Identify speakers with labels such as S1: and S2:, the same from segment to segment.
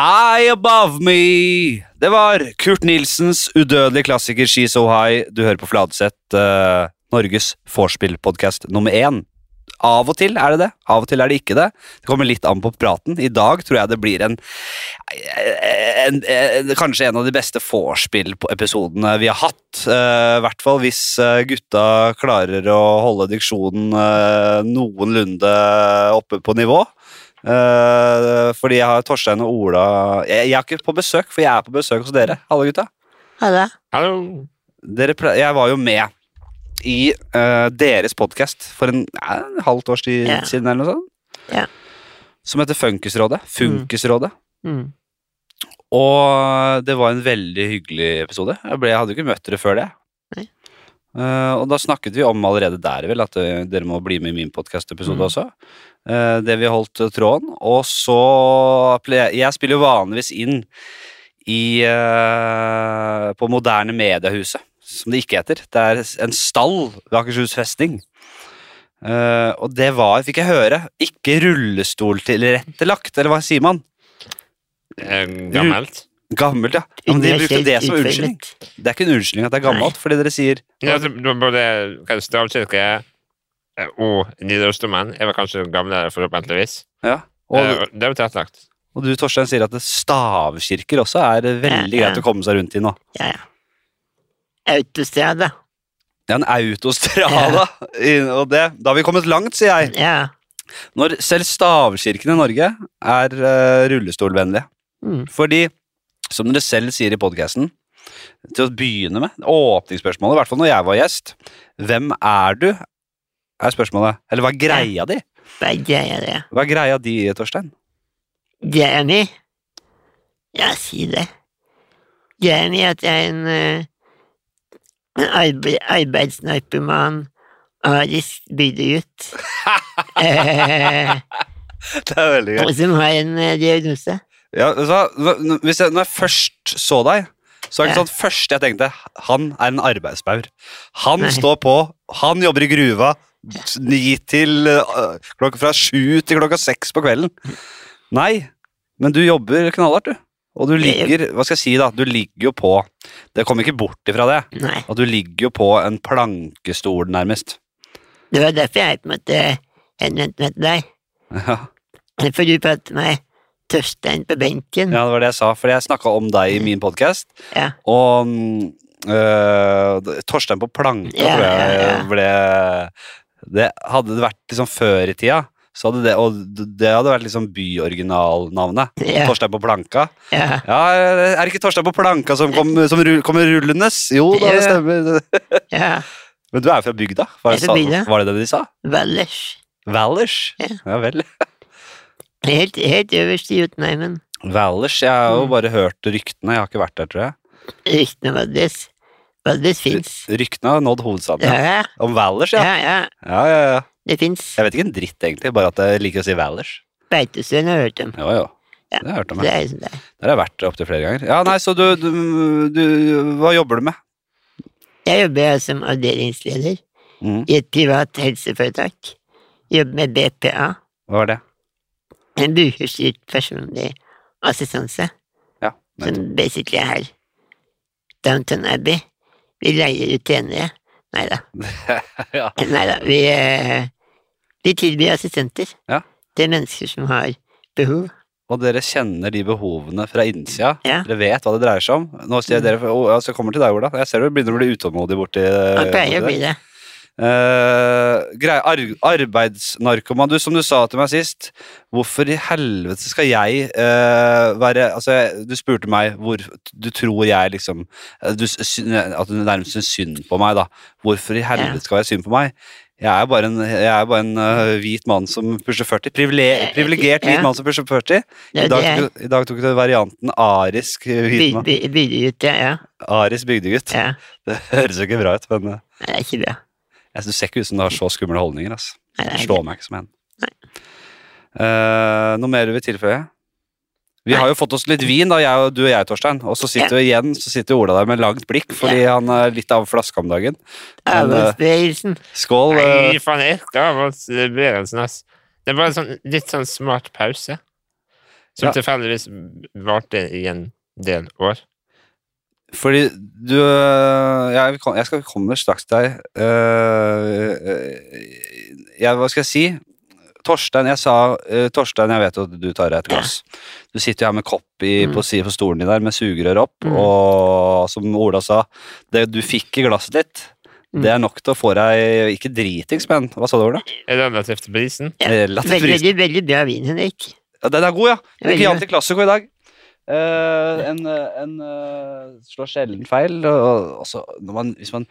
S1: High Above Me! Det var Kurt Nilsens udødelige klassiker She's So High. Du hører på Fladseth, eh, Norges vorspiel-podkast nummer én. Av og til er det det, av og til er det ikke det. Det kommer litt an på praten. I dag tror jeg det blir en, en, en Kanskje en av de beste vorspiel-episodene vi har hatt. Eh, I hvert fall hvis eh, gutta klarer å holde diksjonen eh, noenlunde oppe på nivå. Eh, fordi jeg har Torstein og Ola jeg, jeg er ikke på besøk, for jeg er på besøk hos dere, alle gutta.
S2: Hallo.
S3: Hallo.
S1: Dere ple jeg var jo med i eh, deres podkast for en, eh, en halvt års tid
S2: Ja.
S1: siden, eller noe sånt.
S2: Ja.
S1: Som heter Funkisrådet. Funkisrådet.
S3: Mm.
S1: Og det var en veldig hyggelig episode. Jeg, ble, jeg hadde jo ikke møtt dere før det.
S2: Nei.
S1: Eh, og da snakket vi om allerede der vel at eh, dere må bli med i min podkast-episode
S3: Mm.
S1: også. Eh, det vi holdt eh, tråden. Og så ple- Jeg spiller jo vanligvis inn i eh, På Moderne Mediehuset, som det ikke heter. Det er en stall ved Akershus festning. Eh, og det var, fikk jeg høre, ikke rullestoltilrettelagt, eller hva sier man?
S3: Eh, Gammelt.
S1: Gammelt, ja. ja men de brukte det som unnskyldning.
S2: Utviklet.
S1: Det er ikke en unnskyldning at det er gammelt, fordi dere sier
S3: Ja, altså, det var både kanskje stavkirke eh, og Nidarosdomen er vel kanskje gamlere, forhåpentligvis.
S1: ja.
S3: Eh,
S1: og,
S3: og Det er jo tilrettelagt.
S1: og du, Torstein, sier at det- stavkirker også er veldig
S2: Ja, ja.
S1: greit å komme seg rundt i nå.
S2: Ja, ja. Autostrada.
S1: Det er en autostrada, i- og det, da har vi kommet langt, sier jeg.
S2: Ja.
S1: Når selv stavkirkene i Norge er eh, rullestolvennlige.
S3: Mm.
S1: Fordi, som dere selv sier i podkasten, til å begynne med, åpningsspørsmålet, i hvert fall når jeg var gjest, hvem er du, er spørsmålet. Eller hva er greia di?
S2: Hva greier det?
S1: Hva er greia di, Torstein?
S2: Greia mi? Ja, si det. Greia mi er at jeg er en, eh, en arbe arbeidsnarkoman arisk bygdegutt. eh,
S1: Det er veldig
S2: og som har en eh, diagnose.
S1: Ja, vet du hva? Nå- nå- hvis jeg, når jeg først så deg, så er det ikke
S2: Ja.
S1: sånn først jeg tenkte han er en arbeidsbaur. Han
S2: Nei.
S1: står på, han jobber i gruva s- ni til øh, klokka fra sju til klokka seks på kvelden. Nei, men du jobber knallhardt, du. Og du
S2: Jeg-
S1: ligger hva skal jeg si da, du ligger jo på Det kommer ikke bort ifra det.
S2: Nei,
S1: At du ligger jo på en plankestol, nærmest.
S2: det var derfor jeg på en måte henvendte meg til deg.
S1: Ja.
S2: For du pratet med Tørstein på benken.
S1: Ja, det var det jeg sa, for jeg snakka om deg i min podkast.
S2: Mm. Ja.
S1: Og mm, øh, d- Torstein på planka,
S2: Ja,
S1: tror jeg
S2: ja, ja.
S1: ble det, Hadde det vært liksom før i tida, så hadde det, og d- det hadde vært liksom byoriginalnavnet.
S2: Ja,
S1: Torstein på planka.
S2: ja.
S1: Ja, Er det ikke Torstein på planka som, kom, som rull, kommer rullende? Jo da, det
S2: Ja.
S1: stemmer.
S2: ja.
S1: Men du er jo fra bygda? Var
S2: Jeg er
S1: det,
S2: fra
S1: sa,
S2: bygda.
S1: var det det de sa?
S2: Valdres.
S1: Valers?
S2: Ja.
S1: Ja vel.
S2: Helt, helt øverst i Jotunheimen.
S1: Valers, Jeg har jo
S2: Mm.
S1: bare hørt ryktene. Jeg har ikke vært der, tror jeg.
S2: Ryktene om Valdres. Valdres fins.
S1: Ryktene har nådd hovedstaden.
S2: Ja, ja.
S1: Om Valers, ja.
S2: ja, ja.
S1: Ja, ja, ja.
S2: Det fins.
S1: Jeg vet ikke en dritt, egentlig, bare at jeg liker å si Valers.
S2: Beitostølen har jeg hørt om.
S1: Jo, jo.
S2: Ja.
S1: Det har jeg hørt om.
S2: Det
S1: Jeg.
S2: er jo sånn det er.
S1: Der har jeg vært opptil flere ganger. Ja, nei, så du, du, du Hva jobber du med?
S2: Jeg jobber jeg som avdelingsleder
S1: Mm.
S2: i et privat helseforetak. Jobber med BPA,
S1: Hva var det?
S2: en brukerstyrt personlig assistanse,
S1: Ja.
S2: som basically er her. Downton Abbey. Vi leier ut trenere. Nei da.
S1: Ja.
S2: Vi, eh, vi tilbyr assistenter
S1: Ja.
S2: til mennesker som har behov.
S1: Og dere kjenner de behovene fra innsida.
S2: Ja. Mm.
S1: Dere vet hva det dreier seg om. Nå sier jeg dere, oh, altså, jeg kommer til deg, Ola. Jeg ser du begynner å bli utålmodig borti
S2: Man pleier å bli det.
S1: Eh, grei, ar arbeidsnarkoman. Du, som du sa til meg sist, hvorfor i helvete skal jeg eh, være Altså, jeg- du spurte meg hvor Du tror jeg liksom eh, du, s- syn- At du nærmest syns synd på meg, da. Hvorfor i helvete skal jeg synes synd på meg? Jeg er bare en, jeg er bare en eh, hvit mann som pusher 40. Privile- Privilegert hvit
S2: Ja.
S1: mann som pusher 40.
S2: Det
S1: I
S2: er det
S1: dag
S2: jeg
S1: tok, i dag tok du varianten arisk eh, hvit
S2: by-
S1: mann.
S2: by- bygger ut, ja. ja.
S1: Arisk bygdegutt.
S2: ja.
S1: Det høres jo ikke bra ut, men eh,
S2: Nei, det er ikke bra.
S1: jeg synes- du ser ikke ut som du har så skumle holdninger. altså. ass
S2: Nei, det er
S1: slår meg ikke som en. Eh, noe mer du vil tilføye? Vi har jo fått oss litt vin, da, jeg, og- du og jeg, Torstein. Og så sitter jo igjen så sitter Ola der med langt blikk, fordi han er litt av flaska om dagen. Men, eh,
S2: Avholdsbevegelsen.
S1: skål. eh,
S3: Nei, altså, faen, jeg elsker avholdsbevegelsen, ass. Det er bare en sånn, litt sånn smart sånn pause. Som
S1: Ja.
S3: tilfeldigvis varte i en del år.
S1: Fordi du øh, ja, vi kom- Jeg skal komme straks til deg. Øh, øh, jeg, hva skal jeg si? Torstein, jeg sa øh, Torstein, jeg vet jo at du tar deg et glass. Du sitter jo her med kopp i,
S2: Mm.
S1: på, si- på stolen din der med sugerør opp,
S2: Mm.
S1: og som Ola sa, det du fikk i glasset ditt,
S2: Mm.
S1: det er nok til å få deg Ikke dritings, men hva sa du, Ola?
S3: Relativt til prisen.
S2: Ja,
S1: Relativt
S2: Veldig,
S1: pris.
S2: veldig, veldig bra vin, Henrik.
S1: Ja, den er god, ja.
S2: Ja, veldig
S1: Chianti Classico i dag. Eh, en eh, en eh, slår sjelden feil. Og, og også når man, hvis, man,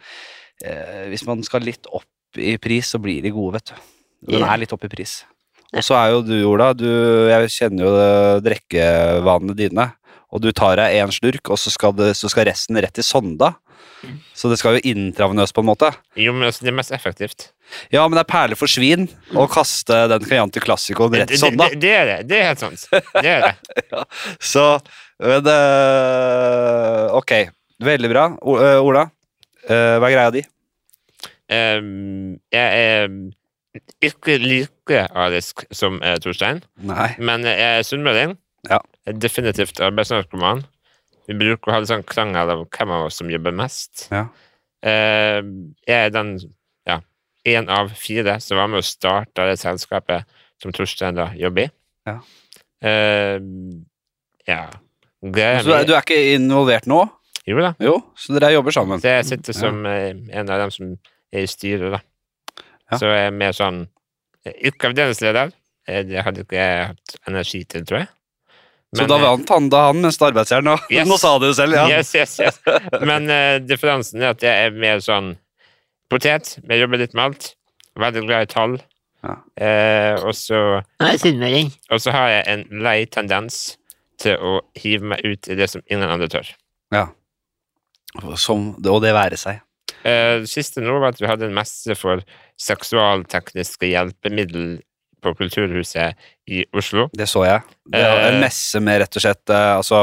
S1: eh, hvis man skal litt opp i pris, så blir de gode, vet du. Den
S2: Ja.
S1: er litt opp i pris. Og så er jo du, Ola, du, jeg kjenner jo eh, drikkevanene dine. Og du tar deg én slurk, og så skal, det, så skal resten rett i sonda. Så det skal jo intravenøst, på en måte.
S3: Jo, men altså, det er mest effektivt.
S1: Ja, men det er perler for svin å kaste den Chianti Classicoen
S3: Det,
S1: rett sånn, i
S3: det,
S1: sonda.
S3: det, det er det. Det er helt sant. Det er det.
S1: Så men, eh, Ok, veldig bra. O eh, Ola, eh, hva er greia di?
S3: Ehm, jeg er ikke like arisk som eh, Torstein,
S1: Nei.
S3: men jeg er sunnmøring.
S1: Ja.
S3: Definitivt arbeidsnarkoman. Vi bruker å ha litt sånn krangel om hvem av oss som jobber mest.
S1: Ja.
S3: Ehm, jeg er den ja, en av fire som var med å starte det selskapet som Torstein da jobber i.
S1: Ja.
S3: Ehm, ja. Greia
S1: Så du er,
S3: mi
S1: du er ikke involvert nå?
S3: Jo da.
S1: Jo, så dere jobber sammen.
S3: Så jeg sitter som eh, en av dem som er i styret, da.
S1: Ja.
S3: Så jeg er mer sånn eh, Ikke avdelingsleder. Eh, Det hadde ikke jeg hatt energi til, tror jeg.
S1: så da vant han da han mens arbeidsjern nå.
S3: eh, Yes.
S1: Nå sa du det selv, ja.
S3: Yes, yes, yes. Men eh, differansen er at jeg er mer sånn potet. Jeg jobber litt med alt. Veldig glad i tall.
S1: Ja.
S3: Eh, og så
S2: Nå er det sunnmøring.
S3: og så har jeg en lei tendens til å hive meg ut i det som ingen andre tør.
S1: Som, og det være seg.
S3: Eh, Det siste nå var at vi hadde en messe for seksualtekniske hjelpemiddel på Kulturhuset i Oslo.
S1: Det så jeg. Det er en
S3: Eh.
S1: messe med rett og slett eh, altså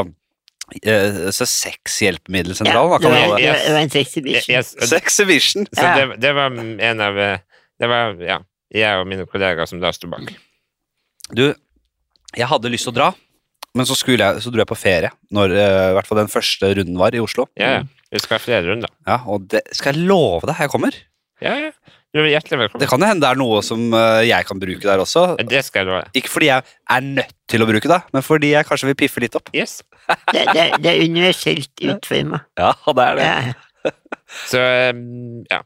S1: eh, så
S2: Ja,
S1: Sexhjelpemiddelsentralen, hva
S2: det,
S1: kan
S2: var,
S1: man kalle det.
S2: det, var, det var en sexy
S3: Jeg,
S2: bitch.
S3: jeg, så
S1: Sexhibition.
S2: Ja.
S3: det, det var en av eh, Det var ja, jeg og mine kollegaer som da sto bak.
S1: Du, jeg hadde lyst til å dra, men så, skulle jeg, så dro jeg på ferie. Når eh, i hvert fall den første runden var i Oslo.
S3: Ja, ja. Vi skal ha flere runder.
S1: Ja, og det skal jeg love deg, jeg kommer.
S3: Ja, ja. Du er
S1: Det
S3: hjertelig velkommen.
S1: kan jo hende det er noe som eh, jeg kan bruke der også.
S3: Det skal jeg love.
S1: Ikke fordi jeg er nødt til å bruke det, men fordi jeg kanskje vil piffe litt opp.
S3: Yes.
S2: Det, det, det er universelt utforma.
S1: Ja, det er det.
S2: Ja.
S3: Så eh, ja.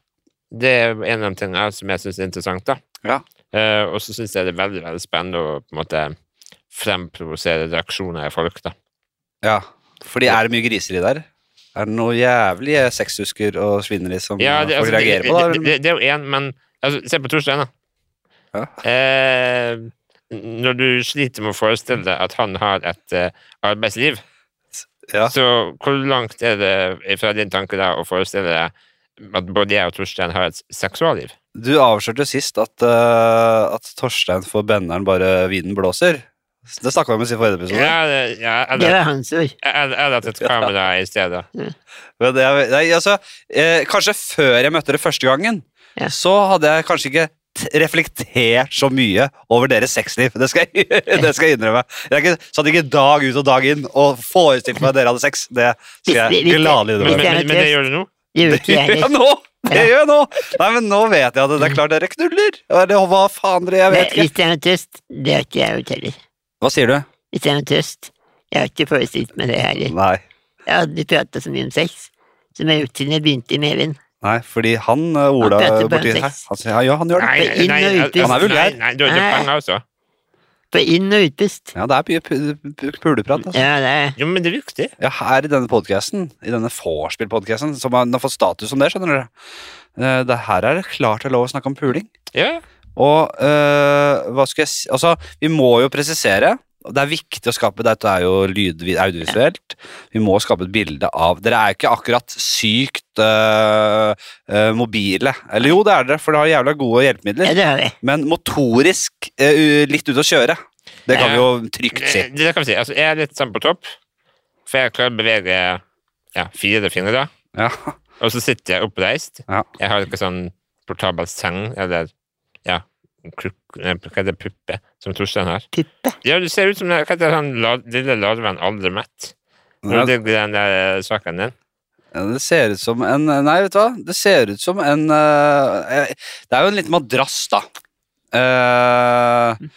S3: Det er en av de tingene som jeg syns er interessant, da.
S1: Ja.
S3: Eh, og så syns jeg det er veldig veldig spennende å på en måte fremprovosere reaksjoner i folk, da.
S1: Ja, fordi er det mye griseri der? Er det noe jævlige sexhusker og svineri som
S3: Ja,
S1: eh,
S3: det,
S1: folk
S3: altså, det,
S1: reagerer på? da?
S3: det, det, det er jo én, men altså, se på Torstein, da.
S1: Ja.
S3: Eh, når du sliter med å forestille deg at han har et eh, arbeidsliv,
S1: Ja.
S3: så hvor langt er det fra din tanke da å forestille deg at både jeg og Torstein har et seksualliv?
S1: Du avslørte jo sist at, eh, at Torstein for benderen bare vinden blåser. Det snakka vi om i forrige episode.
S3: Ja, det- ja
S2: Det
S3: eller,
S2: var hans ord.
S3: eller, eller at et kamera er i stedet.
S1: Men det, er- nei, altså, eh, kanskje før jeg møtte dere første gangen,
S2: Ja.
S1: så hadde jeg kanskje ikke t- reflektert så mye over deres sexliv. Det skal jeg, det skal jeg innrømme. Jeg har ikke, satt ikke dag ut og dag inn og forestilt meg at dere hadde sex. Det skal jeg
S2: Hvis- hvis-
S1: gladelig
S3: Men,
S1: innrømme.
S3: men, men, men det gjør du nå?
S2: Det gjorde
S1: Det
S2: ikke jeg
S1: gjør jeg
S2: heller.
S1: nå! Det gjør jeg nå! Nei, men nå vet jeg at det er klart dere knuller. Eller hva faen dere, jeg vet
S2: Men
S1: ikke.
S2: Hvis det er noe trøst, det har ikke jeg gjort heller.
S1: Hva sier du?
S2: Hvis det er noe trøst, jeg har ikke forestilt meg det heller.
S1: Nei.
S2: Jeg hadde aldri prata så mye om sex som jeg har gjort siden jeg begynte i Mevind.
S1: Nei, fordi han eh, Ola
S2: prater bare om
S1: borti her,
S2: sex.
S1: han sier ja, ja, han gjør det.
S3: Nei,
S2: Inn og ut,
S3: altså,
S1: Han er
S3: nei,
S1: vulgær.
S3: nei, du har ikke
S2: Nei.
S3: penger også.
S2: På inn- og utpust.
S1: Ja, det er mye pu- pu- puleprat. Altså.
S2: Ja, det er
S3: Jo, men det er viktig.
S1: Ja, her i denne podcasten, i denne vorspiel-podcasten, som har, den har fått status som det, skjønner du. Eh, Det her er det klart det er lov å snakke om puling.
S3: Ja.
S1: Og eh, hva skal jeg si Altså, vi må jo presisere. og Det er viktig å skape Dette er jo lyd, audiovisuelt. Vi må skape et bilde av Dere er jo ikke akkurat sykt eh, eh, mobile. Eller jo, det er dere, for dere har jævla gode
S2: ja,
S1: hjelpemidler.
S2: det har vi.
S1: Men motorisk eh, u- litt ute å kjøre. Det kan vi jo trygt si.
S3: Eh, Det kan vi si. Altså, jeg er litt sånn på topp, for jeg klarer å bevege ja, fire fingre.
S1: Ja.
S3: Og så sitter jeg oppreist.
S1: Ja.
S3: Jeg har ikke sånn portabel seng eller ja, kruk, eh, hva er det, puppe? som Torstein har.
S2: Tippe.
S3: Ja, du ser ut som den, hva heter han la, lille larven aldri mett.
S1: Ja,
S3: Når det er den der eh, saken din.
S1: Ja, Det ser ut som en Nei, vet du hva? Det ser ut som en eh, eh, Det er jo en liten madrass, da. Eh,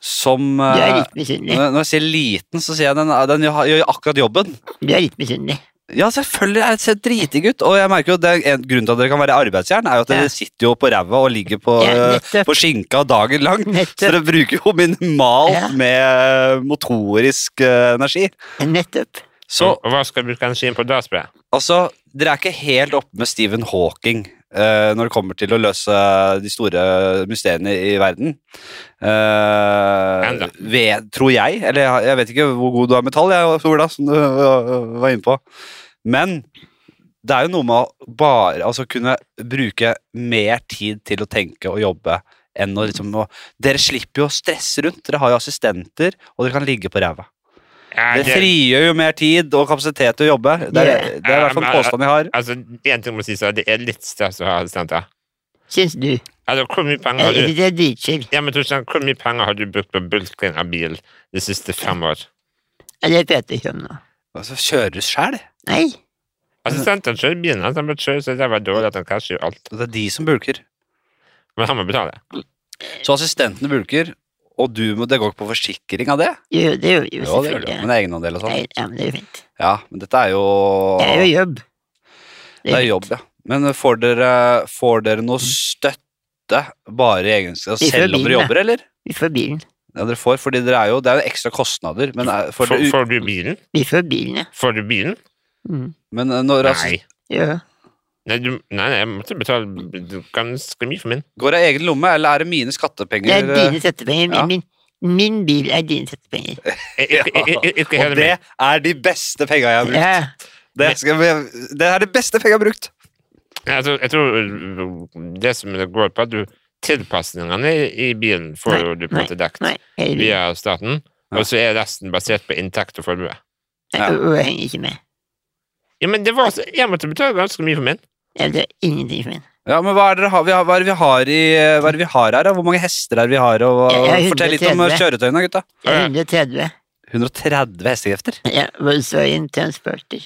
S1: som
S2: Du er
S1: eh,
S2: litt misunnelig.
S1: når når jeg sier liten, så sier jeg den, den gjør gjør akkurat jobben.
S2: Du er litt misunnelig.
S1: Ja, selvfølgelig. Jeg ser dritig ut. Og jeg merker jo det er en grunn til at dere kan være arbeidsjern, er jo at
S2: Ja.
S1: dere sitter jo på ræva og ligger på,
S2: Ja,
S1: eh,
S2: nettopp.
S1: på skinka dagen lang. Så
S2: Nettopp.
S1: dere bruker jo minimalt
S2: Ja.
S1: med motorisk eh, energi.
S2: Nettopp.
S1: Så
S3: Og, og hva skal du bruke energien på da, spør jeg?
S1: Altså, dere er ikke helt oppe med Stephen Hawking eh, når det kommer til å løse de store mysteriene i verden. Eh,
S3: Enda.
S1: ved, tror jeg, eller jeg- jeg vet ikke hvor god du er med tall, jeg, Ola, som du øh, var inne på. Men det er jo noe med å bare altså, kunne bruke mer tid til å tenke og jobbe enn å liksom å, Dere slipper jo å stresse rundt. Dere har jo assistenter, og dere kan ligge på ræva.
S3: Ja,
S1: Det frigjør jo mer tid og kapasitet til å jobbe. Det er,
S2: Ja.
S1: det er i hvert fall en påstand jeg har.
S3: Altså, en ting må sies, det er litt stress å ha assistenter.
S2: Syns du.
S3: Altså, hvor mye penger
S2: Jeg
S3: har du
S2: synes det er dritskill.
S3: ja, men Torstein, hvor mye penger har du brukt på bulken av bil de siste fem år?
S2: Ja, Det prater jeg ikke om nå.
S1: Altså, kjører sjæl.
S2: Nei.
S3: Assistenten kjører bilen hans, han bør kjøre, så det var dårlig at han casher jo alt.
S1: Det er de som bulker.
S3: Men han må betale.
S1: Så assistentene bulker, og du må, det går ikke på forsikring av det?
S2: Jo, det gjør
S1: Jo, det
S2: jo
S1: gjør det.
S2: selvfølgelig.
S1: Men det er egenandel og sånn.
S2: Nei, ja, men det er jo fint.
S1: Ja, men dette er jo
S2: Det er jo jobb.
S1: Det er jobb, ja. Men får dere, får dere noe støtte bare i egenskap
S2: Ikke
S1: selv om
S2: bilen,
S1: dere jobber, eller?
S2: Vi får bilen.
S1: Ja, dere får, fordi dere er jo, det er jo ekstra kostnader. Men, er- får
S3: Får,
S1: dere,
S3: får du bilen?
S2: Vi får bilen, ja.
S3: Får du bilen?
S2: Mm.
S1: men når altså,
S3: Nei.
S2: Ja.
S3: Nei, du, nei, nei, jeg måtte betale ganske mye for min.
S1: Går det av egen lomme, eller er det mine skattepenger? eh,
S2: Det er dine settepenger.
S1: Ja.
S2: Min, min bil er dine settepenger.
S3: Ikke, ikke, ikke, ikke
S1: Og
S3: hele
S1: det
S3: min.
S1: er de beste penga jeg har brukt.
S2: Ja.
S1: Det, skal vi, det er de beste penga jeg har brukt.
S3: Nei, altså, jeg tror det som det går på, at du tilpasningene i, i bilen får
S2: Nei,
S3: jo du på en måte dekt
S2: Nei, hele bilen.
S3: via staten, og så er resten basert på inntekt og formue.
S1: Ja.
S2: Og- Og jeg henger ikke med.
S3: Ja, men det var så, Jeg måtte betale ganske mye for min.
S2: Jeg betaler ingenting for min.
S1: Ja, men hva er, det, dere har- vi har- hva er det vi har i Hva er det vi har her, da? Hvor mange hester er det vi har? Og, og,
S2: Jeg har
S1: fortell litt om
S2: 130.
S1: kjøretøyene, gutta.
S2: Jeg
S3: Ja,
S2: er
S3: ja.
S2: 130.
S1: 130 hestekrefter?
S2: Ja, Volkswagen Transporter.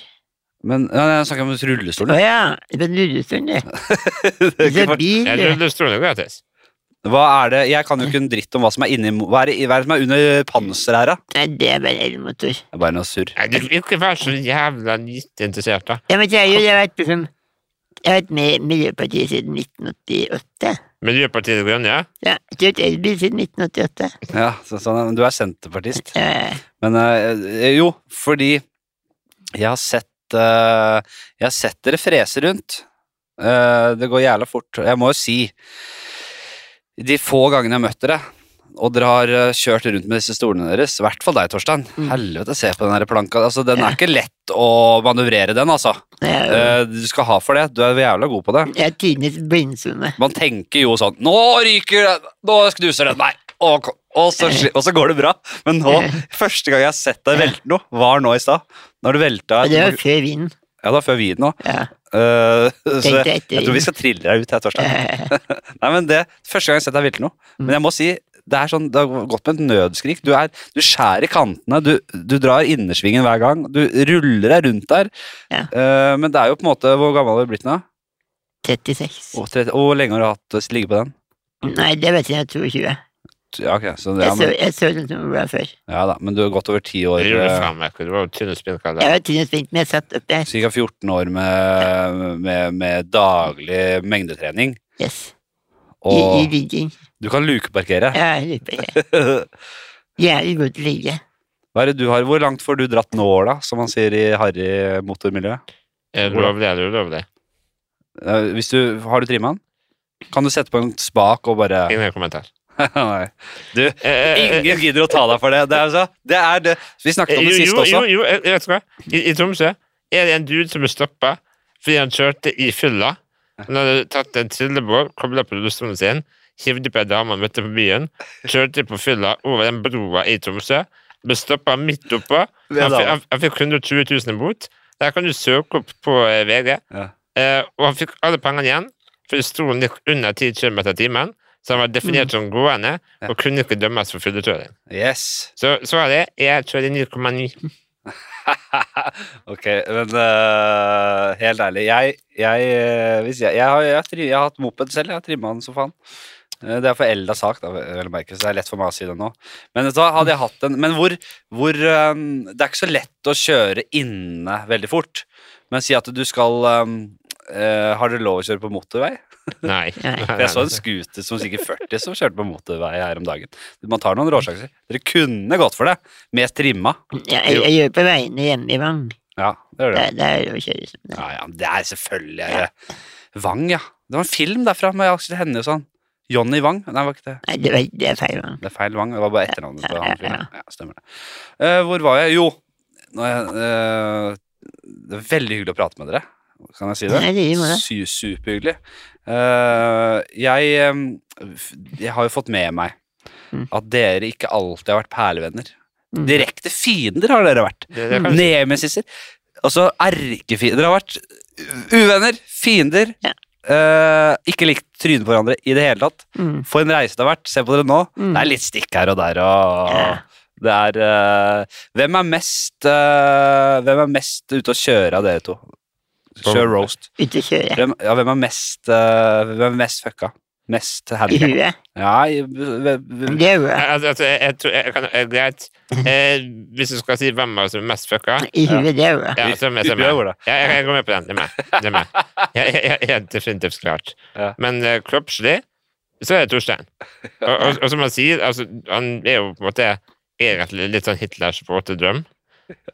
S1: Men ja, jeg snakker om
S2: Å
S1: rullestolen.
S2: ja, det er en rullestol, det.
S1: Det er
S2: Det
S1: ikke
S2: er
S1: for-
S2: bil,
S3: Jeg
S2: det.
S3: trodde stolen er gratis.
S1: Hva er det Jeg kan jo ikke en dritt om hva som er inni Hva er det, hva er det som er under panseret her, da?
S2: Nei, det er bare elmotor.
S1: Det er bare noe surr.
S3: Nei, du ikke vær så jævla lite interessert, da.
S2: Ja, men jeg, er jo- jeg har vært liksom Jeg har vært med i Miljøpartiet siden 1988.
S3: Miljøpartiet De Grønne, ja.
S2: Ja, jeg har kjørt elbil siden 1988.
S1: Ja, så, sånn, men du er senterpartist.
S2: Ja,
S1: Men eh, jo, fordi jeg har sett eh, Jeg har sett dere frese rundt. Eh, det går jævla fort. Jeg må jo si De få gangene jeg har møtt dere, og dere har eh, kjørt rundt med disse stolene deres, i hvert fall deg, Torstein
S2: Mm.
S1: Helvete, se på den her planka. Altså, den
S2: Ja.
S1: er ikke lett å manøvrere, den, altså.
S2: ja.
S1: Eh, du skal ha for det. Du er jævla god på det.
S2: Jeg er tidenes blindsone.
S1: Man tenker jo sånn Nå ryker den! Nå knuser den meg! Og, og, så, sli- og så går det bra. Men nå, første gang jeg har sett deg velte noe, var nå i stad. Når du velta
S2: Og det
S1: Ja,
S2: var før vinden.
S1: det var før vi nå.
S2: Ja,
S1: Eh, så jeg,
S2: tenkte jeg etter
S1: jeg tror vi skal trille deg ut her, Torstein.
S2: vinden. Eh,
S1: Nei, men det, Første gang jeg har sett deg velte noe. Men jeg må si, det er sånn, det har gått med et nødskrik. Du, er, du skjærer i kantene, du, du drar innersvingen hver gang. Du ruller deg rundt der.
S2: Ja.
S1: Eh, men det er jo på en måte Hvor gammel har du blitt nå?
S2: 36.
S1: Og, tretti- og hvor lenge har du hatt å ligge på den?
S2: Nei, det vet jeg jeg er 22.
S1: Ja, ok, så, ja,
S2: Jeg så,
S1: men,
S2: jeg så sånn som hun var før.
S1: ja da, men du har gått over ti år.
S3: Det gjorde
S1: eh,
S3: faen meg ikke. Det var jo tynn og
S2: Jeg
S3: spinnkalle.
S2: var tidenes blink, men jeg satt opp der.
S1: Ca. 14 år med, med, med daglig mengdetrening.
S2: Yes. I, i
S1: Og
S2: ligging.
S1: du kan lukeparkere.
S2: Ja, jeg lurer på det. Jævlig god til å ligge.
S1: Hva er det du har? Hvor langt får du dratt nåla, som man sier i harry motormiljø?
S3: Er det Lovlig eller ulovlig?
S1: Eh, Hvis du, har du trimma den? Kan du sette på en spak og bare
S3: Ingen kommentar.
S1: Nei. Du,
S3: Eh, eh, eh,
S1: ingen gidder å ta deg for det. Det er, altså, det er det. Vi snakket om det
S3: jo,
S1: siste
S3: jo, jo,
S1: også.
S3: jo, jeg jeg vet du hva. I, I Tromsø er det en dude som er stoppa fordi han kjørte i fylla. Han hadde tatt en trillebår, kobla på rullestolen sin, hivde på ei dame han møtte på byen, kjørte på fylla over den broa i Tromsø, ble stoppa midt oppå.
S1: Ved
S3: Han,
S1: dama.
S3: fikk- han, han fikk 120 000 i bot. Der kan du søke opp på eh, VG.
S1: Ja.
S3: Eh, og han fikk alle pengene igjen, for stolen gikk under 10 km i timen. Så han var definert som gående
S1: Ja.
S3: og kunne ikke dømmes for fyllekjøring.
S1: Yes.
S3: Så svaret er jeg kjører 9,9.
S1: ok, men øh, helt ærlig jeg, jeg, øh, hvis jeg, jeg, har, jeg, har tri- jeg har hatt moped selv, jeg har trimma den som faen. Eh, Det er for elda sak, da, vel å merke, så det er lett for meg å si det nå. Men vet du hva, hadde jeg hatt en Men hvor, hvor øhm, Det er ikke så lett å kjøre inne veldig fort. Men si at du skal øhm, eh, Har dere lov å kjøre på motorvei?
S3: Nei.
S2: Nei.
S1: For jeg så en scooter som sikkert 40 som kjørte på motorvei her om dagen. Man tar noen råsjanser. Dere kunne gått for det. Med trimma.
S2: Ja, jeg, jeg gjør på veiene hjemme i Vang.
S1: Ja, det gjør det.
S2: Der, der er det å kjøre sånn.
S1: Ja, ja, men det er selvfølgelig eh, Vang, ja. Det var en film derfra med Aksel Hennie og sånn. Johnny Wang. Nei, det var ikke det.
S2: Nei, det, var, det er feil Vang.
S1: Det er feil Wang. Det var bare etternavnet på
S2: Ja,
S1: han
S2: ja,
S1: fyren. Ja, stemmer det. Eh, hvor var jeg? Jo, når jeg, eh, det er veldig hyggelig å prate med dere. Kan jeg si det?
S2: Nei, det gir meg det.
S1: Su- Superhyggelig. Eh, jeg, em, f- jeg har jo fått med meg
S2: Mm.
S1: at dere ikke alltid har vært perlevenner.
S2: Mm.
S1: Direkte fiender har dere vært.
S3: Det, det kan,
S1: Nemesiser. Altså erkefiender. Dere har vært u- uvenner, fiender.
S2: Ja.
S1: eh, ikke likt trynet på hverandre i det hele tatt.
S2: Mm.
S1: For en reise det har vært. Se på dere nå.
S2: Mm.
S1: Det er litt stikk her og der. Og
S2: Ja.
S1: det er eh, Hvem er mest eh, Hvem er mest ute å kjøre av dere to? Kjør roast.
S2: Ute og kjøre.
S1: Hvem, ja, hvem er mest eh, Hvem er mest fucka? Mest
S2: I
S1: handikappa?
S2: huet.
S1: Ja, i- v- v-
S2: Det er bra.
S3: altså, altså, jeg, jeg, tror- jeg kan, eh, greit. Eh, hvis du skal si hvem av oss som er mest fucka
S2: I huet, det er bra.
S3: ja, så er jeg- så er
S1: vi
S3: jeg-
S1: gjør det.
S3: Ja, jeg, jeg går med på den. Det er meg. Det er meg. Jeg, jeg, jeg, jeg er definitivt klart.
S1: Ja.
S3: Men eh, kroppslig så er det Torstein. Og, og, og som han sier, altså, han er jo på en måte egentlig litt sånn Hitlers våte-drøm.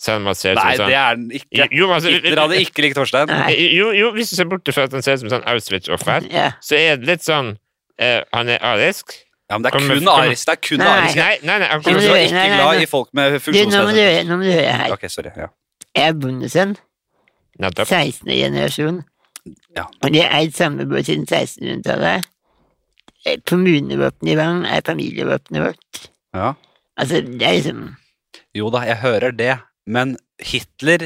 S3: Selv om han ser ut
S1: Nei,
S3: som
S1: det
S3: sånn
S1: er den ikke.
S3: Jo, men altså,
S1: Hitler hadde ikke likt Torstein.
S2: Nei.
S3: jo, jo, hvis du ser bort fra at han ser ut som sånn Auschwitz-offer,
S2: Ja.
S3: så er det litt sånn eh, Han er arisk.
S1: Ja, men det er
S3: Kommer-
S1: kun
S3: kommer-
S1: Aris. Det er kun
S2: Nei.
S1: Aris.
S3: Nei, nei, nei, han
S1: Du
S3: kommer
S2: Nei,
S1: er
S3: fra
S2: men
S1: ikke
S2: nei,
S1: glad
S2: nei.
S1: i folk med
S2: Du, nå må du
S1: funksjonsnedsettelse.
S2: høre, nå må du høre her.
S1: Ok, sorry. Ja.
S2: Jeg er bondesønn.
S3: Nettopp.
S2: 16. generasjon.
S1: Ja.
S2: Og de har eid samme båt siden 1600-tallet. Eh, Kommunevåpenet i Vang er familievåpenet vårt.
S1: Ja.
S2: Altså, det er liksom
S1: Jo da, jeg hører det, men Hitler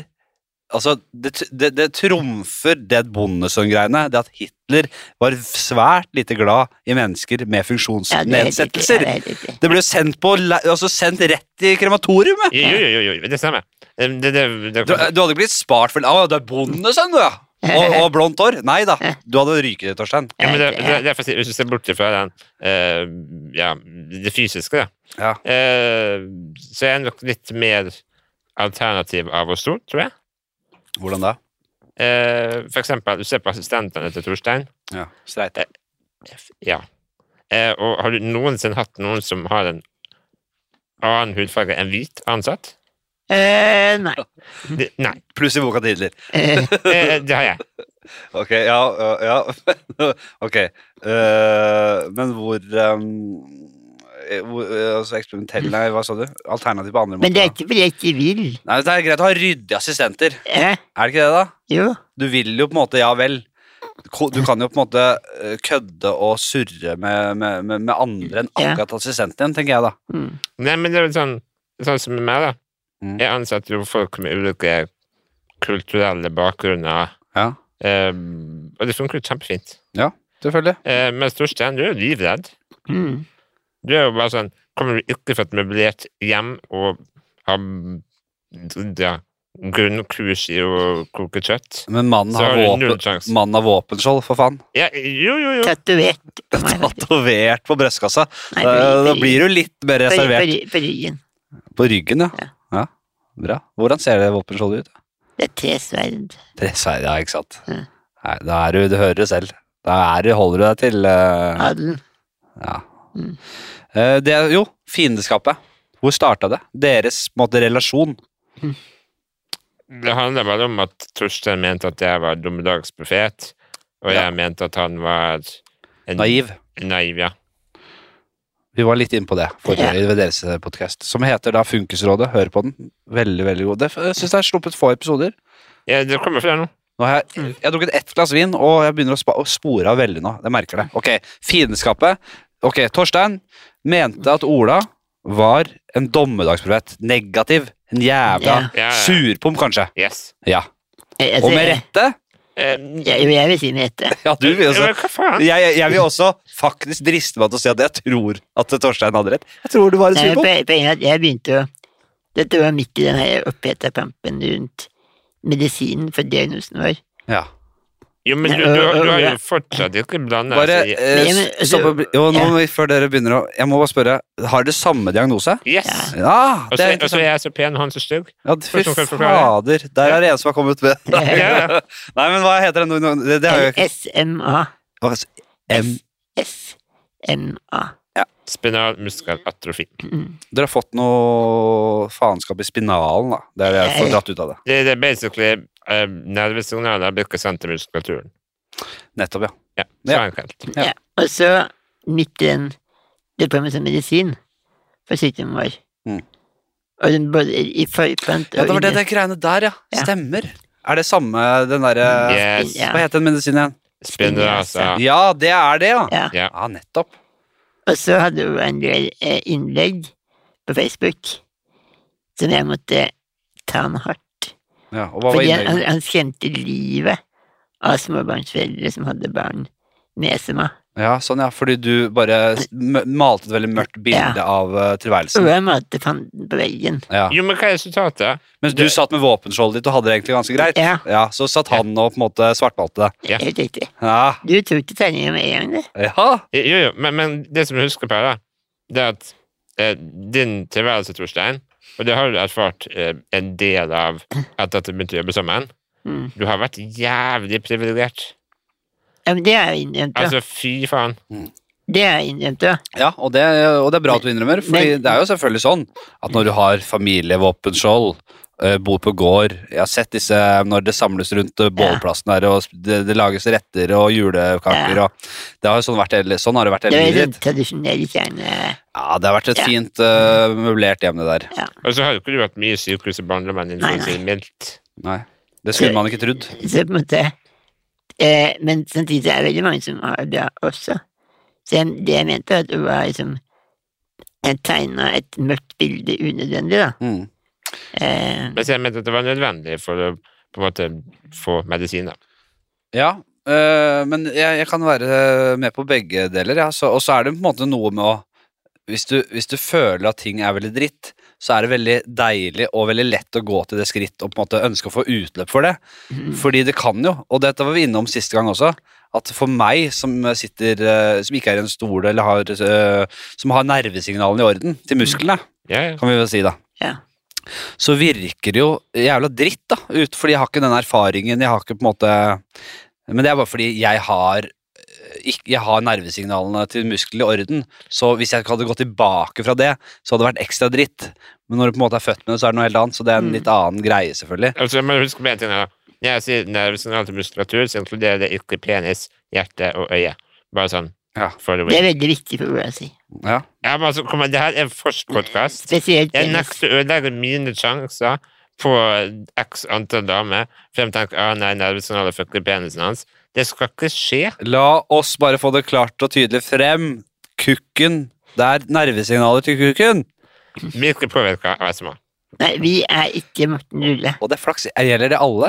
S1: Altså, det, det, det trumfer det bondesønn-greiene. Det at Hitler var svært lite glad i mennesker med
S2: ja, det er helt riktig, ja,
S1: funksjonsnedsettelser.
S2: det er helt riktig.
S1: Det ble jo sendt, på, le- altså sendt rett i krematorium. jeg.
S3: Jo, jo, jo, jo, det stemmer. Det, det, det, det,
S1: Du, du hadde ikke blitt spart for Å, du er bondesønn, du, ja! Og, og blondt hår. Nei da. Du hadde ryket, Torstein.
S3: Ja, men det,
S2: Ja,
S3: det, det er for å si, Hvis du ser bort fra den, eh, ja, det fysiske, da.
S1: Ja.
S3: Eh, så er jeg nok litt mer alternativ av oss to, tror jeg.
S1: Hvordan da?
S3: Eh, for eksempel, du ser på assistentene til Torstein.
S1: Ja, Streit.
S3: Ja. Eh, og har du noensinne hatt noen som har en annen hudfarge enn hvit ansatt?
S2: Eh, nei.
S3: Det, nei,
S1: Pluss i boka til Hitler.
S2: Eh,
S3: eh, det har jeg.
S1: Ok, ja, ja, ja. Ok, eh, men hvor, eh, hvor eh, Altså eksperimentell, nei, hva sa du? Alternativ på andre måter?
S2: men det er
S1: da.
S2: ikke fordi jeg ikke vil.
S1: Nei, men Det er greit å ha ryddige assistenter,
S2: Eh,
S1: er det ikke det, da?
S2: jo.
S1: Du vil jo på en måte, ja vel. Ko- Du kan jo på en måte eh, kødde og surre med, med, med, med andre enn
S2: Ja.
S1: akkurat assistenten din, tenker jeg da.
S2: Mm.
S3: Nei, men det er vel sånn, sånn som med meg, da.
S1: Mm.
S3: Jeg ansetter jo folk med ulike kulturelle bakgrunner,
S1: Ja,
S3: eh, og det funker jo kjempefint.
S1: selvfølgelig.
S3: Eh, mens Torstein, du er jo livredd.
S2: Mm.
S3: Du er jo bare sånn Kommer du ikke fra et møblert hjem og har ja, grunnkurs i å koke kjøtt,
S1: Men mannen
S3: så
S1: har,
S3: har du null
S1: våpen,
S3: sjanse.
S1: mannen har våpenskjold, for faen.
S3: Ja, jo, jo, jo.
S2: Tatovert på meg. faktisk.
S1: Tatovert på brystkassa.
S2: Nei,
S1: Da,
S2: på-
S1: da
S2: på-
S1: blir du litt mer
S2: på- på-
S1: reservert.
S2: på- På ryggen.
S1: På ryggen, ja.
S2: Ja.
S1: ja. Bra. Hvordan ser det våpenskjoldet ut? da?
S2: Det er tre sverd.
S1: Tre sverd, ja, ikke sant.
S2: Mm.
S1: Nei, da er du, du hører det selv. Da er du, holder du deg til eh,
S2: Adelen.
S1: Ja.
S2: Mm.
S1: Eh, det, er- jo, fiendeskapet. Hvor starta det? Deres på en måte, relasjon.
S3: Det handler bare om at Torstein mente at jeg var dommedagsprofet, og jeg
S1: Ja.
S3: mente at han var en,
S1: Naiv.
S3: naiv, ja.
S1: Vi var litt inne på det forrige, ved deres podkast, som heter da Funkisrådet. Hør på den. Veldig, veldig god. Det f- Jeg syns det er sluppet få episoder.
S3: ja det kommer fra nå.
S1: Nå har jeg,
S2: Mm.
S1: jeg har drukket ett glass vin, og jeg begynner å, spa, å spore av veldig nå. Jeg merker det. Ok, Fiendskapet. Ok, Torstein mente at Ola var en dommedagsprofet. Negativ. En jævla
S2: Ja.
S3: Ja, ja.
S1: surpomp, kanskje.
S3: Yes.
S1: Ja.
S2: Eh, altså,
S1: Og med
S2: jeg-
S1: rette.
S3: Eh,
S2: Jeg, jeg vil si Mette.
S1: Ja, du vil jo
S3: ja,
S1: se.
S3: men hva faen?
S1: Jeg, jeg vil også faktisk driste meg til å si at jeg tror at Torstein hadde rett. Jeg tror du var en
S2: Nei, men
S1: svipo.
S2: poen- poenget er at jeg begynte å Dette var midt i den her oppheta pampen rundt medisinen for diagnosen vår.
S1: Ja.
S3: Jo, men du, du, du har jo fortsatt ikke altså, blanda
S1: Bare
S3: deg i
S1: eh,
S2: Men- altså- men-
S1: stopp og bli- Jo, nå må vi- før dere begynner å Jeg må bare spørre, har dere samme diagnose?
S3: Yes!
S1: Ja!
S3: Og
S1: Det
S3: så
S1: er
S3: og så er
S1: interessant.
S3: jeg så pen, og han så stygg.
S1: Ja, fy
S3: Først og fremst forklare.
S1: fader. Der er det en som har kommet med. Nei,
S3: Ja, ja.
S1: men hva heter den? nå? Det, det har jo ikke
S2: SMA.
S1: Hva- M.
S2: SMA.
S3: Spinal muskelatrofi.
S2: Mm.
S1: Dere har fått noe faenskap i spinalen, da. Det er det jeg får dratt ut av det.
S3: Det, det er basically eh, nervesignaler blir ikke sendt til muskulaturen.
S1: Nettopp, ja.
S3: Ja, så
S1: Ja.
S3: enkelt.
S1: Ja.
S2: Ja. Og så, midt i den Det kom en sånn medisin for sykdommen vår.
S1: Mm.
S2: Og den både i forkant
S1: Ja, det
S2: og
S1: var det,
S2: under.
S1: det greiene der, ja.
S2: Ja.
S1: Stemmer. Er det samme den derre
S3: Yes. altså.
S2: Ja.
S1: Hva heter den medisinen igjen?
S3: Spinrasa.
S1: Ja, det er det, ja.
S2: Ja.
S3: Ja.
S1: Ja, nettopp.
S2: Og så hadde hun en del eh, innlegg på Facebook som jeg måtte ta han hardt.
S1: Ja, og hva var
S2: Fordi han, han,
S1: innlegget?
S2: han skremte livet av småbarnsforeldre som hadde barn med SMA.
S1: Ja, sånn ja, fordi du bare s- m- malte et veldig mørkt bilde av eh,
S2: Og
S1: tilværelsen.
S2: jeg malte fanden på veggen.
S1: Ja.
S3: Jo, men hva er resultatet?
S1: Mens du satt med våpenskjoldet ditt og hadde det egentlig ganske greit.
S2: Ja,
S1: Ja, så satt han og på en måte svartmalte det.
S3: Ja.
S2: helt riktig.
S1: Ja,
S2: Du tok ikke tegninga med en gang, du.
S1: ja.
S3: Jo, jo, men, men det som jeg husker på, da, det er at eh, din tilværelse, Torstein, og det har du erfart eh, en del av etter at du begynte å jobbe sammen,
S2: Mm.
S3: du har vært jævlig privilegert.
S2: Ja, men det har jeg innrømt òg.
S3: Altså, fy faen.
S2: Det har jeg innrømt òg.
S1: ja og, det, og det er bra at du innrømmer, for
S2: Men-
S1: det er jo selvfølgelig sånn at når du har familie, våpenskjold, eh, bor på gård Jeg har sett disse når det samles rundt eh, bålplassen der, og sp- det, det lages retter og julekaker
S2: Ja.
S1: og Det har jo sånn vært hele, sånn har det vært
S2: Det
S1: hele
S2: var en
S1: livet
S2: sånn
S1: ditt.
S2: tradisjonell kjerne...
S1: Ja, det har vært et
S2: Ja.
S1: fint eh, møblert hjem, det der.
S3: Og så har jo ikke du vært mye i sykehus og barndommen din,
S2: Nei,
S3: sånn for å si det mildt.
S1: Nei. Det skulle man ikke trodd.
S2: Så på en måte eh, Men samtidig er det veldig mange som har det bra også. Så jeg, det jeg mente, var at det var liksom Jeg tegna et mørkt bilde unødvendig, da.
S1: Mm.
S2: Eh,
S3: Men så jeg mente at det var nødvendig for å på en måte få medisiner.
S1: Ja, øh, men jeg, jeg kan være eh, med på begge deler. Ja. Så, og så er det på en måte noe med å hvis du, hvis du føler at ting er veldig dritt, så er det veldig deilig og veldig lett å gå til det skritt og på en måte ønske å få utløp for det.
S2: mm.
S1: Fordi det kan jo, og dette var vi innom siste gang også, at for meg som sitter øh, Som ikke er i en stol eller har øh, Som har nervesignalene i orden til musklene,
S3: Ja, ja.
S1: kan vi vel si da.
S2: Ja.
S1: Så virker det jo jævla dritt, da. Ut, fordi jeg har ikke den erfaringen, jeg har ikke på en måte Men det er bare fordi jeg har eh, ikk- jeg har nervesignalene til muskler i orden, så hvis jeg ikke hadde gått tilbake fra det, så hadde det vært ekstra dritt. Men når du på en måte er født med det, så er det noe helt annet, så det er en
S2: Mm.
S1: litt annen greie, selvfølgelig.
S3: Altså, men husk på en ting her, da. Når jeg sier nervesignaler til muskulatur, så inkluderer det ikke penis, hjerte og øye. Bare sånn.
S1: Ja.
S3: For the
S2: det
S3: win.
S2: er veldig viktig for hvordan jeg sier.
S1: Ja.
S3: Ja, men altså, kom igjen, det her er en forskpodkast.
S2: Spesielt
S3: Jeg
S2: penis.
S3: nekter å ødelegge mine sjanser på x antall damer, for de tenker ah, nei, nervesignaler fucker penisen hans. Det skal ikke skje.
S1: La oss bare få det klart og tydelig frem. Kukken. Det er nervesignaler til kukken.
S3: Blir ikke påvirka av SMA.
S2: Nei, vi er ikke Morten Rulle.
S1: Og det er flaks. Gjelder det alle?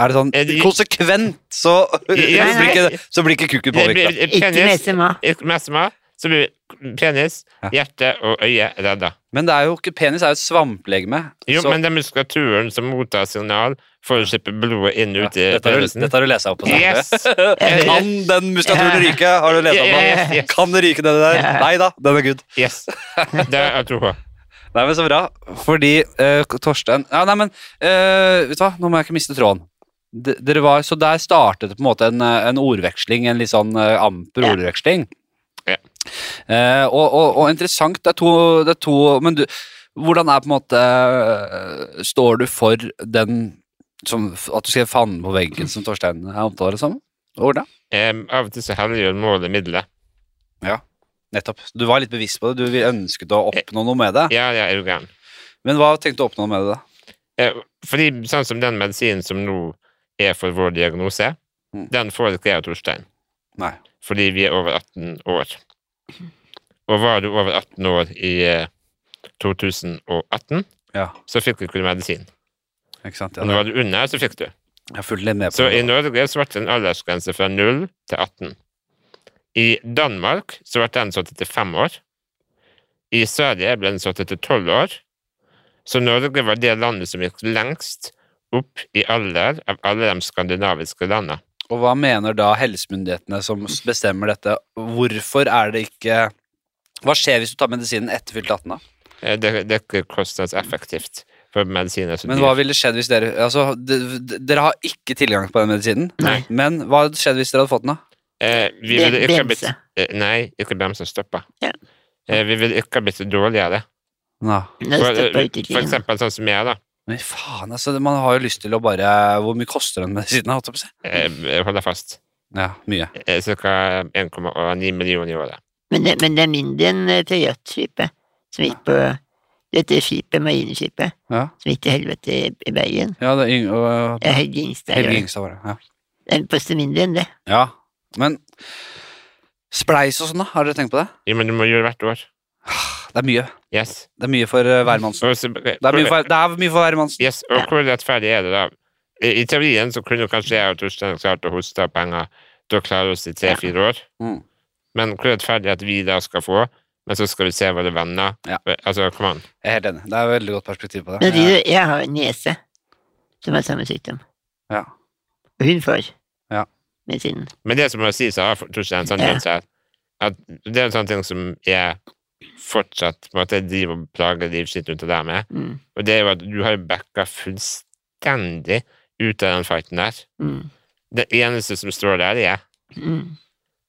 S1: Er det sånn
S3: Er det-
S1: konsekvent, så, så,
S3: Eh, Ja,
S1: blir ikke, så blir ikke kukken
S3: Det
S1: påvirka.
S3: blir
S2: Ikke med
S3: Eh, penis,
S2: SMA.
S3: ikke med SMA, så blir penis,
S1: Ja.
S3: hjerte og øye redda.
S1: Men det er jo ikke penis, det er jo et svamplegeme.
S3: Jo,
S1: så,
S3: men det er muskulaturen som mottar signal for å slippe blodet inn og ut i
S1: ja, dette, har du,
S3: penisen.
S1: dette har du lest opp på. Sandra.
S3: Yes!
S1: Kan den muskulaturen ryke? Har du lest opp
S3: Ja, ja,
S1: på?
S3: ja.
S1: Kan det ryke, den der? Nei da, den er good.
S3: yes. Det er jeg tror på.
S1: Nei, men så bra. Fordi eh, Torstein ja, Nei, men eh, vet du hva, nå må jeg ikke miste tråden. D dere var, så der startet det på en måte en, eh, en ordveksling, en litt sånn eh, amper
S2: Ja.
S1: ordveksling.
S3: Ja.
S1: Eh, og, og, og interessant, det er to, det er to Men du, hvordan er på en måte eh, Står du for den som, At du skrev 'fanden på veggen', som Torstein liksom? omtaler det som? Ordet?
S3: Em, av og til så helliggjør målet middelet.
S1: Nettopp. Du var litt bevisst på det, du ønsket å oppnå noe med det.
S3: Ja, ja, er du gæren.
S1: Men hva tenkte du å oppnå med det? da?
S3: Eh, Fordi sånn som den medisinen som nå er for vår diagnose,
S1: Mm.
S3: den får ikke jeg og Torstein.
S1: Nei.
S3: Fordi vi er over 18 år. Og var du over 18 år i eh, 2018,
S1: Ja,
S3: så fikk du ikke medisin.
S1: ikke sant? Ja,
S3: Og
S1: det-
S3: var du under, så fikk du.
S1: Jeg er fullt med på
S3: Så i
S1: det.
S3: Norge så ble det en aldersgrense fra 0 til 18. I Danmark så ble den satt til 5 år. I Sverige ble den satt til 12 år. Så Norge var det landet som gikk lengst opp i alder av alle de skandinaviske landene.
S1: Og hva mener da helsemyndighetene som s- bestemmer dette? Hvorfor er det ikke Hva skjer hvis du tar medisinen etter fylt 18, da?
S3: Eh, Det, det er ikke kostnadseffektivt for medisiner. som
S1: Men
S3: de-
S1: hva ville skjedd hvis dere Altså, d- d- dere har ikke tilgang på den medisinen.
S2: Nei.
S1: Men hva hadde skjedd hvis dere hadde fått den, da?
S3: Eh, vi
S2: Be-
S3: ville ikke ha blitt,
S2: bremse.
S3: eh, nei, ikke bremse, stoppe.
S2: Ja.
S3: Eh, vi ville ikke ha blitt dårligere.
S1: Nei.
S2: Det
S3: For, eh,
S2: stopper
S3: for
S2: utviklingen.
S3: eksempel sånn som jeg, da.
S1: Men faen, altså. det- Man har jo lyst til å bare Hvor mye koster den medisinen? holdt jeg på å si?
S3: Eh, Jeg holder fast.
S1: Ja, mye.
S3: Eh, Cirka 1,9 millioner i året.
S2: Men det, men det er mindre enn eh, Toyota-skipet som gikk på dette skipet, marineskipet,
S1: Ja,
S2: som gikk til helvete i, i Bergen.
S1: ja det er yng og,
S2: Det er Helge Ingstad.
S1: Helge
S2: gjør det.
S1: Ingstad var det. Ja.
S2: Den koster mindre enn det.
S1: ja. Men spleis og sånn, da? Har dere tenkt på det? Ah,
S3: Jo, men du må gjøre hvert år.
S1: Det er mye.
S3: Yes.
S1: Det er mye for eh, hvermannsen.
S3: Og så-
S1: Det er mye for, det er mye for hvermannsen.
S3: yes. Og hvor rettferdig er det, da? I, I teorien så kunne kanskje jeg og Torstein klart å hoste av penger til å klare oss i tre-fire år.
S1: Mm.
S3: Men hvor rettferdig at vi da skal få, men så skal vi se våre venner
S1: Ja.
S3: Altså, kom an.
S1: Jeg er helt enig. Det er et veldig godt perspektiv på det.
S2: Men jeg, jeg har en niese som har samme sykdom.
S1: Ja.
S2: Og hun får
S1: Ja.
S2: medisinen.
S3: Men det som må sies her, for- Torstein, sånn,
S2: Ja.
S3: Jens, er at det er en sånn ting som jeg fortsatt på en måte, driver og plager livet sitt rundt og der med,
S2: Mm,
S3: og det er jo at du har jo backa fullstendig ut av den fighten der.
S2: mm,
S3: Det eneste som står der, er jeg.
S2: mm.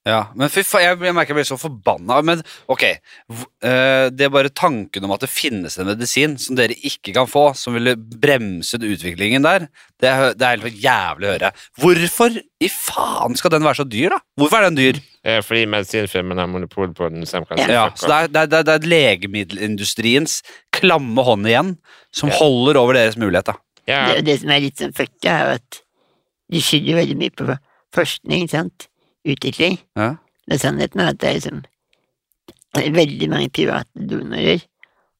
S1: Ja, men fy faen, jeg, jeg merker jeg blir så forbanna. Men ok, v- eh, det er bare tanken om at det finnes en medisin som dere ikke kan få, som ville bremset utviklingen der, det er, hø- det er helt jævlig å høre. Hvorfor i faen skal den være så dyr, da? Hvorfor er den dyr?
S3: Eh, Fordi medisinfirmaene har monopol på den. Så de kan
S2: Ja.
S1: Ja,
S3: fuck
S1: så det er, det er, det er, det er legemiddelindustriens klamme hånd igjen som holder over deres mulighet, da.
S3: off. ja,
S2: Det, og det som er litt sånn fucka, er jo at de skylder veldig mye på forskning, sant? utvikling.
S1: Ja.
S2: Men sannheten er at det er liksom veldig mange private donorer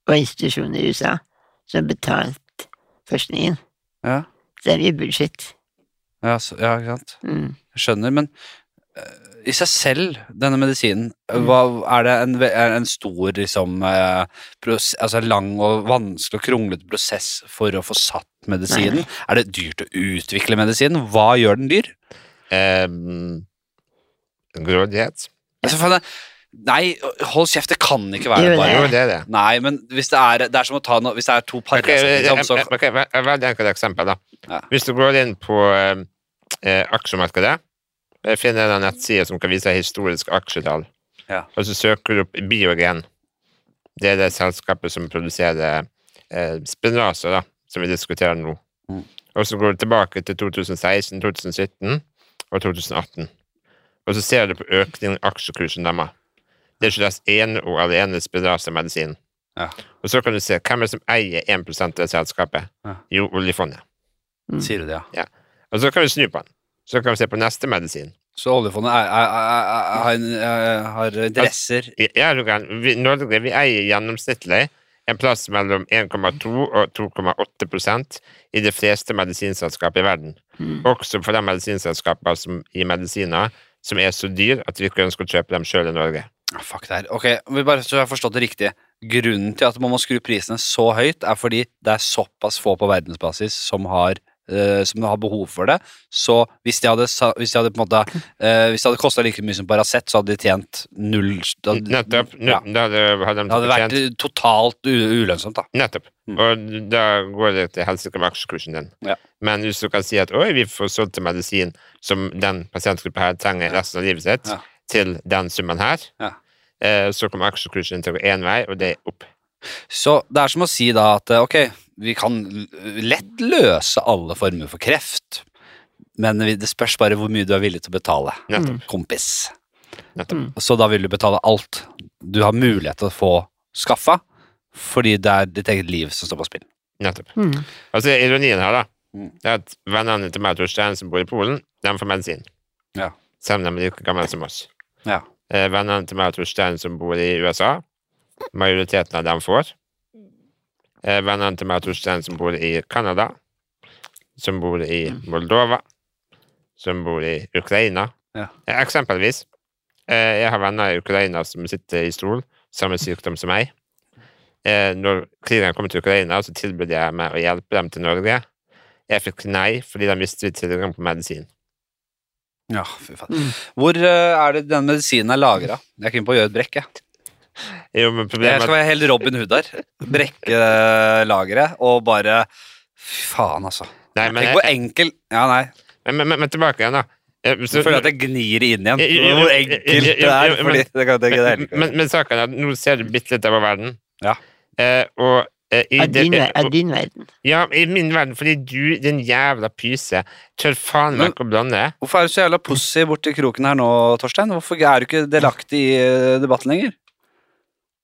S2: og institusjoner i USA som har betalt forskningen.
S1: Ja,
S2: Så det er mye bullshit.
S1: ja, så, ja ikke sant.
S2: Mm.
S1: Jeg skjønner, men eh, i seg selv, denne medisinen, eh, hva, er det en, ve- er det en stor, liksom, eh, pros, altså lang og vanskelig og kronglete prosess for å få satt medisinen? Er det dyrt å utvikle medisinen? Hva gjør den dyr?
S3: ehm, Grådighet.
S1: Altså, for det, nei, hold kjeft, det kan ikke være
S2: Jo, det
S1: bare
S3: Jo, det er det.
S1: Nei, men hvis det er, det er som å ta noe Hvis det er to
S3: Ok, eh, eh,
S1: parallelle
S3: ok,
S1: altså, så
S3: ok, ve- et veldig enkelt eksempel. da.
S1: Ja.
S3: Hvis du går inn på eh, eh, aksjemarkedet, eh, finner du en nettside som kan vise historisk aksjetall,
S1: Ja.
S3: og så søker du opp Biogen. Det er det selskapet som produserer eh, Spinraza, da, som vi diskuterer nå.
S1: Mm.
S3: Og så går du tilbake til 2016, 2017 og 2018. Og så ser du på økningen i aksjekursen deres. Det skyldes ene og alene Spinraza-medisin. Og så kan du se hvem er det som eier 1 av det selskapet.
S1: Ja.
S3: Jo, oljefondet.
S2: Mm.
S1: sier du det, ja.
S3: Og så kan vi snu på den. Så kan vi se på neste medisin.
S1: Så oljefondet er, er, er, er, har en- er, har interesser
S3: I- Ja, du kan. Vi, Norge vi eier gjennomsnittlig en plass mellom 1,2 og 2,8 prosent i de fleste medisinselskaper i verden.
S2: Mm.
S3: Også for de medisinselskapene som gir medisiner som er så dyr at vi ikke ønsker å kjøpe dem sjøl i Norge.
S1: Ah, Fuck det her. Ok, vi bare så jeg har forstått det riktig. Grunnen til at man må skru prisene så høyt, er fordi det er såpass få på verdensbasis som har eh, som har behov for det. Så hvis de hadde, sa- hvis de hadde på en måte eh, Hvis det hadde kosta like mye som Paracet, så hadde de tjent null da-
S3: Nettopp. Nå-
S1: Ja.
S3: Da hadde, hadde de
S1: Det hadde vært
S3: tjent-
S1: totalt u ulønnsomt, da.
S3: Nettopp.
S1: Mm.
S3: Og da går det til helsike med aksjekursen din.
S1: Ja.
S3: Men hvis du kan si at oi, vi får solgt en medisin som den pasientgruppa her trenger resten av livet sitt,
S1: Ja.
S3: til den summen her,
S1: Ja.
S3: eh, så kommer aksjekursen til å gå én vei, og det er opp.
S1: Så det er som å si da at eh, ok, vi kan l- lett løse alle former for kreft, men vi- det spørs bare hvor mye du er villig til å betale,
S3: Nettopp.
S1: kompis.
S3: Nettopp.
S2: Mm.
S1: Så da vil du betale alt du har mulighet til å få skaffa, fordi det er ditt eget liv som står på spill.
S3: Nettopp.
S2: Mm.
S3: Altså, ironien her, da,
S1: Mm.
S3: det er at vennene til meg og Torstein som bor i Polen, de får medisin.
S1: Ja.
S3: Selv om de er like gamle som oss.
S1: Ja.
S3: Eh, vennene til meg og Torstein som bor i USA, majoriteten av dem får. Eh, vennene til meg og Torstein som bor i Canada, som bor i
S1: Mm.
S3: Moldova, som bor i Ukraina.
S1: Ja.
S3: Eh, Eksempelvis. Eh, jeg har venner i Ukraina som sitter i stol, samme sykdom som meg. Eh, når krigen kom til Ukraina, så tilbød jeg meg å hjelpe dem til Norge. Jeg fikk nei fordi de mistet tilgang på medisin.
S1: Ja, fy faen.
S2: Mm.
S1: Hvor eh, er det den medisinen er lagra? Jeg er keen på å gjøre et brekk. Jeg.
S3: Jo, men
S1: jeg
S3: problemet
S1: skal være helt Robin Hood her. Brekke lageret og bare Fy faen, altså.
S3: Nei, men,
S1: Tenk hvor enkel Ja, nei.
S3: men, men, men, men tilbake igjen, da. Eh,
S1: Så
S3: så-
S1: føler jeg at jeg gnir det inn
S3: Jo,
S1: igjen.
S3: jo, jo,
S1: Hvor
S3: jo,
S1: enkelt
S3: jo,
S1: det
S3: jo,
S1: er.
S3: jo, men-
S1: Fordi det kan det kan jeg
S3: men,
S1: ikke
S3: men, men saken er at nå ser du bitte litt over verden.
S1: Ja.
S3: Eh, og eh, i,
S2: Av
S3: det,
S2: din, ver- av
S3: og,
S2: din verden.
S3: ja, i min verden, fordi du, din jævla pyse, tør faen meg
S1: Men-
S3: ikke å blande.
S1: Hvorfor er du så jævla pussy borti kroken her nå, Torstein? Hvorfor er du ikke delaktig i eh, debatten lenger?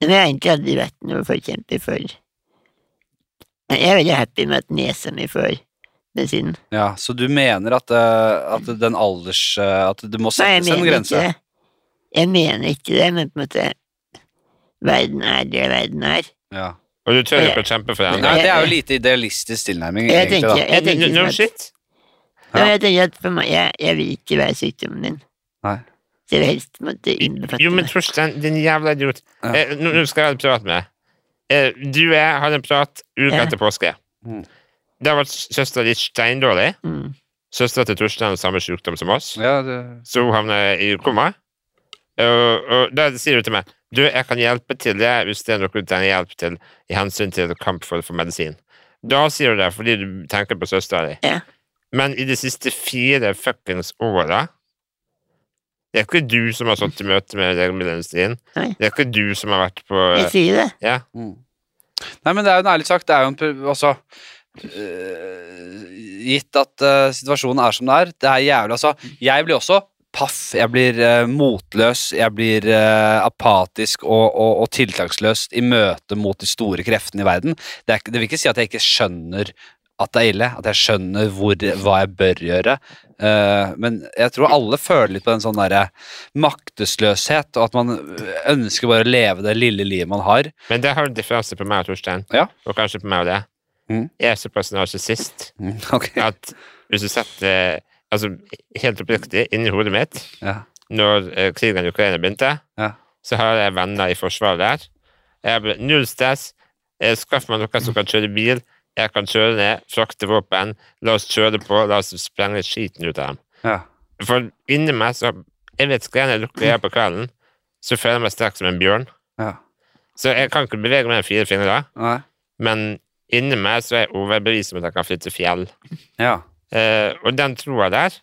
S2: Men jeg har egentlig aldri vært noe forkjemper for Men Jeg er veldig happy med at nesa mi får den siden.
S1: Ja, Så du mener at, eh, at den alders... eh, At det må
S2: Nei, jeg
S1: settes en
S2: mener ikke
S1: grense?
S2: det. Jeg mener ikke det, men på en måte Verden er det verden er.
S1: Ja.
S3: Og du tør ikke å kjempe for den.
S1: Nei, det er jo lite idealistisk tilnærming,
S2: Jeg
S1: egentlig.
S2: tenker,
S1: da.
S2: jeg tenker
S3: No,
S2: som at
S3: shit.
S1: Ja.
S2: Ja, men jeg tenker at for meg, jeg, jeg vil ikke være sykdommen min.
S1: Nei.
S2: Så jeg vil helst måtte innbefatte
S3: Jo, men
S2: meg.
S3: Torstein, din jævla idiot.
S1: Ja.
S3: Eh, nå, nå skal jeg ha en prat med deg. Eh, du og jeg hadde en prat uka
S2: Ja.
S3: etter påske.
S1: Mm.
S3: Da var søstera di steindårlig.
S2: Mm.
S3: Søstera til Torstein har samme sykdom som oss.
S1: Ja, det...
S3: Så hun havner i koma. Og, og da sier hun til meg Du, jeg kan hjelpe til jeg, hvis det er noe du trenger hjelp til i hensyn til kamp for, for medisin. Da sier du det fordi du tenker på søstera di.
S2: Ja.
S3: Men i de siste fire fuckings åra Det er ikke du som har stått i møte med legemiddelindustrien.
S2: Nei.
S3: Det er ikke du som har vært på
S2: Jeg sier det.
S3: Ja.
S1: Mm. Nei, men det er jo en ærlig sak. Det er jo en pr- Altså øh, Gitt at øh, situasjonen er som den er, det er jævlig, altså. Jeg blir også paff. Jeg blir øh, motløs. Jeg blir øh, apatisk og, og, og tiltaksløs i møte mot de store kreftene i verden. Det, er, ikke- det vil ikke si at jeg ikke skjønner at det er ille, at jeg skjønner hvor, hva jeg bør gjøre. Eh, men jeg tror alle føler litt på den sånn derre maktesløshet, og at man ønsker bare å leve det lille livet man har.
S3: Men det har en differanse på meg og Torstein.
S1: Ja.
S3: Og kanskje på meg og deg.
S1: Mm.
S3: Jeg er såpass narsissist
S1: Mm, Ok.
S3: at hvis du setter Altså, helt oppriktig, inni hodet mitt
S1: Ja.
S3: når eh, krigen i Ukraina begynte,
S1: Ja.
S3: så har jeg venner i forsvaret der. Jeg ble null stress. Eh, Skaff meg noen som kan kjøre bil. Jeg kan kjøre ned, frakte våpen. La oss kjøre på. La oss sprenge skiten ut av dem.
S1: Ja.
S3: For inni meg så Jeg vet ikke, når jeg lukker øya på kvelden, så føler jeg meg sterk som en bjørn.
S1: Ja.
S3: Så jeg kan ikke bevege meg med fire fingre,
S1: Nei.
S3: men inni meg så er jeg overbevist om at jeg kan flytte fjell.
S1: Ja.
S3: Eh, og den troa der,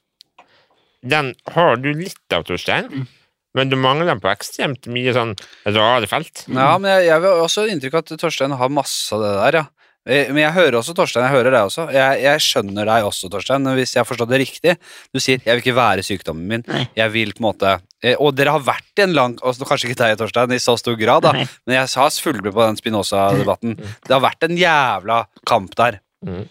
S3: den har du litt av,
S1: Mm.
S3: Torstein, men du mangler den på ekstremt mye sånn rare felt.
S1: ja, men jeg, jeg vil også ha inntrykk av at Torstein har masse av det der, ja. Eh, Men jeg hører også Torstein, jeg hører deg også. Jeg, jeg skjønner deg også, Torstein, hvis jeg har forstått det riktig. Du sier 'jeg vil ikke være sykdommen min',
S2: Nei.
S1: jeg vil på en måte eh, Og dere har vært i en lang og så- Kanskje ikke deg, Torstein, i så stor grad, da,
S2: Nei.
S1: men jeg har fullblod på den Spinoza-debatten. Det har vært en jævla kamp der.
S3: Mhm.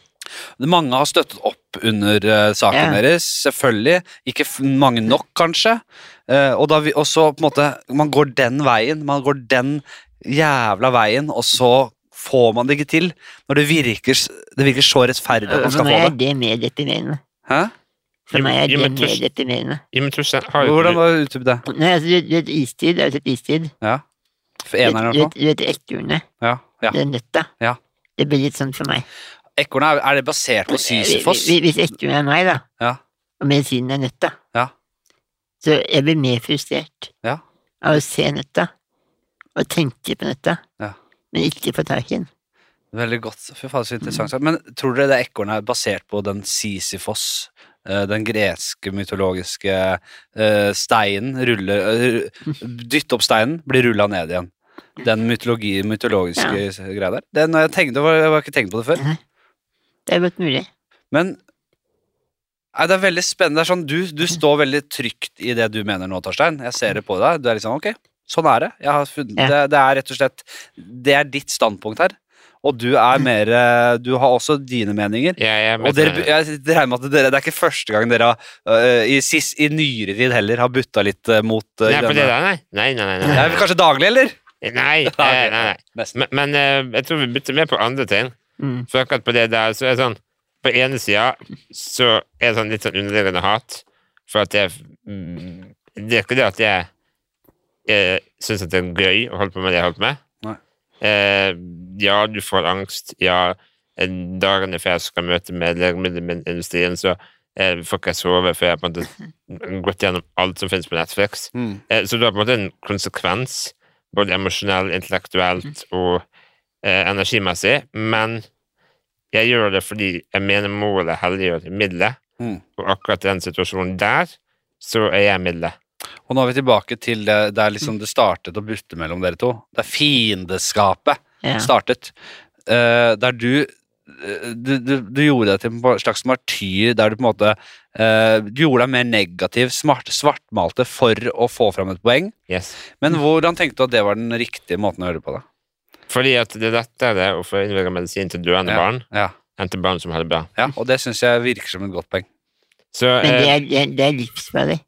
S1: Mange har støttet opp under eh, saken
S2: Ja.
S1: deres, selvfølgelig. Ikke f mange nok, kanskje. Eh, og, da vi, og så på en måte Man går den veien. Man går den jævla veien, og så får man det ikke til. Når det virker, s- det virker så rettferdig at man
S2: For
S1: skal
S2: meg
S1: få
S2: er
S1: det.
S2: det mer deprimerende.
S1: Hæ?
S2: For
S3: Jo,
S2: meg er
S3: jo,
S2: det
S3: men
S2: mer
S3: Torstein-
S2: deprimerende.
S3: Ja, men Torstein, har jo
S1: Hvordan var utdyp det?
S2: Nei, altså, du, du vet istid? Har du sett istid?
S1: Ja. For
S2: Du
S1: Eneren
S2: vet-
S1: eller
S2: du
S1: noe?
S2: vet- du vet ekornet?
S1: Ja. ja.
S2: Det er nøtta?
S1: Ja.
S2: Det blir litt sånn for meg.
S1: Ekornet, er- er det
S2: Eh,
S1: basert på Sisyfos?
S2: Hvis- Hvis ekornet er meg, da,
S1: Ja.
S2: og medisinen er nøtta,
S1: Ja.
S2: så jeg blir mer frustrert
S1: Ja.
S2: av å se nøtta, og tenke på nøtta,
S1: Ja.
S2: men ikke få tak i den.
S1: Veldig godt. Fy faen, så interessant. sagt. Men tror dere det ekornet er basert på den Sisyfos, eh, den greske mytologiske eh, steinen ruller eh, Dytte opp steinen, blir rulla ned igjen. Den mytologi, mytologiske greia der. Den har jeg tenkte, jeg har ikke tenkt på det før.
S2: Det er godt mulig.
S1: Men Nei, det er veldig spennende. Det er sånn, du, du står veldig trygt i det du mener nå, Torstein. Jeg ser det på deg. Du er liksom ok, sånn er det. Jeg har funnet,
S2: Ja.
S1: det, det er rett og slett Det er ditt standpunkt her. Og du er mer eh, Du har også dine meninger.
S3: Ja, jeg,
S1: Og
S3: vet
S1: dere,
S3: det.
S1: jeg regner med at dere, det er ikke første gang dere har, eh, i, sis- i nyere tid heller har butta litt eh, mot eh,
S3: Nei, på det
S1: denne-
S3: der, nei. Nei, nei, nei.
S1: Det
S3: nei,
S1: er kanskje daglig, eller?
S3: nei. nei, eh, nei, nei, nei.
S1: Nesten.
S3: Men, men eh, jeg tror vi bytter mer på andre ting.
S2: Mm.
S3: For akkurat på det der, så er det sånn På ene sida så er det sånn litt sånn underliggende hat, for at jeg mm, Det er ikke det at jeg, jeg syns at det er gøy å holde på med det jeg holder på med.
S1: Nei.
S3: Eh, ja, du får angst. Ja, en- dagene før jeg skal møte med legemiddelindustrien, så eh, får ikke jeg sove før jeg på en måte har gått gjennom alt som finnes på Netflix.
S1: Mm.
S3: Eh, Så du har på en måte en konsekvens, både emosjonell, intellektuelt
S2: Mhm.
S3: og eh, energimessig, men jeg gjør det fordi jeg mener målet helliggjør middelet,
S1: Mm.
S3: og akkurat i den situasjonen der, så er jeg middelet.
S1: Og nå er vi tilbake til det der liksom det startet å butte mellom dere to. Det er fiendeskapet
S2: Ja.
S1: startet. Eh, der du, eh, du, du Du gjorde deg til en slags martyr der du på en måte eh, Du gjorde deg mer negativ, smart, svartmalte for å få fram et poeng.
S3: Yes.
S1: Men hvordan tenkte du at det var den riktige måten å gjøre det på? da?
S3: Fordi at det er lettere å få innvirket medisin til døende barn
S1: Ja,
S3: enn til barn som har det bra.
S1: ja Og det syns jeg virker som et godt poeng.
S3: Så,
S2: Men det
S3: eh,
S2: er, det er, det er livsfarlig.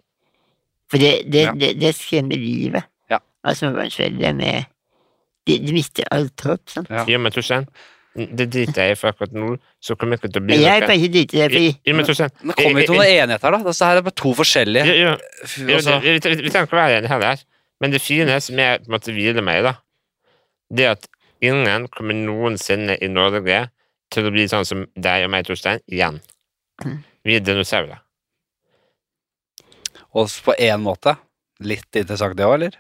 S2: For det, det,
S1: Ja.
S2: det, det skremmer livet
S1: Ja.
S2: av småbarnsforeldre med de, de mister alt håp. sant?
S1: Ja.
S3: gi meg tusen. Det driter jeg i for akkurat nå, så kommer jeg ikke til å bli
S2: Men jeg
S3: noe.
S2: kan ikke drite i det,
S3: Gi-
S2: fordi
S3: Gi meg tusen.
S1: Nå kommer vi til noen enighet her, da. Altså, her er det bare to forskjellige.
S3: Ja, ja.
S1: Fy,
S3: Ja,
S1: altså.
S3: det- vi, vi, vi trenger ikke være enige heller. Men det fine som jeg på en måte hviler meg i, da, det er at ingen kommer noensinne i Norge til å bli sånn som deg og meg, Torstein, igjen.
S2: Mm.
S3: Vi er dinosaurer.
S1: Og på én måte. Litt interessant det òg, eller?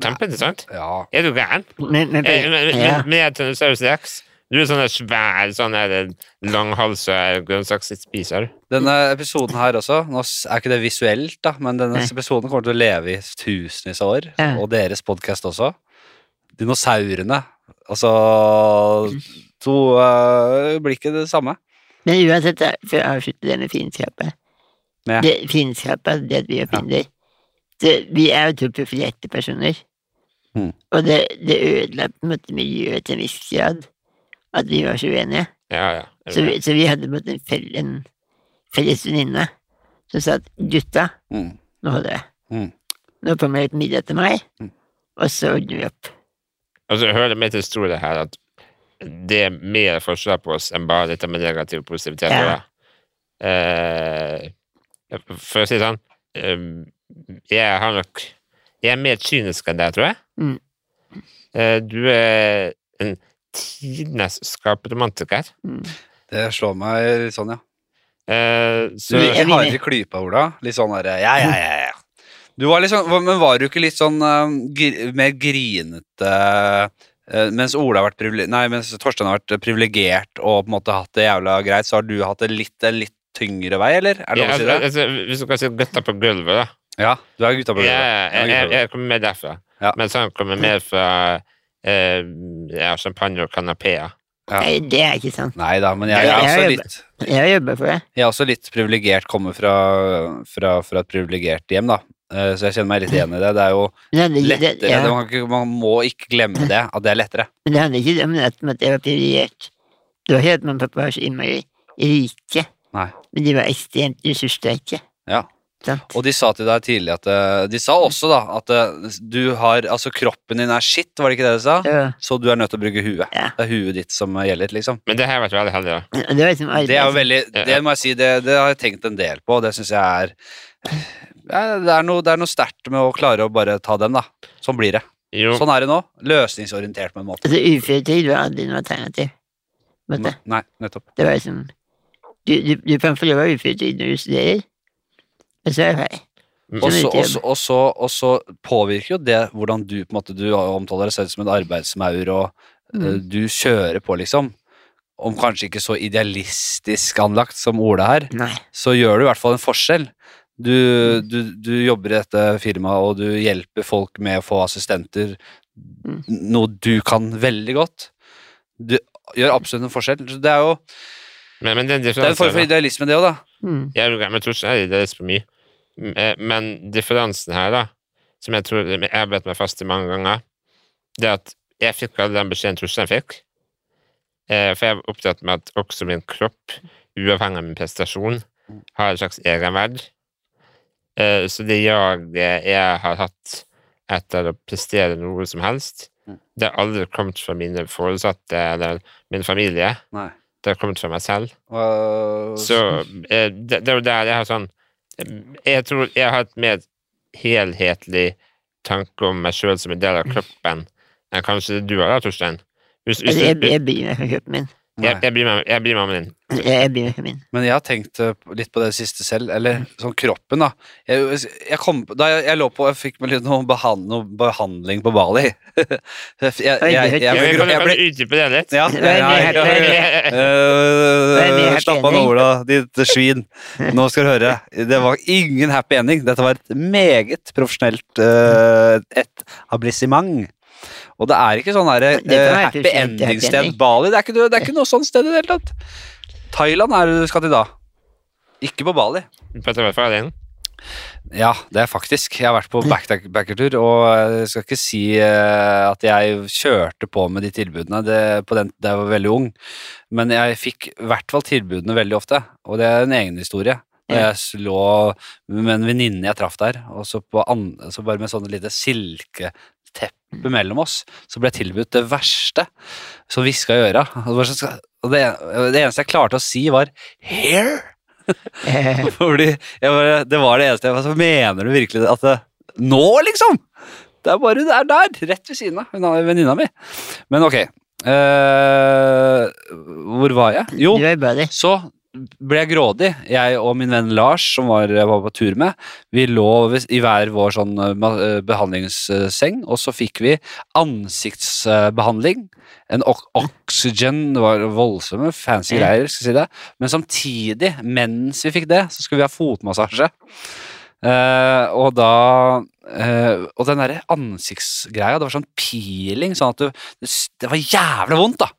S3: Kjempeinteressant.
S1: Ja.
S3: Er du gæren?
S2: men, men,
S3: Eh, Men
S2: ja.
S3: men- men jeg er Tyrannosaurus rex. Du er sånn der svær sånn der langhalsa grønnsaksspiser.
S1: Denne episoden her også, nå s- er ikke det visuelt, da, men denne
S2: Nei.
S1: episoden kommer til å leve i tusenvis av år.
S2: Ja.
S1: Og deres podkast også. Dinosaurene. Altså To øh, blir ikke det samme.
S2: men uansett, da, for å avslutte det med fiendskapet
S1: Ja.
S2: Det Fiendskapet, det at vi er fiender det- Vi er jo to profilerte personer.
S1: Mm.
S2: Og det, det ødela på en måte miljøet til en viss grad, at vi var så uenige.
S3: Ja, ja. Er
S2: Så
S3: du
S2: vi,
S3: gæren?
S2: så vi hadde mot en, fell, en felles venninne som sa at gutta,
S1: Mm.
S2: nå holder jeg.
S1: Mm.
S2: Nå kommer det et middag til meg,
S1: Mm.
S2: og så ordner vi opp.
S3: Og så Altså, hører det med til historien her at det er mer forskjell på oss enn bare dette med negativ positivitet.
S2: Ja.
S3: Ja. Eh, for å si det sånn eh, Jeg har nok Jeg er mer kynisk enn deg, tror jeg.
S2: Mm.
S3: Eh, du er en tidenes skaperromantiker.
S2: Mm.
S1: Det slår meg litt sånn, ja.
S3: Eh,
S1: Du
S3: så
S2: Vi-
S1: virker hardere i klypa, Ola. Litt sånn derre ja, ja, ja, ja. Du var litt sånn, hva- men var du ikke litt sånn øhm, gr mer grinete øh, Mens Ola har vært privile- Nei, mens Torstein har vært privilegert og på en måte hatt det jævla greit, så har du hatt det litt, en litt tyngre vei, eller? Er det lov å si
S3: Ja,
S1: det?
S3: altså, Hvis du kan si gutta på gulvet, da.
S1: Ja, du er gutta på
S3: Ja,
S1: gulvet.
S3: jeg,
S1: Ja,
S3: jeg,
S1: gutta på
S3: jeg kommer mer derfra.
S1: Ja.
S3: Mens han kommer mer fra eh, ja, champagne og kanapeer.
S1: Ja.
S2: Nei, det er ikke sant.
S1: Nei da, men jeg,
S2: Ja,
S1: er
S2: jeg
S1: også
S2: er-
S1: litt,
S2: Jeg har jobba for det.
S1: jeg er også litt privilegert, kommer fra, fra, fra et privilegert hjem, da. Eh, Så jeg kjenner meg litt igjen i det. Det er jo
S2: Men det handler,
S1: lettere.
S2: det, ja,
S1: Det, man, kan ikke, man må ikke glemme det, at det er lettere.
S2: men det handler ikke om at- om at jeg var privilegert. Det var ikke at mamma og pappa var så innmari rike,
S1: Nei.
S2: men de var ekstremt ressurssterke.
S1: Ja.
S2: Sant?
S1: Og de sa til deg tidlig at eh, De sa også, da, at eh, du har Altså, kroppen din er skitt, var det ikke det de sa?
S2: Så-
S1: Så du er nødt til å bruke huet.
S2: Ja.
S1: Det er huet ditt som gjelder, liksom.
S3: Men det har jeg vært veldig heldig, da.
S2: Og det var liksom
S1: Det er jo
S2: arbeid.
S1: veldig Det må jeg si, det, det har jeg tenkt en del på, og det syns jeg er ja, Det er noe, det er noe sterkt med å klare å bare ta den, da. Sånn blir det.
S3: Jo,
S1: Sånn er det nå. Løsningsorientert på en måte.
S2: Altså, Uføretrygd var aldri noe alternativ. på en måte.
S1: Nei, nettopp.
S2: Det var liksom Du, du, du kan få lov av uføretrygd når du studerer, men så er det ferdig.
S3: Mm.
S1: Og så,
S2: Ikke
S1: og,
S2: jobb.
S1: så, og, så, og så påvirker jo det hvordan du på en måte, Du omtaler deg selv som en arbeidsmaur, og eh,
S2: Mm.
S1: du kjører på, liksom. Om kanskje ikke så idealistisk anlagt som Ola her,
S2: Nei.
S1: så gjør du i hvert fall en forskjell. Du, du, du jobber i dette firmaet, og du hjelper folk med å få assistenter,
S2: Mm.
S1: noe du kan veldig godt. Du gjør absolutt en forskjell. Så Det er jo
S3: men, men den
S1: det er en form for
S3: differansen
S1: idealisme, det òg, da.
S2: Mm.
S3: Jeg er jo gæren, men jeg tror ikke jeg er idealist på mye. Mm, eh, Men differansen her, da, som jeg tror jeg har bedt meg fast i mange ganger, det er at jeg fikk aldri den beskjeden Torstein fikk. Eh, For jeg er opptatt med at også min kropp, uavhengig av min prestasjon, har en slags egenverd. Eh, Så det jeg, eh, jeg har hatt etter å prestere noe som helst,
S1: Mm.
S3: det har aldri kommet fra mine foresatte eller min familie.
S1: Nei.
S3: det har kommet fra meg selv.
S1: Hva-
S3: Så eh, det, det er jo der jeg har sånn Jeg tror jeg har et mer helhetlig tanke om meg sjøl som en del av kroppen enn kanskje det du har, da, Torstein. Hvis, hvis
S2: Altså,
S3: du,
S2: jeg,
S3: jeg,
S2: jeg bryr meg for kroppen min.
S1: Nei.
S3: jeg, blir med, jeg blir med din.
S2: Jeg, jeg bryr meg for min.
S1: Men jeg har tenkt eh, litt på det siste selv, eller sånn kroppen, da. Jeg, jeg kom, da jeg, jeg lå på Jeg fikk vel litt noe, behand, noe behandling på Bali. jeg, jeg, jeg, jeg,
S3: Ja, men
S1: ble
S3: kan
S1: grå-
S3: du
S1: jeg
S3: kan
S1: ble
S3: du utdype det litt?
S1: Ja,
S2: Nei,
S1: jeg,
S2: nei,
S1: jeg,
S2: nei,
S1: jeg,
S2: Nei, vi er
S1: Eh,
S2: happy
S1: Slapp av nå,
S2: ending.
S1: Ola, ditt svin. Nå skal du høre. Det var ingen happy ending. Dette var et meget profesjonelt eh, et ablissement. Og det er ikke sånn her, eh,
S2: Det kan være
S1: happy
S2: profesjonelt happy
S1: ending-sted.
S2: ending.
S1: Bali, det er, ikke, noe- det er ikke noe sånt sted i det hele tatt. Thailand er det du skal til da. Ikke på Bali.
S3: Petter var ferdig.
S1: Ja, det er faktisk. Jeg har vært på backpackertur, og jeg skal ikke si eh, at jeg kjørte på med de tilbudene det, på den, da jeg var veldig ung, men jeg fikk i hvert fall tilbudene veldig ofte, og det er en egen historie. Da
S2: Ja.
S1: jeg s- lå med en venninne jeg traff der, og så, på an, så bare med sånne lite silketeppe mellom oss, så ble jeg tilbudt det verste som hviska i øra. Og det, var så- og det, det eneste jeg klarte å si, var 'hair'.
S2: Eh,
S1: Fordi jeg bare, det var det eneste jeg var så Mener du virkelig at det, Nå liksom Det er bare det er der Rett ved siden av hun er venninna mi Men ok eh, Hvor var jeg? Jo
S2: Du er bare det.
S1: så ble jeg grådig. Jeg og min venn Lars, som var, jeg var på tur med, vi lå ved- i hver vår sånn eh, ma- eh, behandlingsseng, og så fikk vi ansiktsbehandling. En ok oksygen, det var voldsomme, fancy
S2: Ja.
S1: greier, skal jeg si det. Men samtidig, mens vi fikk det, så skulle vi ha fotmassasje. Eh, og da eh, Og den derre ansiktsgreia, det var sånn peeling, sånn at du det, s- det var jævlig vondt, da.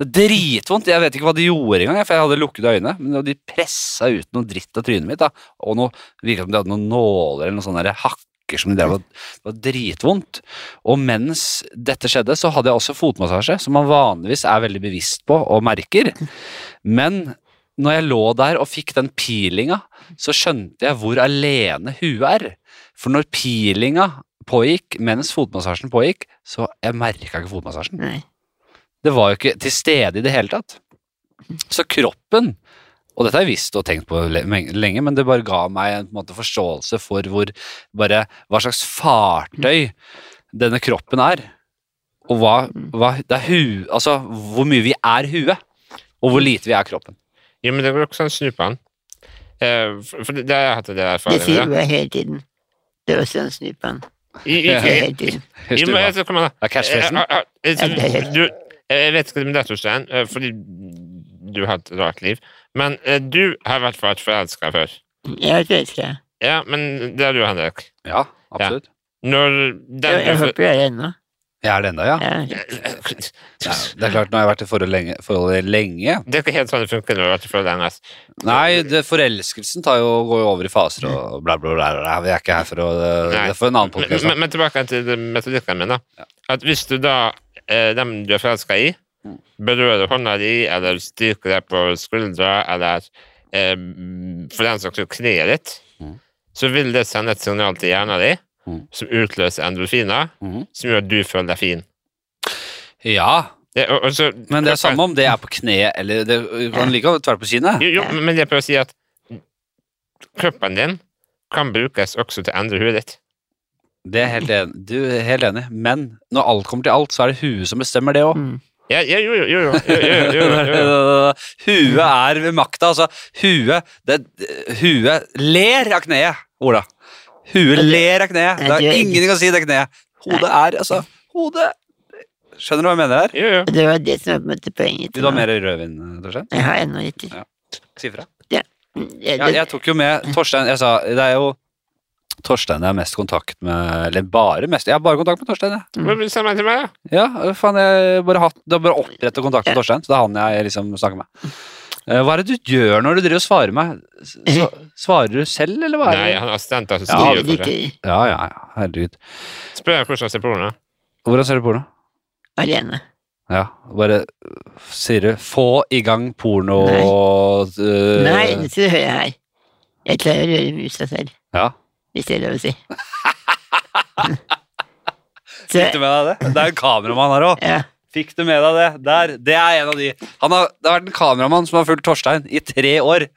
S1: Det er dritvondt. Jeg vet ikke hva de gjorde engang, jeg, for jeg hadde lukkede øyne. Men de pressa ut noe dritt av trynet mitt, da. Og noe, det virket som de hadde noen nåler eller noen sånne der hakker som de drev og Det var dritvondt. Og mens dette skjedde, så hadde jeg også fotmassasje, som man vanligvis er veldig bevisst på og merker. Men når jeg lå der og fikk den peelinga, så skjønte jeg hvor alene huet er. For når peelinga pågikk mens fotmassasjen pågikk, så jeg merka ikke fotmassasjen.
S2: Nei.
S1: Det var jo ikke til stede i det hele tatt. Så kroppen Og dette har jeg visst og tenkt på le- men- lenge, men det bare ga meg en på en måte, forståelse for hvor, bare, hva slags fartøy denne kroppen er. Og hva, hva det er hu, Altså hvor mye vi er huet, og hvor lite vi er kroppen.
S3: Jo, men det går også an å snu på den. Eh, for for det, det har jeg hatt en del
S2: Det
S3: erfaring
S2: sier
S3: med.
S2: Ola hele tiden. Det er også en snupan.
S3: da. I,
S2: Det
S3: i, i,
S2: er hele tiden.
S3: jo, men jeg,
S1: Det
S3: så kommer jeg da.
S1: er catchphrasen.
S3: Eh, ah, ah, eh, så
S2: Ja, det er helt-
S3: Du, eh, jeg vet ikke om det er Torstein, eh, fordi du har et rart liv, men eh, du har i hvert fall vært forelska før.
S2: Jeg vet ikke. jeg.
S3: Ja, men det er du, Henrik.
S1: Ja, absolutt.
S3: Når
S2: Jeg, jeg
S3: den eh,
S2: håper jeg er det ennå.
S1: Jeg er det ennå, ja.
S2: Ja.
S1: ja. Det er klart, nå har jeg vært i forhold lenge, forholdet lenge.
S3: Det er ikke helt sånn det funker når du har vært forelska lenge. ass.
S1: Nei, det, forelskelsen tar jo, går jo over i faser og bla, bla, bla. bla. Vi er ikke her for å Det er for en annen liksom.
S3: Men,
S1: podcast da.
S3: men, men tilbake til metodikken min, da. At hvis du da, eh, dem du er forelska i,
S1: Mm.
S3: berører hånda di, eller styrker deg på skuldra, eller eh, for den saks skyld kneet ditt,
S1: Mm.
S3: så vil det sende et signal til hjernen din
S1: Mm.
S3: som utløser endorfiner,
S1: Mhm.
S3: som gjør at du føler deg fin.
S1: Ja,
S3: Det, og, og så,
S1: men det er samme om det er på kne eller det kan like godt være på kinnet.
S3: Jo, jo, men jeg prøver å si at kroppen din kan brukes også til å endre huet ditt.
S1: Det er helt enig. Du er helt enig. Men når alt kommer til alt, så er det huet som bestemmer det òg.
S2: Mm.
S3: Ja, ja, jo, jo, jo, jo, jo, jo, jo, jo, jo.
S1: Huet er ved makta. Altså, huet det, Huet ler av kneet, Ola. Huet ler av kneet. Det er ingenting å si, det kneet. Hodet er altså Hodet Skjønner du hva jeg mener her?
S3: jo, jo.
S2: Og Det var det som var på en måte poenget. til
S1: Vil du ha
S2: nå.
S1: mer rødvin, Torstein?
S2: Jeg har ennå litt til.
S1: Ja. Si ifra.
S2: Det,
S1: Ja, jeg tok jo med Torstein Jeg sa, det er jo Torstein jeg har mest kontakt med Eller bare mest Jeg har bare kontakt med Torstein, jeg
S3: Men send meg til meg, da.
S1: Ja, øh, faen, jeg bare hatt Du har bare opprettet kontakt
S2: Ja.
S1: med Torstein Så det er han jeg liksom snakker med Eh, Hva er det du gjør når du driver og svarer meg? S- sva- Svarer du selv, eller hva er
S3: Nei,
S1: det?
S3: han er assistent. Altså,
S1: Ja,
S3: styrer
S2: det,
S3: for seg.
S1: Ja, ja, ja, herregud
S3: Spør jeg hvordan han ser på henne.
S1: Hvordan ser du porno?
S2: alene.
S1: Ja, bare øh, Sier du, få i gang porno
S2: Nei.
S1: øh,
S2: Nei, det skal du høre her. Jeg klarer å røre musa selv,
S1: Ja
S2: hvis det er lov å si. Så,
S1: Fikk du med deg det? Det er jo en kameramann her også
S2: ja,
S1: Fikk du med deg det? Der, det er en av de. Han har, det har vært en kameramann som har fulgt Torstein i tre år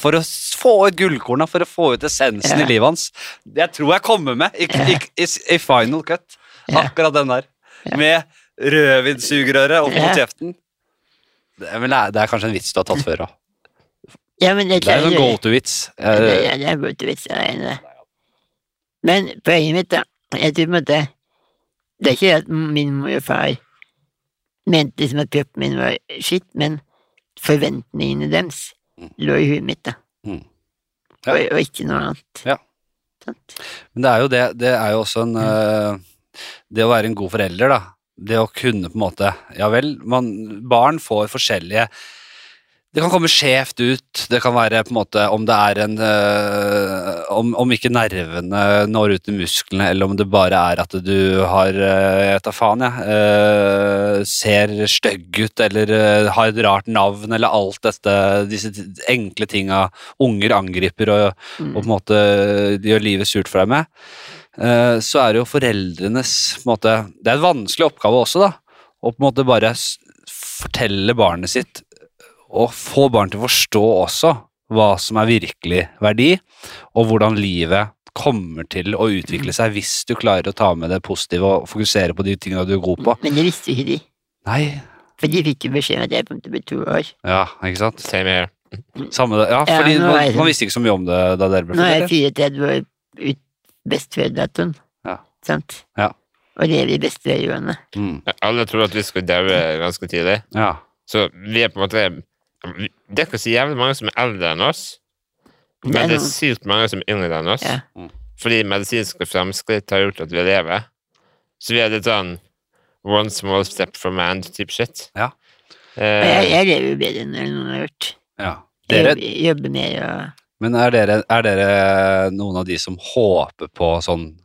S1: for å s- få ut gullkorna, for å få ut essensen
S2: Ja.
S1: i livet hans. Jeg tror jeg kommer med i, i, i, i final cut.
S2: Ja.
S1: Akkurat den der.
S2: Ja.
S1: Med rødvinssugerøret opp mot
S2: Ja.
S1: kjeften. Det er, vel, det er kanskje en vits du har tatt før òg.
S2: Ja, men det
S1: Det er
S2: klarer
S1: en sånn
S2: du.
S1: go to-vits.
S2: Ja, det,
S1: Eh,
S2: ja, det er godt å vite jeg er enig i det. Men poenget mitt, da, jeg tror på en måte Det er ikke det at min mor og far mente liksom at kroppen min var skitt, men forventningene deres
S1: Mm.
S2: lå i huet mitt, da.
S1: Mm. Ja.
S2: Og, og ikke noe annet.
S1: Ja.
S2: Sant?
S1: Men det er jo det, det er jo også en eh, Det å være en god forelder, da. Det å kunne på en måte Ja vel, man, barn får forskjellige det kan komme skjevt ut. Det kan være på en måte om det er en eh, om, om ikke nervene når ut i musklene, eller om det bare er at du har eh, Jeg tar faen, jeg. eh, ser stygg ut, eller eh, har et rart navn, eller alt dette Disse enkle tinga unger angriper og
S2: Mm.
S1: og på en måte gjør livet surt for deg med, eh, så er det jo foreldrenes på en måte, Det er en vanskelig oppgave også, da. Å på en måte bare s- fortelle barnet sitt, og få barn til å forstå også hva som er virkelig verdi, og hvordan livet kommer til å utvikle seg hvis du klarer å ta med det positive og fokusere på de tingene du er god på.
S2: Men det visste jo ikke de,
S1: Nei,
S2: for de fikk jo beskjed om at jeg kom til å bli to år.
S1: ja, ikke sant?
S3: Same here.
S1: Samme, det- ja,
S2: Ja,
S1: fordi
S2: nå er
S1: man,
S2: jeg-
S1: man visste ikke så mye om det da dere ble
S2: Nå er jeg
S1: født. eller?
S2: 34 år ut best før-datoen.
S1: Ja.
S2: Sant?
S1: Ja.
S2: Og lever i beste velgående.
S1: Mm,
S3: Alle tror at vi skal daue ganske tidlig.
S1: ja.
S3: Så vi er på en måte Det er ikke så jævlig mange som er eldre enn oss, men det er sykt mange som er yngre enn oss.
S2: Ja.
S1: Mm.
S3: Fordi medisinske fremskritt har gjort at vi lever. Så vi er litt sånn one small step for man-type shit.
S1: Ja.
S2: Og jeg,
S3: Eh,
S2: jeg lever jo bedre enn noen har gjort.
S1: ja.
S2: Jeg
S1: Dere,
S2: jobber, jobber mer og
S1: Men er dere, er dere noen av de som håper på sånn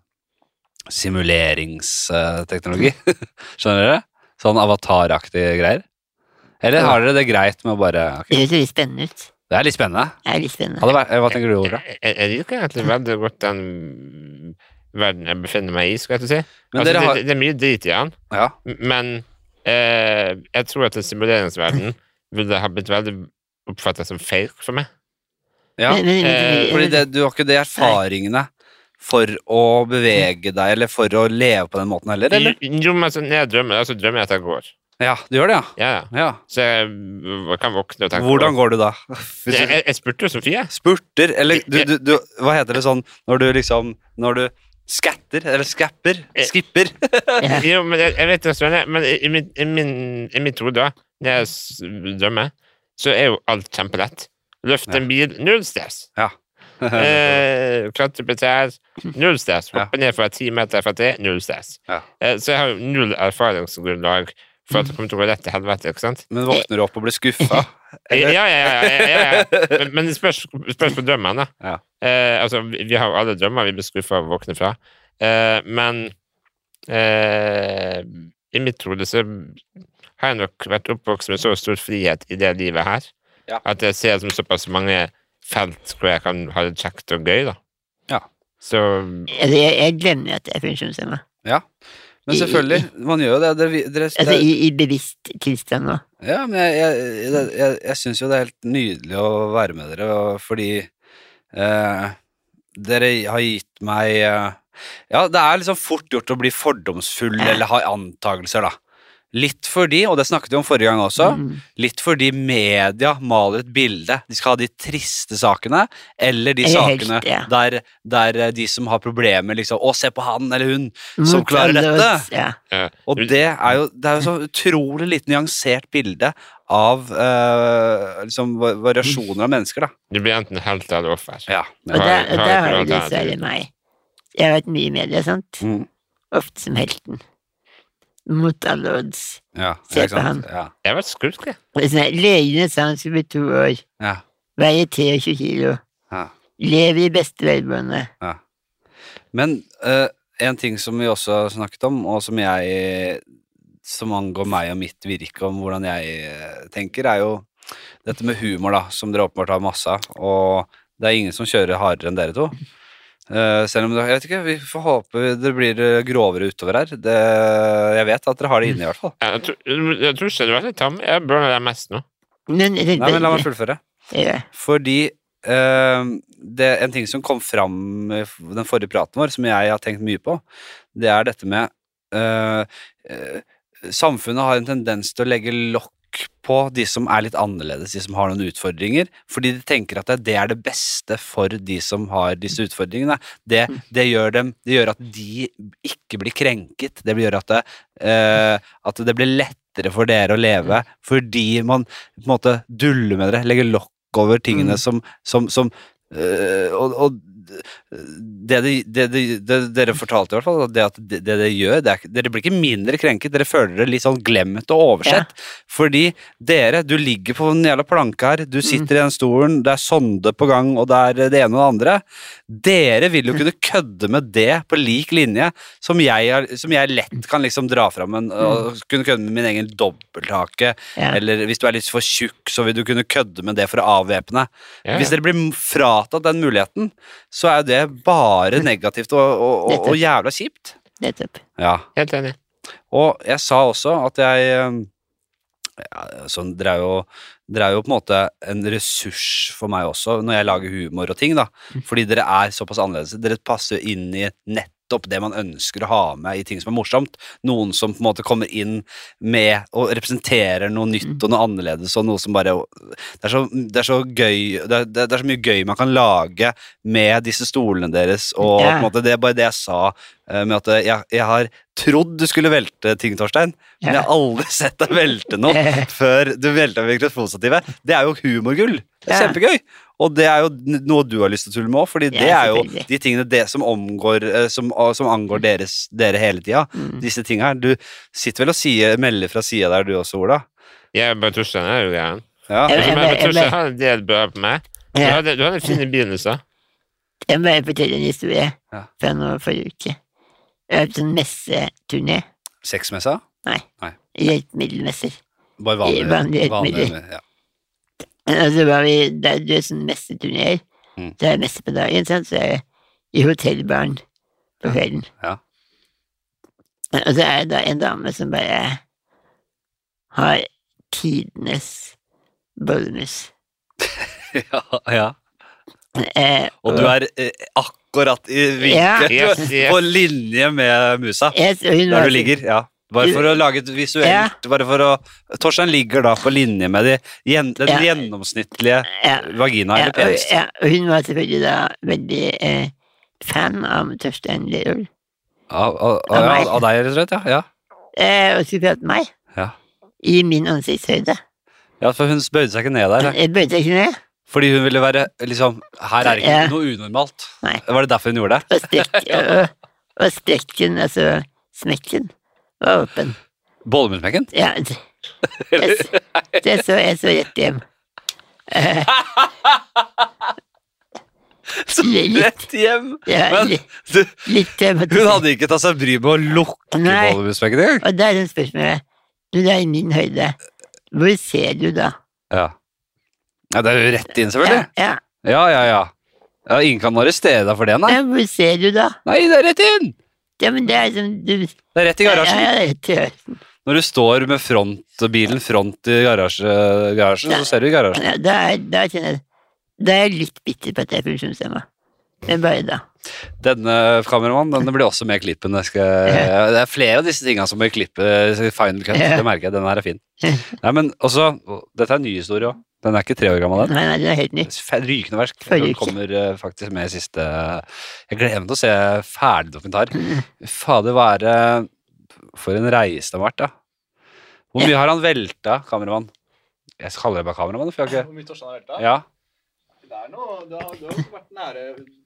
S1: simuleringsteknologi? Skjønner dere? Sånn avataraktige greier? Eller har dere det greit med å bare ok,
S2: Det høres veldig spennende ut.
S1: Det er litt spennende.
S2: Det er litt spennende.
S1: Hadde vært, hva tenker du, Ola?
S3: jeg, jeg liker egentlig veldig godt den verden jeg befinner meg i, skal jeg til å si.
S1: Men
S3: altså,
S1: dere har
S3: det, det er mye drit i den,
S1: Ja.
S3: men eh, jeg tror at den simuleringsverdenen ville ha blitt veldig oppfattet som fake for meg.
S1: ja.
S2: Men- men-
S3: eh,
S1: Fordi det, du har ikke de erfaringene for å bevege deg, eller for å leve på den måten heller, eller?
S3: Jo, men sånn, når jeg drømmer, så drømmer jeg at jeg går.
S1: Ja, du gjør det, ja.
S3: Ja,
S1: ja.
S3: Så jeg kan våkne og tenke
S1: Hvordan går du da? Hvis du-
S3: Jeg, jeg, jeg spurte jo Sofie.
S1: Spurter, eller du, du, du, hva heter det sånn når du liksom Når du skatter, eller skapper, skipper.
S2: Ja.
S3: Jo, men jeg, jeg vet det, Svenne, men i, i, min, i, min, i mitt hode, da, når jeg s- drømmer, så er jo alt kjempelett. Løft en bil, null stress. Eh, klatre på trær, null stress.
S1: Ja.
S3: Hoppe ned fra ti meter fra tre, null stress.
S1: Ja.
S3: Eh, så jeg har jo null erfaringsgrunnlag for at det kommer til å gå rett til helvete, ikke sant?
S1: Men våkner du opp og blir skuffa?
S3: Ja, ja, ja. ja, ja, ja. Men, men det spørs, spørs på drømmen, da.
S1: Ja.
S3: Eh, altså, vi vi har jo alle drømmer vi blir skuffa av å våkne fra. Eh, men eh, i mitt hode så har jeg nok vært oppvokst med så stor frihet i det livet her
S1: Ja.
S3: at jeg ser som såpass mange felt hvor jeg kan ha det kjekt og gøy, da.
S1: Ja.
S3: Så
S2: Altså, jeg, jeg glemmer at jeg er funksjonshemma.
S1: Men selvfølgelig, man gjør jo det. Dere, dere,
S2: Altså
S1: det
S2: i, i bevisst tilstand nå.
S1: ja, men jeg, jeg, det- jeg, jeg syns jo det er helt nydelig å være med dere, og fordi eh, dere har gitt meg eh, Ja, det er liksom fort gjort å bli fordomsfull
S2: Ja.
S1: eller ha antakelser, da. Litt fordi, og det snakket vi om forrige gang også,
S2: Mm.
S1: Litt fordi media maler et bilde. De skal ha de triste sakene, eller de
S2: Eller helst,
S1: sakene
S2: ja.
S1: der, der eh, de som har problemer, liksom Å, se på han eller hun! Som
S2: Mot
S1: klarer
S2: alle
S1: dette.
S2: odds, Ja.
S1: Og det er jo, det er jo så utrolig litt nyansert bilde av eh, liksom va- variasjoner av mennesker, da.
S3: du blir enten helt eller offer.
S1: Ja.
S2: Og
S3: Har-
S2: der,
S3: har
S2: og der har
S3: ikke
S2: du
S3: noe alternativ.
S2: dessverre meg. Jeg har vært mye i media, sant?
S1: Mm.
S2: Ofte som helten. Mot alle odds.
S1: ja
S2: Se
S1: ikke
S2: på
S1: sant? Ja.
S3: Jeg har vært skurk, jeg.
S2: Og sånn her, Legene sa han skulle bli to år.
S1: Ja.
S2: Veie 23 kilo.
S1: Ja.
S2: Lever i beste velgående.
S1: Men eh, en ting som vi også har snakket om, og som jeg Som angår meg og mitt virke, om hvordan jeg eh, tenker, er jo dette med humor, da, som dere åpenbart har masse av. Og det er ingen som kjører hardere enn dere to. Eh, selv om det, jeg vet ikke, vi får håpe det blir eh, grovere utover her. Det, jeg vet at dere har det inne, i hvert fall.
S3: Jeg tror, jeg tror generelt jeg tar med Jeg burner deg mest nå.
S2: Men, det,
S1: Nei, men La meg fullføre.
S2: Ja.
S1: Fordi eh, det er en ting som kom fram i f- den forrige praten vår, som jeg har tenkt mye på, det er dette med eh, eh, Samfunnet har en tendens til å legge lokk på de som er litt annerledes, de som har noen utfordringer, fordi de tenker at det- det er det beste for de som har disse utfordringene. Det, det, gjør, dem, det gjør at de ikke blir krenket. Det gjør at det, eh, at det blir lettere for dere å leve fordi man på en måte dulle med dere, legge lokk over tingene
S2: Mm.
S1: som, som, som øh, Og, og det, de, det, de, det dere fortalte, i hvert fall, det at det, det dere gjør det er, ikke- Dere blir ikke mindre krenket, dere føler dere litt sånn glemt og oversett. Fordi dere, du ligger på den jævla planka her, du sitter i den stolen, det er sonde på gang, og det er det ene og det andre. Dere vil jo kunne kødde med det på lik linje som jeg, har- som jeg lett kan liksom dra fram en, og kunne kødde med min egen dobbelthake,
S2: Ja.
S1: eller hvis du er litt for tjukk, så vil du kunne kødde med det for å avvæpne.
S3: Ja,
S1: Hvis dere blir fratatt den muligheten, så er jo det bare negativt og, og, og, og jævla kjipt.
S2: Nettopp.
S1: Ja.
S3: Helt enig.
S1: Og jeg sa også at jeg eh, ja, sånn, Dere er jo, dere er jo på en måte en ressurs for meg også, når jeg lager humor og ting, da. Fordi dere er såpass annerledes. Dere passer jo inn i nettopp det man ønsker å ha med i ting som er morsomt. Noen som på en måte kommer inn med og representerer noe nytt og noe annerledes og noe som bare Det er så, det er så gøy det er, det er- det er så mye gøy man kan lage med disse stolene deres, og på en
S2: Ja.
S1: måte det er bare det jeg sa eh, med at eh, jeg, jeg har trodd du skulle velte ting, Torstein, men jeg har aldri sett deg velte noe før du velta mikrofonstativet. Det er jo humorgull. Det er
S2: Ja.
S1: kjempegøy. Og det er jo n- noe du har lyst til å tulle med òg, fordi
S2: Ja,
S1: det er jo
S2: selvfølgelig.
S1: de tingene det som, omgår, eh, som, og- som angår deres, dere hele tida.
S2: Mm.
S1: Disse tinga her. Du sitter vel og sier, melder fra sida der, du også, Ola?
S3: Jeg bare Torstein er jo gæren.
S1: Ja.
S2: Jeg-
S3: Altså, men
S2: jeg-
S3: jeg
S2: jeg-
S3: Torstein har en del bra på meg. Du
S2: Ja.
S3: hadde, du hadde en fin begynnelse.
S2: Jeg må bare fortelle en historie
S1: Ja.
S2: fra nå forrige uke. Jeg var på sånn messeturné.
S1: Sexmessa?
S2: Hjelpemiddelmesser.
S1: Bare vanlig,
S2: Vanlig,
S1: vanlig ja.
S2: Og så var altså, vi der du er sånn messeturneer.
S1: Mm.
S2: Det er messe på dagen, sant? så er jeg i hotellbaren på kvelden.
S1: Ja.
S2: Og så er det da en dame som bare har tidenes bollemus.
S1: ja, ja.
S2: Eh,
S1: Og du er eh, akkurat i vinkel,
S3: Ja.
S1: du er
S3: Yes, yes.
S1: på linje med musa.
S2: jeg- og hun var
S1: Der du
S2: så-
S1: ligger, ja. Bare for å lage et visuelt
S2: Ja.
S1: bare for å, Torstein ligger da på linje med de, gjen, den
S2: Ja.
S1: gjennomsnittlige
S2: Ja,
S1: vagina
S2: ja,
S1: eller
S2: og,
S1: penis.
S2: ja, og hun var selvfølgelig da veldig eh, fan av Torstein Lerøl.
S1: Av av-
S2: Av
S1: av-
S2: meg.
S1: av deg, rett og slett? Ja. ja.
S2: Eh, og skulle prate med meg.
S1: Ja.
S2: I min ansiktshøyde.
S1: Ja, for hun bøyde seg ikke ned der.
S2: Jeg bøyde ikke ned.
S1: Fordi hun ville være liksom Her er det
S2: Ja.
S1: ikke noe unormalt.
S2: Nei.
S1: Var det derfor hun gjorde det?
S2: Og, strekk, og, og strekken, altså smekken, var åpen.
S1: Bollemunnsmekken?
S2: Ja, det, jeg, s- det så jeg så rett hjem. Eh,
S1: Så
S2: Litt.
S1: rett hjem!
S2: ja,
S1: Men
S2: li,
S1: du,
S2: litt
S1: hun
S2: traumatisert.
S1: hadde ikke tatt seg bryet med å lukke
S2: Nei.
S1: bollemunnsmekken engang.
S2: Og der er spørsmålet Når det er i min høyde, hvor ser du da?
S1: Ja. ja, det er jo rett inn,
S2: Ja,
S1: selvfølgelig.
S2: ja.
S1: Ja, ja, ja. ja ingen kan arrestere deg for det, nei.
S2: ja, hvor ser du da?
S1: Nei, det er rett inn!
S2: Ja, men det er som du
S1: Det er rett i
S2: Ja,
S1: garasjen.
S2: ja, ja, det er-
S1: Når du står med front, bilen front i garasje, garasjen, så ser du i garasjen.
S2: ja, Da er da kjenner jeg Da er jeg litt bitter på at jeg er funksjonshemma. Men bare da.
S1: Denne kameramannen denne blir også med i klippen. Jeg skal, det er flere av disse tingene som blir klippet. Final cut,
S2: Ja.
S1: det merker jeg. Den her er fin. Nei, men også, Dette er en ny historie òg. Den er ikke tre år gammel, den.
S2: Nei, nei, det er helt nytt.
S1: Fe- Rykende versk.
S2: Forrige
S1: Den
S2: uke.
S1: kommer eh, faktisk med i siste Jeg gleder meg til å se ferdig dokumentar.
S2: Mm.
S1: Fader, hva er det For en reise det har vært, da. Hvor mye har han velta, kameramann? Jeg kaller deg bare kameramann, for jeg har
S4: Hvor mye Torstein har velta?
S1: ikke Ja.
S4: Det er noe, du har, du har jo vært nære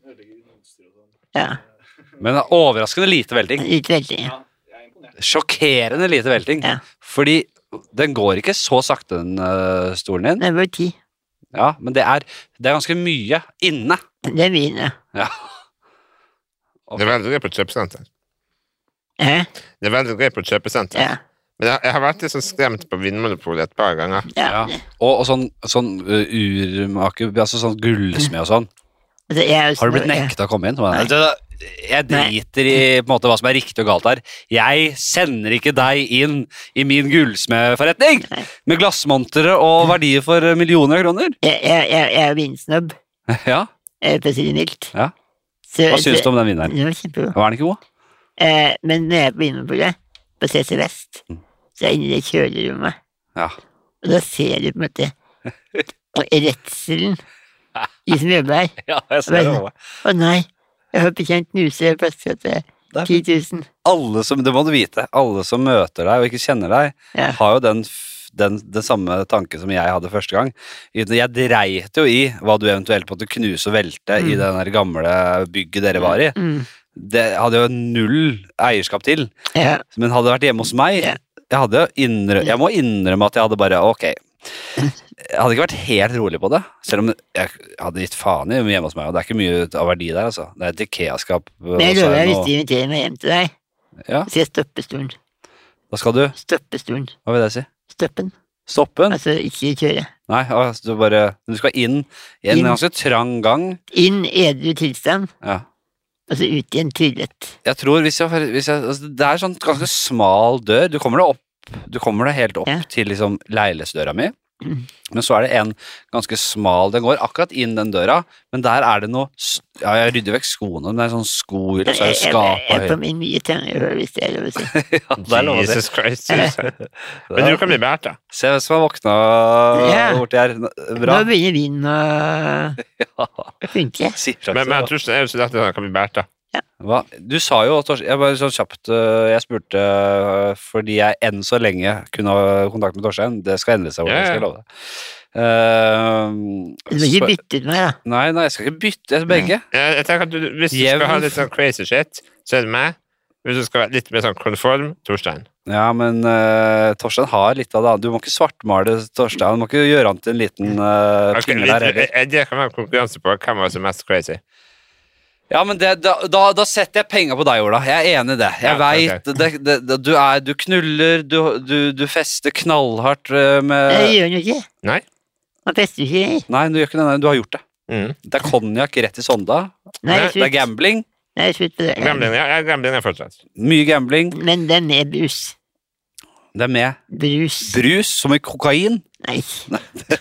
S4: ødeleggende monster og sånn.
S2: Ja.
S1: Men det er overraskende lite velting.
S2: Litt veldig. Ja.
S4: Ja, jeg er imponert.
S1: Sjokkerende lite velting.
S2: Ja.
S1: Fordi den går ikke så sakte, den øh, stolen din.
S2: Det var ti.
S1: Ja, men det er, det er ganske mye inne.
S2: Det er mine.
S1: Ja.
S3: Det er veldig gøy på kjøpesenter.
S2: Hæ?
S3: Det er veldig gøy på kjøpesenter.
S2: Ja.
S3: Men jeg, jeg har vært litt sånn skremt på Vinmonopolet et par ganger.
S2: ja.
S1: eh, Ja. Og, og sånn, sånn øh, urmaker, altså sånn gullsmed og sånn.
S2: Altså, jeg er jo
S1: Har du blitt
S2: snob, jeg-
S1: nekta å komme inn?
S2: Nei.
S1: Altså, Jeg driter i på en måte, hva som er riktig og galt her. Jeg sender ikke deg inn i min gullsmedforretning
S2: Nei.
S1: med glassmontere og verdier for millioner av kroner.
S2: Jeg, jeg, jeg, jeg er vinsnobb,
S1: Ja,
S2: eh, for å si det mildt.
S1: Ja. Hva syns du om den vinneren?
S2: Den var kjempegod.
S1: Var den ikke god?
S2: Eh, men når jeg er på Vinmonopolet, på CC Vest,
S1: Mm.
S2: så er jeg inne i det kjølerommet,
S1: Ja.
S2: og da ser du på en måte og redselen de som jobber her.
S1: ja jeg
S2: ser det for meg. Å nei, jeg har bekjent knuse plastkasse.
S1: Det er
S2: 10 000.
S1: Alle som, det må du vite. Alle som møter deg og ikke kjenner deg,
S2: Ja.
S1: har jo den, f- den, den samme tanke som jeg hadde første gang. Jeg dreit jo i hva du eventuelt måtte knuse og velte i
S2: Mm.
S1: det der gamle bygget dere var i.
S2: Mm.
S1: Det hadde jeg jo null eierskap til.
S2: Ja.
S1: Men hadde det vært hjemme hos meg
S2: Ja.
S1: jeg, hadde jo innrø jeg må innrømme at jeg hadde bare Ok. Jeg hadde ikke vært helt rolig på det, selv om jeg hadde gitt faen i hjemme hos meg. Og det er ikke mye av verdi der, altså. Det er et Ikea-skap. og
S2: Men jeg lover
S1: så er
S2: deg,
S1: det
S2: hvis
S1: noe-
S2: de inviterer meg hjem til deg,
S1: Ja.
S2: så sier jeg stoppestolen.
S1: Hva skal du?
S2: Stoppestolen.
S1: Hva vil det si?
S2: Stoppen.
S1: Stoppen?
S2: Altså ikke kjøre.
S1: Nei, altså, du bare Du skal inn i en
S2: Inn.
S1: ganske trang gang.
S2: Inn edru tilstand,
S1: Ja.
S2: og så ut igjen tryllet.
S1: Jeg tror hvis jeg, hvis jeg altså, Det er sånn ganske smal dør. Du kommer deg opp Du kommer deg helt opp
S2: Ja.
S1: til liksom leilighetsdøra mi.
S2: Mm.
S1: Men så er det en ganske smal Den går akkurat inn den døra, men der er det noe s- Ja, jeg rydder vekk skoene, men det er sånn skohylle, og så er det skap
S2: jeg
S1: og høyt.
S2: kom inn mye trangere, før, hvis det er lov å si.
S1: Ja, det er lov å si.
S3: Jesus Christ. Men du kan bli bært, da.
S1: Se hvem som har våkna
S2: Ja.
S1: borti her. Bra.
S2: Nå begynner vinen å funke.
S1: Sier seg
S3: Men,
S1: ikke
S3: men
S1: så.
S3: tusen er jo så lett at han kan bli bært, da.
S1: Hva? Du sa jo, Tors, jeg bare sånn kjapt øh, Jeg spurte øh, fordi jeg enn så lenge kunne ha kontakt med Torstein. Det skal endre seg. hvordan,
S3: Ja, ja.
S1: skal jeg love deg. Ehm,
S2: Du må ikke
S1: så-
S2: bytte ut meg, da.
S1: Nei, nei, jeg skal ikke bytte jeg- begge.
S3: Jeg, jeg tenker at du, Hvis du skal
S1: Jevn-
S3: ha litt sånn crazy shit, så er det meg. Hvis du skal være litt mer sånn konform, Torstein.
S1: Ja, men øh, Torstein har litt av det andre. Du må ikke svartmale Torstein. Du må ikke gjøre han til en liten øh,
S3: Ok,
S1: tingle
S3: vi-
S1: der heller.
S3: eh, Det kan være en konkurranse på hvem av oss er mest crazy.
S1: Ja, men det, da, da, da setter jeg penga på deg, Ola. Jeg er enig i det. Jeg
S3: Ja,
S1: vet, det- det- det- Du, er, du knuller, du, du, du fester knallhardt øh,
S2: Det
S1: med
S2: gjør han jo ikke.
S3: Nei.
S2: Han fester jo ikke. jeg.
S1: Nei, du gjør ikke det. Nei, du har gjort det.
S3: Mm.
S1: Det er konjakk rett i sonda.
S2: Nei,
S3: Nei,
S1: Det er
S2: slutt.
S1: gambling.
S2: Nei, slutt på det.
S3: Gremlin, ja, ja, gremlin er fortsatt.
S1: Mye gambling.
S2: Men den er brus.
S1: Det er med
S2: Brus.
S1: brus, som i kokain.
S2: Nei.
S1: Det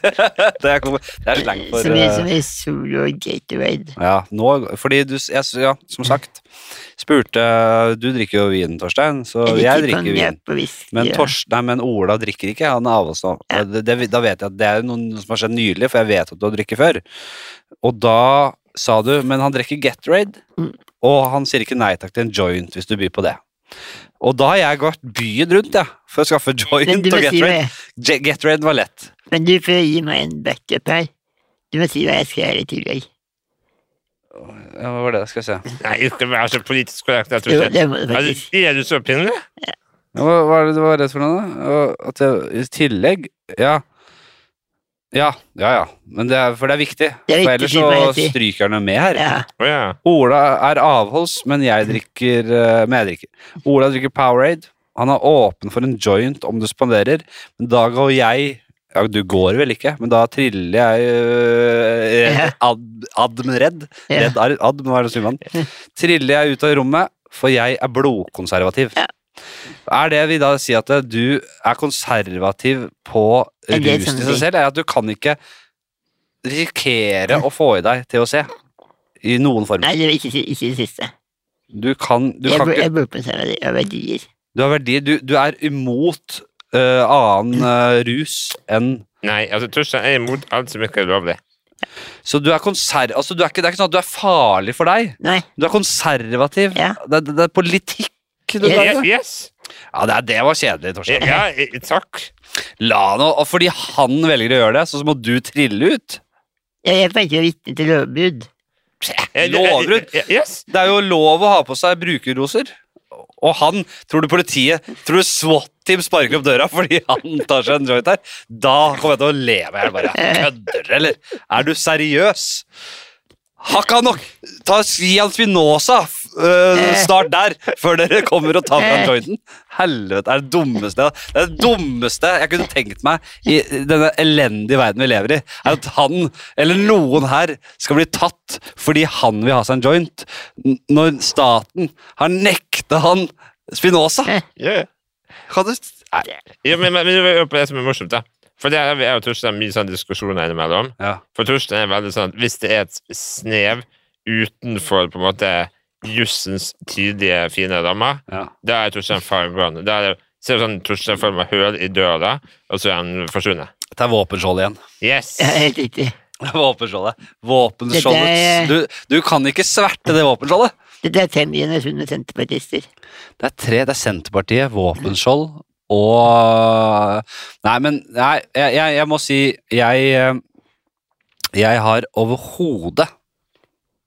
S1: er, kom- det er slang for
S2: Så mye
S1: eh,
S2: som i Solo og Gatorade.
S1: Ja, nå, fordi du s- jeg, s- Ja, som sagt. Spurte Du drikker jo vin, Torstein, så jeg drikker vin.
S2: konjakk og whisky.
S1: Men,
S2: og-
S1: Tors, nei, men Ola drikker ikke, han er av oss nå. Det, det, da vet jeg at det er noen som har skjedd nylig, for jeg vet at du har drukket før. Og da sa du, men han drikker Gatorade,
S2: Mm.
S1: og han sier ikke nei takk til en joint hvis du byr på det. Og da har jeg gått byen rundt, jeg, for å skaffe joint
S2: Men
S1: og
S2: du må si
S1: Gatorade.
S2: det.
S1: Ja- Gatorade var lett.
S2: Men du får gi meg en backup her. Du må si hva jeg skal gjøre i tillegg.
S1: Ja, hva var det, skal vi se.
S3: Nei, ikke vær så politisk korrekt. Jeg tror
S2: Jo,
S3: ikke.
S2: det må du
S3: Er,
S2: faktisk.
S3: du- er du så pinlig?
S1: Ja, hva hva er det du var redd for nå, da? Og At jeg, I tillegg Ja. Ja, ja, ja. Men det er, for det er viktig.
S2: Det er
S1: for
S2: viktig,
S1: ellers
S2: det må
S1: så
S2: jeg si.
S1: stryker han jo med her.
S2: Ja.
S3: Å ja.
S1: Ola er avholds, men jeg drikker eh, Men jeg drikker. Ola drikker Powerade. Han er åpen for en joint om du spanderer, men da går jeg Ja, du går vel ikke, men da triller jeg øh,
S2: Ja.
S1: ad, Admredd.
S2: Ja.
S1: Redd ar- ad, må være det Simon. Triller jeg ut av rommet, for jeg er blodkonservativ.
S2: Ja.
S1: Er det vi da si at eh, du er konservativ på
S2: Er
S1: rus til
S2: det sånn
S1: seg
S2: ting?
S1: selv? Er at du kan ikke risikere å få i deg THC i noen form?
S2: Nei, det var ikke, ikke det siste.
S1: Du kan, du
S2: jeg,
S1: kan
S2: bor-
S1: ikke
S2: jeg bor på en server av verdier.
S1: Du har verdi. Du, du er imot eh, annen eh, rus enn
S3: Nei, altså Torstein er imot alt som ikke er lovlig.
S1: Så du er konserv... Altså, du er ikke, det er ikke sånn at du er farlig for deg.
S2: Nei,
S1: Du er konservativ.
S2: Ja.
S1: Det, det, det er politikk. Du, driver
S2: Ja,
S3: Ja,
S1: med.
S3: yes!
S1: ja, det, er- det var kjedelig, Torstein.
S3: Ja, i- takk.
S1: La nå og Fordi han velger å gjøre det, så må du trille ut.
S2: jeg, jeg var ikke vitne til lovbrudd.
S1: Lovbrudd.
S3: Ja, Yes!
S1: Det er jo lov å ha på seg brukerroser. Og han Tror du politiet Tror du SWAT-team sparker opp døra fordi han tar seg en joint her? Da kommer jeg til å leve her bare. Kødder du, eller? Er du seriøs? Hakka nok! Ta, gi han Spinoza! F- øh,
S2: Eh.
S1: snart der, før dere kommer og tar fra
S2: Eh.
S1: jointen. Helvete, det er det dummeste Det er det dummeste jeg kunne tenkt meg i denne elendige verden vi lever i. Er at han, eller noen her, skal bli tatt fordi han vil ha seg en joint, n- når staten har nekta han Spinoza.
S3: Ja, ja.
S1: Kan du Nei.
S3: Ja, men, men, men vi er jo på det som er morsomt, da. For der har vi jeg og Torstein mye sånn diskusjoner innimellom.
S1: Ja.
S3: For Torstein er veldig sånn at hvis det er et snev utenfor på en måte jussens tydelige, fine rammer,
S1: Ja.
S3: da er Torstein fargående. Da er det Ser du sånn Torstein for meg høl i døra, og så er han forsvunnet.
S1: Det er våpenskjold igjen.
S3: Yes!
S2: Ja, helt riktig.
S1: Det er Våpenskjoldet. Våpenskjoldet.
S2: Dette
S1: Du, du kan ikke sverte det våpenskjoldet.
S2: Dette er fem generasjoner senterpartister.
S1: Det er tre. Det er Senterpartiet, våpenskjold og Nei, men nei, jeg, jeg, jeg må si Jeg, eh, jeg har overhodet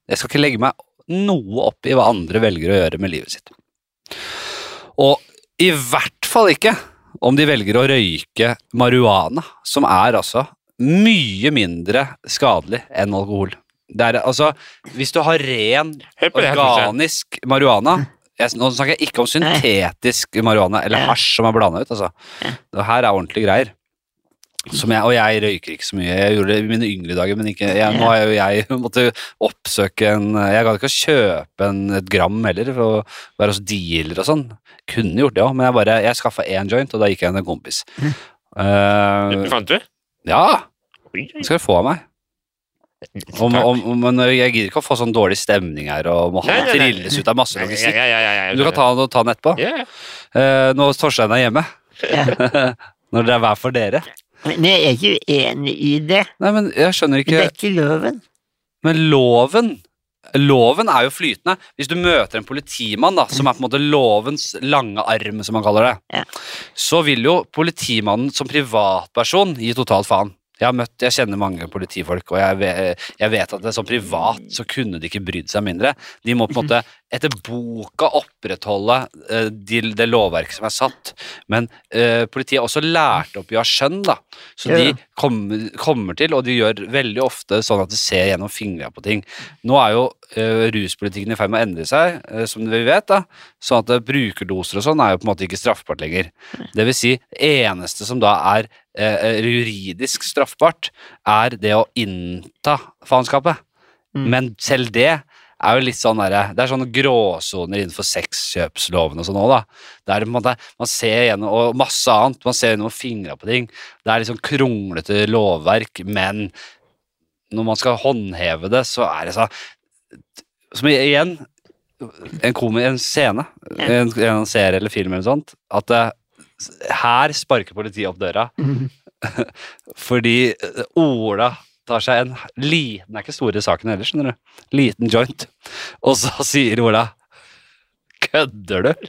S1: Jeg skal ikke legge meg noe opp i hva andre velger å gjøre med livet sitt. Og i hvert fall ikke om de velger å røyke marihuana, som er altså mye mindre skadelig enn alkohol. Det er altså Hvis du har ren
S3: Hør på det her, Torstein.
S1: Organisk marihuana jeg, Nå snakker jeg ikke om syntetisk marihuana Eller
S2: Ja.
S1: hasj som er blanda ut altså. Det her er ordentlige greier som jeg, og jeg røyker ikke så mye Jeg gjorde det i mine yngre dager Men ikke, jeg, nå har jo jeg måtte oppsøke en Jeg gadd ikke å kjøpe en, et gram heller For å være hos dealer og sånn Kunne gjort det også Men jeg, bare, jeg skaffet en joint Og da gikk jeg med en kompis Eh,
S3: Fant du?
S1: Ja,
S3: Oi, oi.
S1: det skal du få av meg om,
S3: Takk.
S1: om, om, men jeg gidder ikke å få sånn dårlig stemning her og må ha
S3: Nei, nei, nei.
S1: trilles ut av masse
S3: Ja,
S1: logistikk.
S3: ja, ja, ja, ja.
S1: Men Du kan ta den, ta den etterpå.
S3: Ja, ja.
S1: Eh, når Torstein er hjemme.
S2: Ja.
S1: når det er hver for dere.
S2: Men jeg er ikke uenig i det.
S1: Nei, men jeg skjønner
S2: Men det
S1: ikke
S2: er ikke loven.
S1: Men loven Loven er jo flytende. Hvis du møter en politimann, da, som er på en måte lovens lange arm, som man kaller det,
S2: Ja.
S1: så vil jo politimannen som privatperson gi totalt faen. Jeg har møtt, jeg kjenner mange politifolk, og jeg, ve- jeg vet at det, som privat så kunne de ikke brydd seg mindre. De må på en måte
S2: Mhm.
S1: etter boka opprettholde eh, de, det lovverket som er satt. Men eh, politiet er også lært opp i å ha skjønn, da. Så
S2: Ja, ja.
S1: de kommer, kommer til, og de gjør veldig ofte sånn at de ser gjennom fingra på ting. Nå er jo eh, ruspolitikken i ferd med å endre seg, eh, som vi vet, da. Sånn at eh, brukerdoser og sånn er jo på en måte ikke straffbart lenger. Det vil si, eneste som da er eh, eh, juridisk straffbart, er det å innta faenskapet.
S2: Mm.
S1: Men selv det er jo litt sånn derre Det er sånne gråsoner innenfor sexkjøpsloven og sånn òg, da. Det er på en måte, man ser gjennom Og masse annet. Man ser gjennom fingra på ting. Det er liksom kronglete lovverk, men når man skal håndheve det, så er det sånn Som i- igjen en, komi, en scene, en, en serie eller film eller noe sånt, at eh, her sparker politiet opp døra
S2: Mhm.
S1: fordi eh, Ola tar seg en liten Det er ikke store saken heller, skjønner du. Liten joint. Og så sier Ola Kødder du?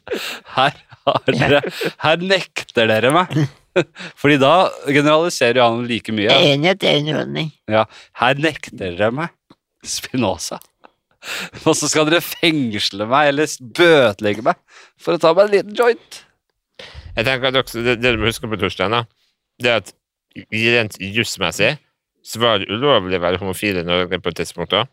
S1: Her, har dere, her nekter dere meg. Fordi da generaliserer jo han like mye.
S2: Jeg er enig i at det er underholdning.
S1: Ja, her nekter dere meg. Spinoza. Og så skal dere fengsle meg eller s- bøtelegge meg for å ta meg en liten joint.
S3: Jeg tenker at også, det, det du må huske på Torstein, da, det er at rent jussmessig så var det ulovlig å være homofil i Norge på et tidspunkt. da.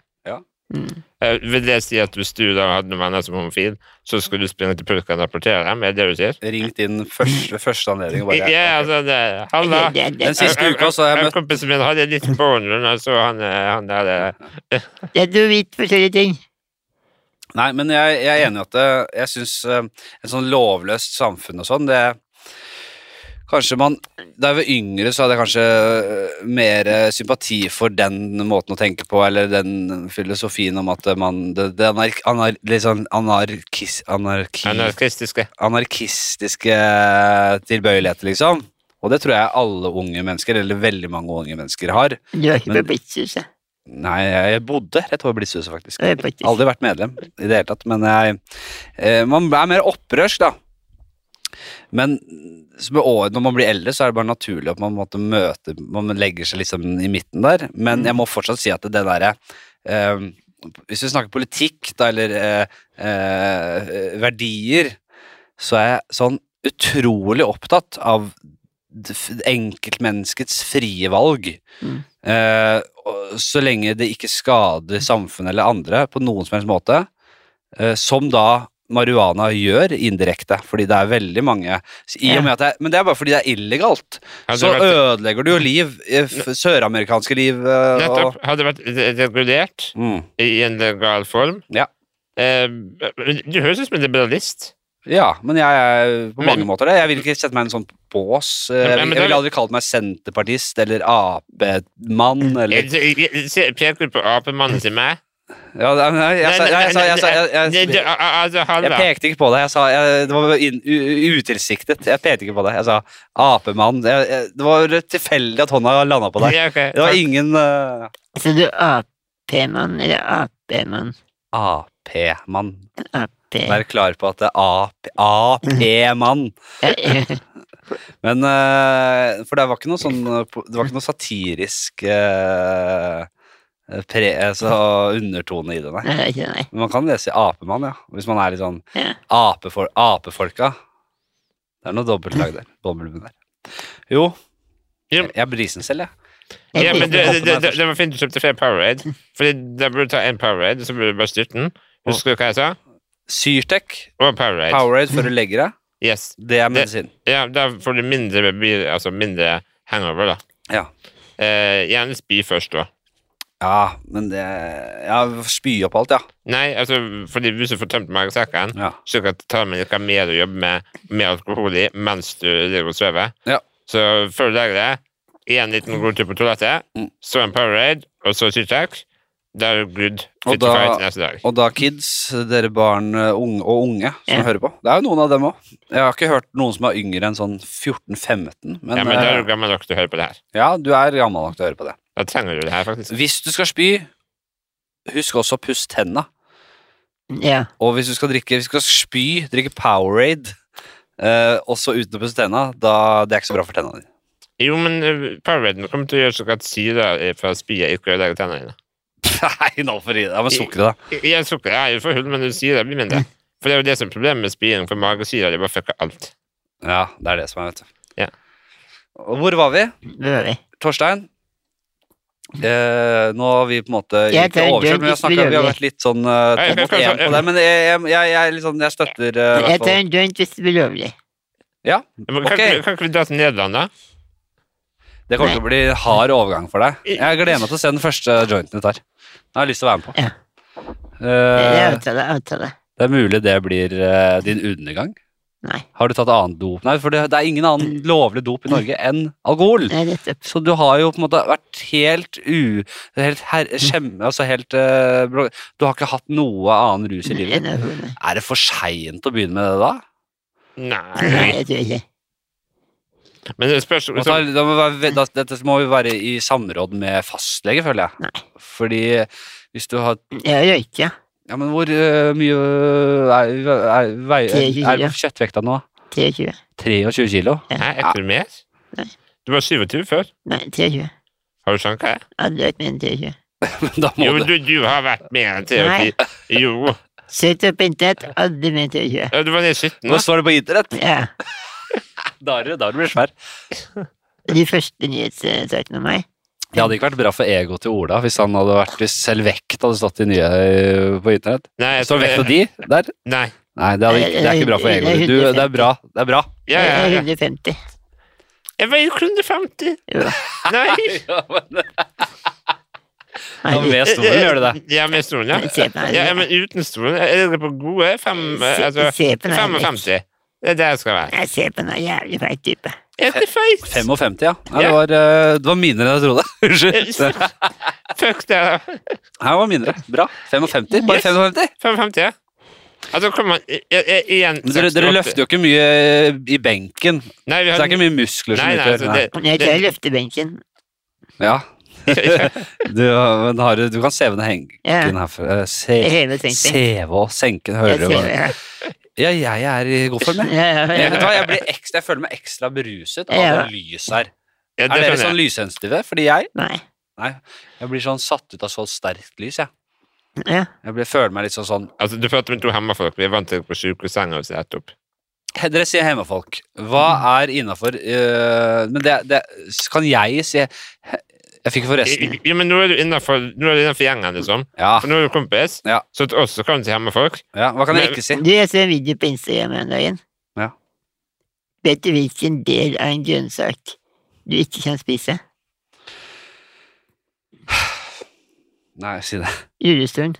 S2: Mm.
S3: Eh, Vil det si at hvis du da hadde noen venner som var homofil, så skulle du springe til pulken og rapportere dem? Er det det du sier?
S1: Ringt inn første, første anledning. og
S3: Ja,
S1: Bare,
S3: altså, det,
S2: Det,
S3: Halla!
S2: det, det,
S1: Den siste uka så har jeg møtt
S3: Kompisen min hadde en liten barn, og jeg så han, eh, han der eh,
S2: det er to vidt forskjellige ting.
S1: Nei, men jeg, jeg er enig i at det, jeg syns et sånn lovløst samfunn og sånn, det Kanskje man Da jeg var yngre, så hadde jeg kanskje eh, mer eh, sympati for den måten å tenke på, eller den filosofien om at man Det, det anark, anar, litt sånn anarkis, anarki,
S3: anarkistiske.
S1: anarkistiske eh, tilbøyeligheter, liksom. Og det tror jeg alle unge mennesker, eller veldig mange unge mennesker, har.
S2: Du har ikke
S1: Men-
S2: på Blitzhuset.
S1: Nei, jeg bodde rett over Blitzhuset, faktisk.
S2: Det er faktisk-
S1: Aldri vært medlem i det hele tatt, men jeg, eh, man er mer opprørsk, da. Men så med året, når man blir eldre, så er det bare naturlig at man måtte møte Man legger seg liksom i midten der, men jeg må fortsatt si at det derre eh, Hvis vi snakker politikk, da, eller eh, eh, verdier, så er jeg sånn utrolig opptatt av det f- enkeltmenneskets frie valg.
S2: Mm.
S1: Eh, og så lenge det ikke skader samfunnet eller andre på noen som helst måte, eh, som da marihuana gjør indirekte, fordi det er veldig mange i og med at det er, Men det er bare fordi det er illegalt.
S3: Hadde
S1: Så
S3: det vært,
S1: ødelegger du jo liv. eh, f- Søramerikanske liv. eh, Og,
S3: nettopp, hadde det vært re- regulert
S1: mm.
S3: i en legal form
S1: Ja.
S3: eh, men Du høres ut som en liberalist.
S1: Ja, men jeg er på mange
S3: Men-
S1: måter det. Jeg vil ikke sette meg i en sånn bås. Eh, Jeg, vil- jeg
S3: men det er-
S1: ville aldri kalt meg senterpartist eller Ap-mann eller
S3: Jeg- jeg- jeg- se- Peker du på apemannen til meg?
S1: Ja, nei, nei, jeg sa- jeg sa- jeg sa- jeg- jeg-
S3: Nei, det- al- altså,
S1: Jeg
S3: Halla.
S1: pekte ikke på det. Jeg sa, jeg, det var inn- u- utilsiktet. Jeg pekte ikke på det. Jeg sa apemann. Jeg- jeg- Det var tilfeldig at hånda landa på deg.
S3: Ja, ok.
S1: Det var ingen eh,
S2: Så du er Ap-mann, eller Ap-mann?
S1: Ap-mann.
S2: Ap.
S1: eh, Vær klar på at det er Ap-mann.
S3: Mm.
S1: Men eh, For det var ikke noe sånn eh, po- Det var ikke noe satirisk eh, pre, altså, undertone i det, nei.
S2: Nei, Eh, ikke nei.
S1: Men man kan lese apemann, ja. Hvis man er litt sånn
S2: Ja.
S1: apefol apefolka. Det er noe dobbeltlag der. Dobbeltbunn der. Jo.
S3: Ja.
S1: Jeg er brisen selv, jeg.
S3: Ja, men det,
S1: jeg-
S3: det, det, det var fint du kjøpte flere Powerade. Fordi da burde du ta en Powerade, så burde du bare styrte den. Husker du hva jeg sa?
S1: Syrtec,
S3: Og Powerade.
S1: Powerade før du legger deg,
S3: Yes.
S1: det er medisin.
S3: Ja, da får du mindre, bi- altså mindre hangover, da.
S1: Ja.
S3: Eh, gjerne spy først, da.
S1: Ja, men det Ja, spy opp alt, ja.
S3: Nei, altså, fordi hvis du får tømt magesekken,
S1: Ja.
S3: så kan tarmen ikke ha mer å jobbe med med alkohol i mens du ligger og sover.
S1: Ja.
S3: Så før du legger deg, en liten god tur på toalettet,
S1: Mm.
S3: så en Powerade, og så Sytax. Da er du good.
S1: Og
S3: Fit to
S1: da-
S3: fight neste dag.
S1: Og da kids, dere barn eh, unge, og unge som
S2: Ja.
S1: hører på. Det er jo noen av dem òg. Jeg har ikke hørt noen som er yngre enn sånn 14-15, men,
S3: ja, men da er
S1: eh,
S3: du gammel nok til å høre på det her.
S1: ja, du er gammel nok til å høre på det.
S3: Da trenger du det her, faktisk.
S1: Hvis du skal spy, husk også å pusse tenna.
S2: Ja.
S1: Og hvis du skal drikke, hvis du skal spy, drikke Powerade, eh, også uten å pusse tenna, da det er ikke så bra for tenna dine.
S3: Jo, men eh, Powerade kommer til å gjøre sånn at syre fra spyet ikke ødelegger tennene dine.
S1: Nei, nå får du gi deg med sukkeret, da.
S3: I- Ja, sukker er jo for hull, men syre blir mindre. For det er jo det som er problemet med spying, for magesyre det bare fucker alt.
S1: Ja, det er det som er, vet du.
S3: Ja.
S1: Og hvor var vi?
S2: Bør vi?
S1: Torstein? Eh, nå har vi på en måte
S2: Jeg
S1: ikke
S2: tar en
S1: overkjørt,
S2: død
S1: men vi har,
S2: hvis vi
S1: snakket, vi har
S2: gjør det.
S1: vært litt sånn uh,
S3: Nei, jeg
S1: to mot
S3: kan kanskje-
S1: én på det. Men jeg, jeg, jeg, jeg, er litt sånn, jeg støtter eh, i
S2: Jeg
S1: hvert
S2: tar
S1: fall.
S2: en joint hvis det blir lovlig.
S3: Men kan,
S1: Ok.
S3: ikke- kan ikke vi dra til Nederland, da?
S1: Det kommer til å bli hard overgang for deg. Jeg gleder meg til å se den første jointen du tar. Den har jeg lyst til å være med på.
S2: Ja. Det
S1: Eh,
S2: er avtale, avtale.
S1: det er mulig det blir eh, din undergang.
S2: Nei.
S1: Har du tatt annen dop? Nei, for det, det er ingen annen lovlig dop i Norge enn alkohol.
S2: Nei, nettopp.
S1: Så du har jo på en måte vært helt u... Helt her, skjem, altså helt eh, bro- Du har ikke hatt noe annen rus i livet.
S2: En av hodene.
S1: Er det for seint å begynne med det da?
S2: Nei,
S3: Nei.
S2: jeg tror ikke.
S3: Men det spørs
S1: Og Da, da må vi være, ve- da, dette må jo være i samråd med fastlege, føler jeg. Fordi hvis du har
S2: Jeg røyker, ja.
S1: Ja, men hvor eh, mye er, er, vei-
S2: Ti
S1: er,
S2: kilo.
S1: kjøttvekta nå?
S2: 23.
S1: 23 kilo?
S3: Hæ, er ikke du mer?
S2: Nei.
S3: Du var 27 før.
S2: Nei, 23.
S3: Har du sanka?
S2: Aldri vært mer enn 23.
S1: Da må
S3: Jo, men
S1: du
S3: du, du har vært mer enn 23. Jo.
S2: Søkt opp internett, aldri mer enn 23.
S3: Ja, Du var nede i 17,
S1: Nå
S3: da.
S1: står det på internett!
S2: Ja.
S1: Da er du da er du blitt svær.
S2: De første nyhetssakene om meg.
S1: Det hadde ikke vært bra for egoet til Ola hvis han hadde vært hvis selv vekt hadde stått i nye eh, på internett.
S3: Nei, jeg
S1: Står
S3: tror-
S1: vekta di der?
S3: Nei.
S1: Nei, det, hadde ikke, det er ikke bra for egoet. ditt. Du, det er bra. Det er bra.
S3: Ja,
S2: Jeg
S3: ja,
S2: er
S3: ja.
S2: 150.
S3: Jeg veier jo 150.
S2: Jo.
S3: Nei.
S2: Nei,
S1: Ja, med stolen gjør du det.
S3: Ja, med stolen, ja.
S2: Se på meg.
S3: ja. ja men uten stolen er det på gode fem,
S2: Se-
S3: altså,
S2: se på meg.
S3: 55. Det er der jeg skal være.
S2: Jeg ser på noen jævlig feit type.
S3: Er det feit?
S1: 55, ja. Nei, det, var, eh, det var mindre enn jeg trodde. Unnskyld.
S3: Fuck det. da.
S1: Her var mindre. Bra. 55. Bare
S3: Yes.
S1: 55.
S3: 55, ja. Altså, kom an. Igjen.
S1: Men dere, dere løfter jo ikke mye eh, i benken. Så
S3: Nei, vi
S1: det
S3: har...
S1: er ikke mye muskler som
S3: Nei, nei,
S1: utgjør
S3: altså, det,
S1: Nei.
S2: Jeg
S3: det,
S2: tar løftebenken.
S1: Ja. Du, men har, du- du kan seve ned henken herfra. Eh,
S2: Jeg
S1: Se,
S2: hever senken.
S1: seve og senke,
S2: Jeg
S1: hører du?
S2: ser-
S1: hva- Ja, jeg er i god form, jeg.
S2: Ja, ja, ja.
S1: Jeg, vet du hva, jeg, blir ekstra, jeg føler meg ekstra beruset av
S2: Ja.
S1: det lys her.
S3: ja,
S1: Er
S3: det
S1: dere sånn
S3: skjønner jeg.
S1: lyssensitive? Fordi jeg,
S2: Nei.
S1: jeg blir sånn satt ut av så sterkt lys, jeg.
S2: Ja.
S1: Jeg blir, føler meg litt sånn sånn
S3: Altså, du prater med to hemmefolk. Vi er vant til å gå på sykehussenger og se opp.
S1: Dere sier eh, hjemmefolk. Hva er innafor Men det, det Kan jeg si he- Jeg fikk forresten
S3: Jo, men nå er du innenfor, nå er du innenfor gjengen, liksom.
S1: Ja,
S3: For nå er du kompis,
S1: Ja.
S3: så til oss så kan du si hjemme folk.
S1: ja hva kan jeg ikke si?
S2: Du, jeg så en video på Instagram her om dagen.
S1: Ja.
S2: Vet du hvilken del av en grønnsak du ikke kan spise?
S1: Nei, si det.
S2: Rullestolen.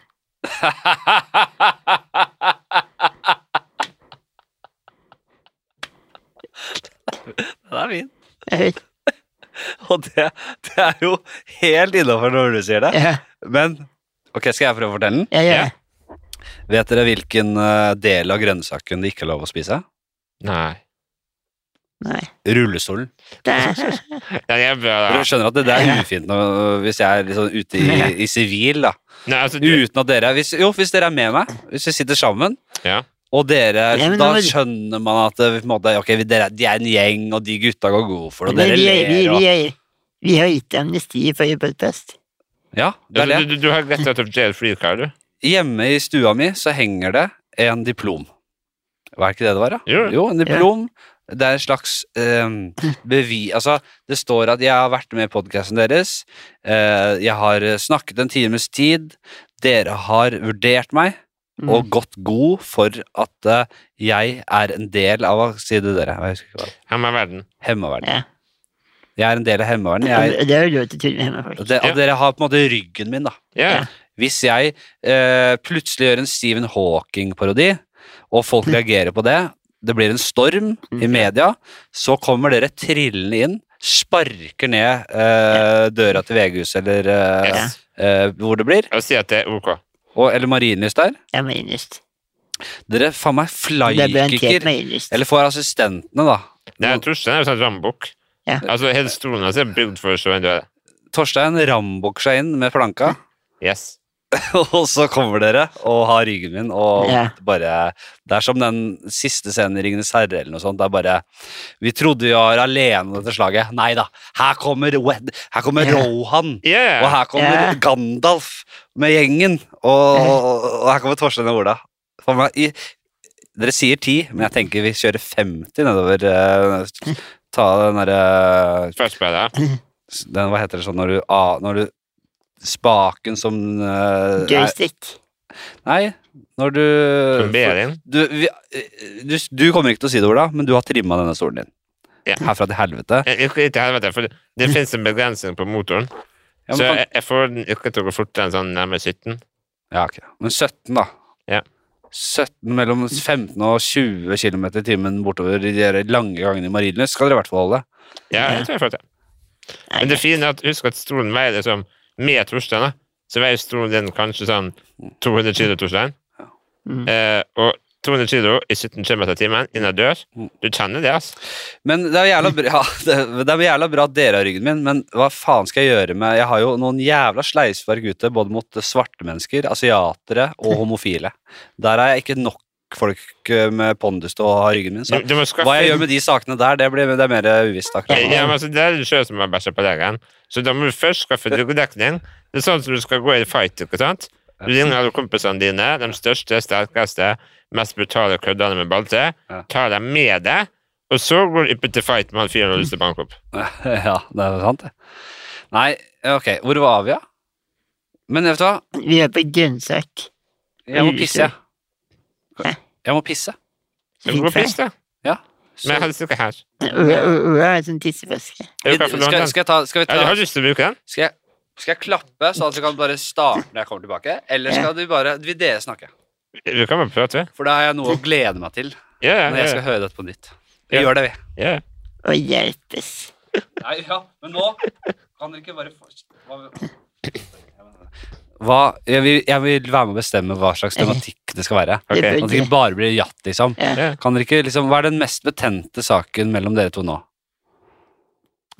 S1: Den er fin.
S2: Jeg vet-
S1: Og det, det er jo helt innafor når du sier det.
S2: Ja,
S1: Men ok, skal jeg prøve å fortelle den?
S2: jeg gjør
S3: Ja.
S2: det.
S1: Vet dere hvilken eh, del av grønnsaken det ikke er lov å spise?
S3: Nei.
S2: Nei.
S1: Rullestolen.
S2: Det-
S3: Ja, jeg bør,
S1: Dere skjønner at det, det er ufint nå, hvis jeg er litt sånn ute i, i sivil, da.
S3: Nei, altså, du,
S1: Uten at dere hvis, Jo, hvis dere er med meg, hvis vi sitter sammen,
S3: Ja.
S1: og dere
S2: Ja, men
S1: Da
S2: nå må du-
S1: skjønner man at det, på en måte, ok, vi- dere, er- de er en gjeng, og de gutta går god for det, og
S2: Men
S1: dere
S2: vi,
S1: ler
S2: vi,
S1: og
S2: vi, er- vi har gitt amnesti i forrige podkast.
S1: Ja, det er
S3: altså,
S1: det.
S3: du, du, du har rett out of jail free card, du.
S1: Hjemme i stua mi så henger det en diplom. Var det ikke det det var, da?
S3: Jo.
S1: en diplom. Det er en slags ehm, bevi... Altså, det står at jeg har vært med i podkasten deres. eh, jeg har snakket en times tid. Dere har vurdert meg
S2: Mm.
S1: og gått god for at eh, jeg er en del av Hva sier du dere? Jeg husker ikke hva. det er.
S3: Hjemme i verden.
S1: Hemmevern.
S2: Ja.
S1: Jeg er en del av Hemmevernet. Jeg,
S2: Og Det er jo lov til å tulle med hjemme, folk.
S1: og det,
S3: Ja.
S1: og dere har på en måte ryggen min, da.
S3: Ja.
S1: Hvis jeg eh, plutselig gjør en Stephen Hawking-parodi, og folk reagerer på det, det blir en storm i
S2: Mm.
S1: media, så kommer dere trillende inn, sparker ned eh, døra til VG-huset, eller eh,
S3: Yes.
S1: eh, hvor det blir,
S3: Og si at det er ok.
S1: og, eller Marienlyst der.
S2: Jeg må innerst.
S1: Dere faen meg
S2: Det bør en tet
S1: flykikker.
S2: meg innerst.
S1: Eller får assistentene, da.
S3: Nei, jeg tror ikke det er en sånn rambukk.
S2: Ja.
S3: Altså, hele stolen hans er bygd for å slå en død.
S1: Torstein rambokser seg inn med planka,
S3: Yes.
S1: og så kommer dere og har ryggen min og
S2: Ja.
S1: bare Det er som den siste scenen i Ringenes herre eller noe sånt. Det er bare Vi trodde vi var alene dette slaget. Nei da. Her kommer, Wed- her kommer
S2: Ja.
S1: Rohan. Og
S3: Yeah.
S1: her kommer
S2: Ja.
S1: Gandalf med gjengen. Og, og, og her kommer Torstein og Ola. For meg, i, dere sier ti, men jeg tenker vi kjører 50 nedover. eh, ta den eh, derre
S3: Først ble det.
S1: den, Hva heter det sånn når du, a- når du Spaken som eh, er-
S2: Joystick.
S1: Nei, når du
S3: Som ber inn.
S1: du, vi, eh, du, du kommer ikke til å si det, Ola, men du har trimma denne stolen din.
S3: Ja.
S1: Herfra til helvete.
S3: Jeg- Ikke til helvete, for det, det finnes en begrensning på motoren.
S1: Ja,
S3: så
S1: men,
S3: jeg, jeg får den ikke til å gå fortere enn sånn nærmere 17.
S1: kan- ja, ok. men 17, da.
S3: Ja.
S1: 17, mellom 15 og 20 km i timen bortover i de der lange gangene i Marienlyst skal dere i hvert fall holde.
S3: Ja, jeg tror jeg får det. Men det fine er at husk at stolen veier liksom med Torstein, da. Så veier stolen din kanskje sånn 200 kilo, Torstein.
S2: Mm.
S3: Eh, og 200 kilo i 17 km i timen innan dør.
S1: Mm.
S3: Du kjenner det, altså.
S1: Men det er jævla bra, ja, det, det er jævla bra at dere har ryggen min, men hva faen skal jeg gjøre med Jeg har jo noen jævla sleisverk ute, både mot svarte mennesker, asiatere og homofile. Der er jeg ikke nok folk eh, med pondus til å ha ryggen min,
S3: Du,
S1: så
S3: du må skaffe
S1: Hva jeg gjør med de sakene der, det, blir, det er mer uvisst akkurat
S3: Eh, Ja,
S1: nå.
S3: men altså, Det er du sjøl som har bæsja på legen, så da må du først skaffe ryggdekning. Det er sånn som du skal gå i fight, ikke sant? Du ringer alle kompisene dine, de største, sterkeste, mest brutale køddene med balte,
S1: Ja.
S3: tar dem med deg, og så går du ut i fight med han fyren du har lyst til å banke opp.
S1: Ja, det er sant, det. Nei, ok, hvor var vi, da? Men vet du hva,
S2: Vi er på grønnsak.
S1: jeg må pisse,
S2: Hæ?
S1: jeg. Jeg må pisse.
S3: Men gå og piss, da. Men jeg
S1: Så,
S3: hadde ikke her.
S2: Ola Ola har en sånn tisseflaske.
S1: skal,
S3: Er du klar for å
S1: skal
S3: låne den?
S1: jeg ta Skal vi
S3: Ja,
S1: ta
S3: jeg har lyst til å bruke den.
S1: Skal jeg, skal jeg klappe, sånn at du kan bare starte når jeg kommer tilbake? Eller skal du bare Vil dere snakke?
S3: Vi kan bare prate.
S1: For da har jeg noe å glede meg til
S3: Ja, ja,
S1: når jeg skal
S3: ja,
S1: høre dette på nytt.
S3: Ja.
S1: Vi gjør det, vi.
S3: ja.
S2: Og hjelpes.
S1: Nei, ja, men nå kan dere ikke bare få hva, jeg, vil, jeg vil være med å bestemme hva slags tematikk det skal være.
S3: Ok.
S1: At det ikke bare blir jatt, liksom.
S2: Ja.
S3: Ja.
S1: Kan dere ikke, liksom. Hva er den mest betente saken mellom dere to nå?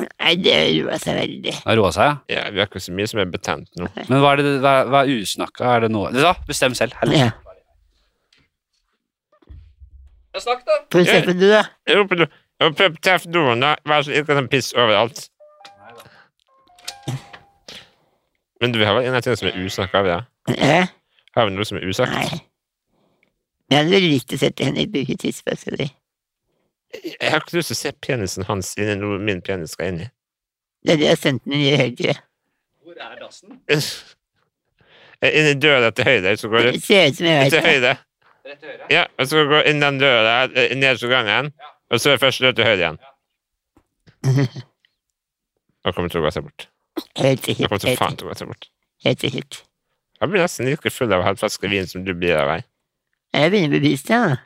S2: Nei, det roa seg veldig.
S1: Det har roa seg, ja.
S3: ja, vi har ikke så mye som er betent nå.
S1: Men hva er, det, hva, hva er usnakka? Er det noe Vet du hva, bestem selv. Helvete.
S2: Ja.
S1: Ja, Snakk, da.
S2: Få se
S3: Ja.
S2: på du, da.
S3: Jeg håper du jeg håper du treffer doen, da. Vær så ikke sånn piss overalt. Men du, vi har vel en av tingene som er usnakka av, ja?
S2: Ja.
S3: Har vi noe som er
S2: Nei.
S3: usagt?
S2: Jeg hadde veldig likt å sette Henrik bruke tisseflaska di.
S3: Jeg har ikke lyst til å se penisen hans inni noe min penis skal inn i.
S2: Det er det jeg sendte den i helga.
S4: Hvor er dassen?
S3: Inn i døra til høyre, så går
S2: Det
S3: du
S2: ser ut som jeg vet
S3: til
S2: det.
S3: høyre.
S4: Rett til høyre?
S3: Ja, og så gå inn den døra, eh, nederst i gangen, og så er det første dør til høyre igjen. Da kommer til å gå seg bort.
S2: Helt
S3: Da
S2: sikkert.
S3: kommer til
S2: Helt
S3: faen
S2: sikkert.
S3: til å gå seg bort.
S2: Helt sikkert.
S3: Jeg blir nesten like full av halvflaske vin som du blir av deg.
S2: Jeg begynner å bli bevisst, jeg, da.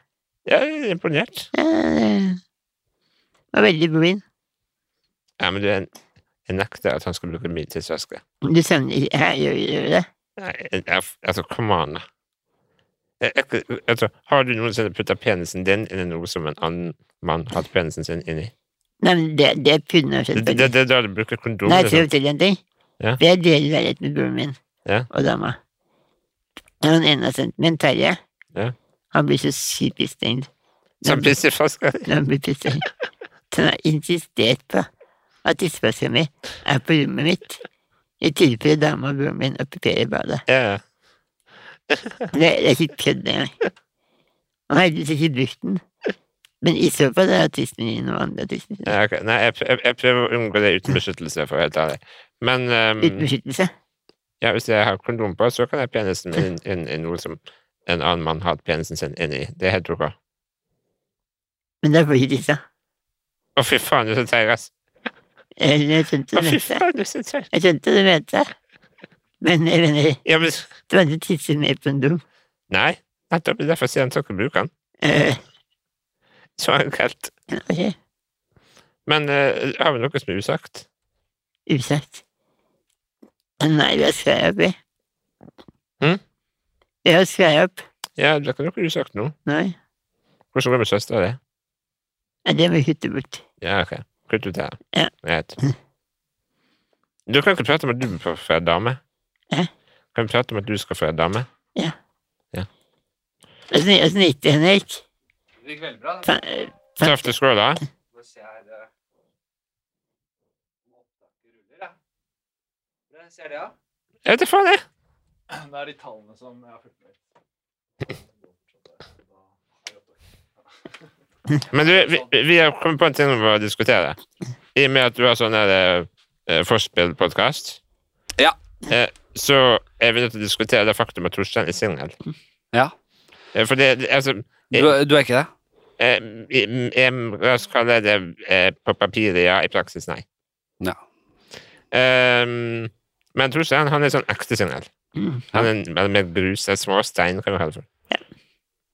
S3: Jeg er imponert.
S2: Ja, det var veldig blind.
S3: Ja, men du, jeg, jeg nekter at han skal bruke min tidsvæske.
S2: Du søvner ikke her, gjør gjør du det?
S3: Nei, jeg, jeg, altså, come on. da. Jeg, jeg, altså, har du noensinne putta penisen din inn i noe som en annen mann har hatt penisen sin inni?
S2: Nei, men det, det kunne jeg
S3: Det,
S2: sett.
S3: det, det, er da du bruker kondom.
S2: Nei, jeg
S3: liksom.
S2: tror til en ting.
S3: Ja.
S2: For jeg deler leilighet med broren min
S3: Ja.
S2: og dama. Og Den ene har sendt min Terje.
S3: Ja.
S2: Han blir så sykt pissstengt.
S3: Så han pisser fast. ja.
S2: Når han blir pissstengt. Så han har insistert på at tisseflaska mi er på rommet mitt. I tilfelle dama og broren min okkuperer badet.
S3: Ja, ja.
S2: Det, det er ikke kødd engang. Han har heldigvis ikke brukt den. Men i så fall er tissen min noe annet. enn tissen min.
S3: Ja, ok. Nei, jeg, jeg, jeg prøver å unngå det uten beskyttelse, for å være helt ærlig. Men
S2: Uten
S3: ehm,
S2: beskyttelse.
S3: ja, hvis jeg har kondom på, så kan jeg penisen min inn- inn i noe som en annen mann har hatt penisen sin inni. Det er helt ok. Å,
S2: Men da får du ikke tissa.
S3: fy faen, du er så treig, ass.
S2: Eller jeg skjønte
S3: Å,
S2: det
S3: fy
S2: mente.
S3: faen, du er så treig.
S2: Jeg skjønte det mente. Men jeg mener,
S3: Ja, men
S2: du hadde tisset mer på en dum.
S3: Nei, nettopp det er derfor jeg sier han skal ikke bruke den.
S2: Eh,
S3: Så enkelt.
S2: ok,
S3: Men eh, har vi noe som er usagt?
S2: usagt. Nei, vi har skrevet opp, vi.
S3: Hm?
S2: Vi har skrevet opp.
S3: Ja, det er ikke noe usagt nå.
S2: Nei,
S3: Hvordan går det med søstera di?
S2: Nei, det må vi kutte bort.
S3: Ja, ok. Kutt ut det. her.
S2: Ja.
S3: Greit. Du kan ikke prate om at du bør få en dame.
S2: Hæ?
S3: Kan vi prate om at du skal få en dame?
S2: Åssen åssen gikk det, Henrik?
S4: Det gikk veldig bra.
S2: Fa- eh,
S3: Traff du skåla?
S4: Nå ser jeg det Nå eh, opptaket ruller, ja. Hvordan ser det, ja?
S3: Jeg vet da faen, jeg.
S4: Det er de tallene som jeg har fulgt med.
S3: Men du, vi, vi har kommet på en ting vi må diskutere. I og med at du har sånn der eh, forspill-podkast,
S1: Ja.
S3: eh, så er vi nødt til å diskutere det faktum at Torstein er singel.
S1: Ja.
S3: Eh, for det, det- altså
S1: Du, du er ikke det?
S3: eh, i- em, La oss kalle det eh, på papiret ja, i praksis nei.
S1: Ja.
S3: Ehm, men Torstein han er sånn ekte singel.
S2: Mm.
S3: Han er en- han er mer gruset småstein, kan vi kalle det. for.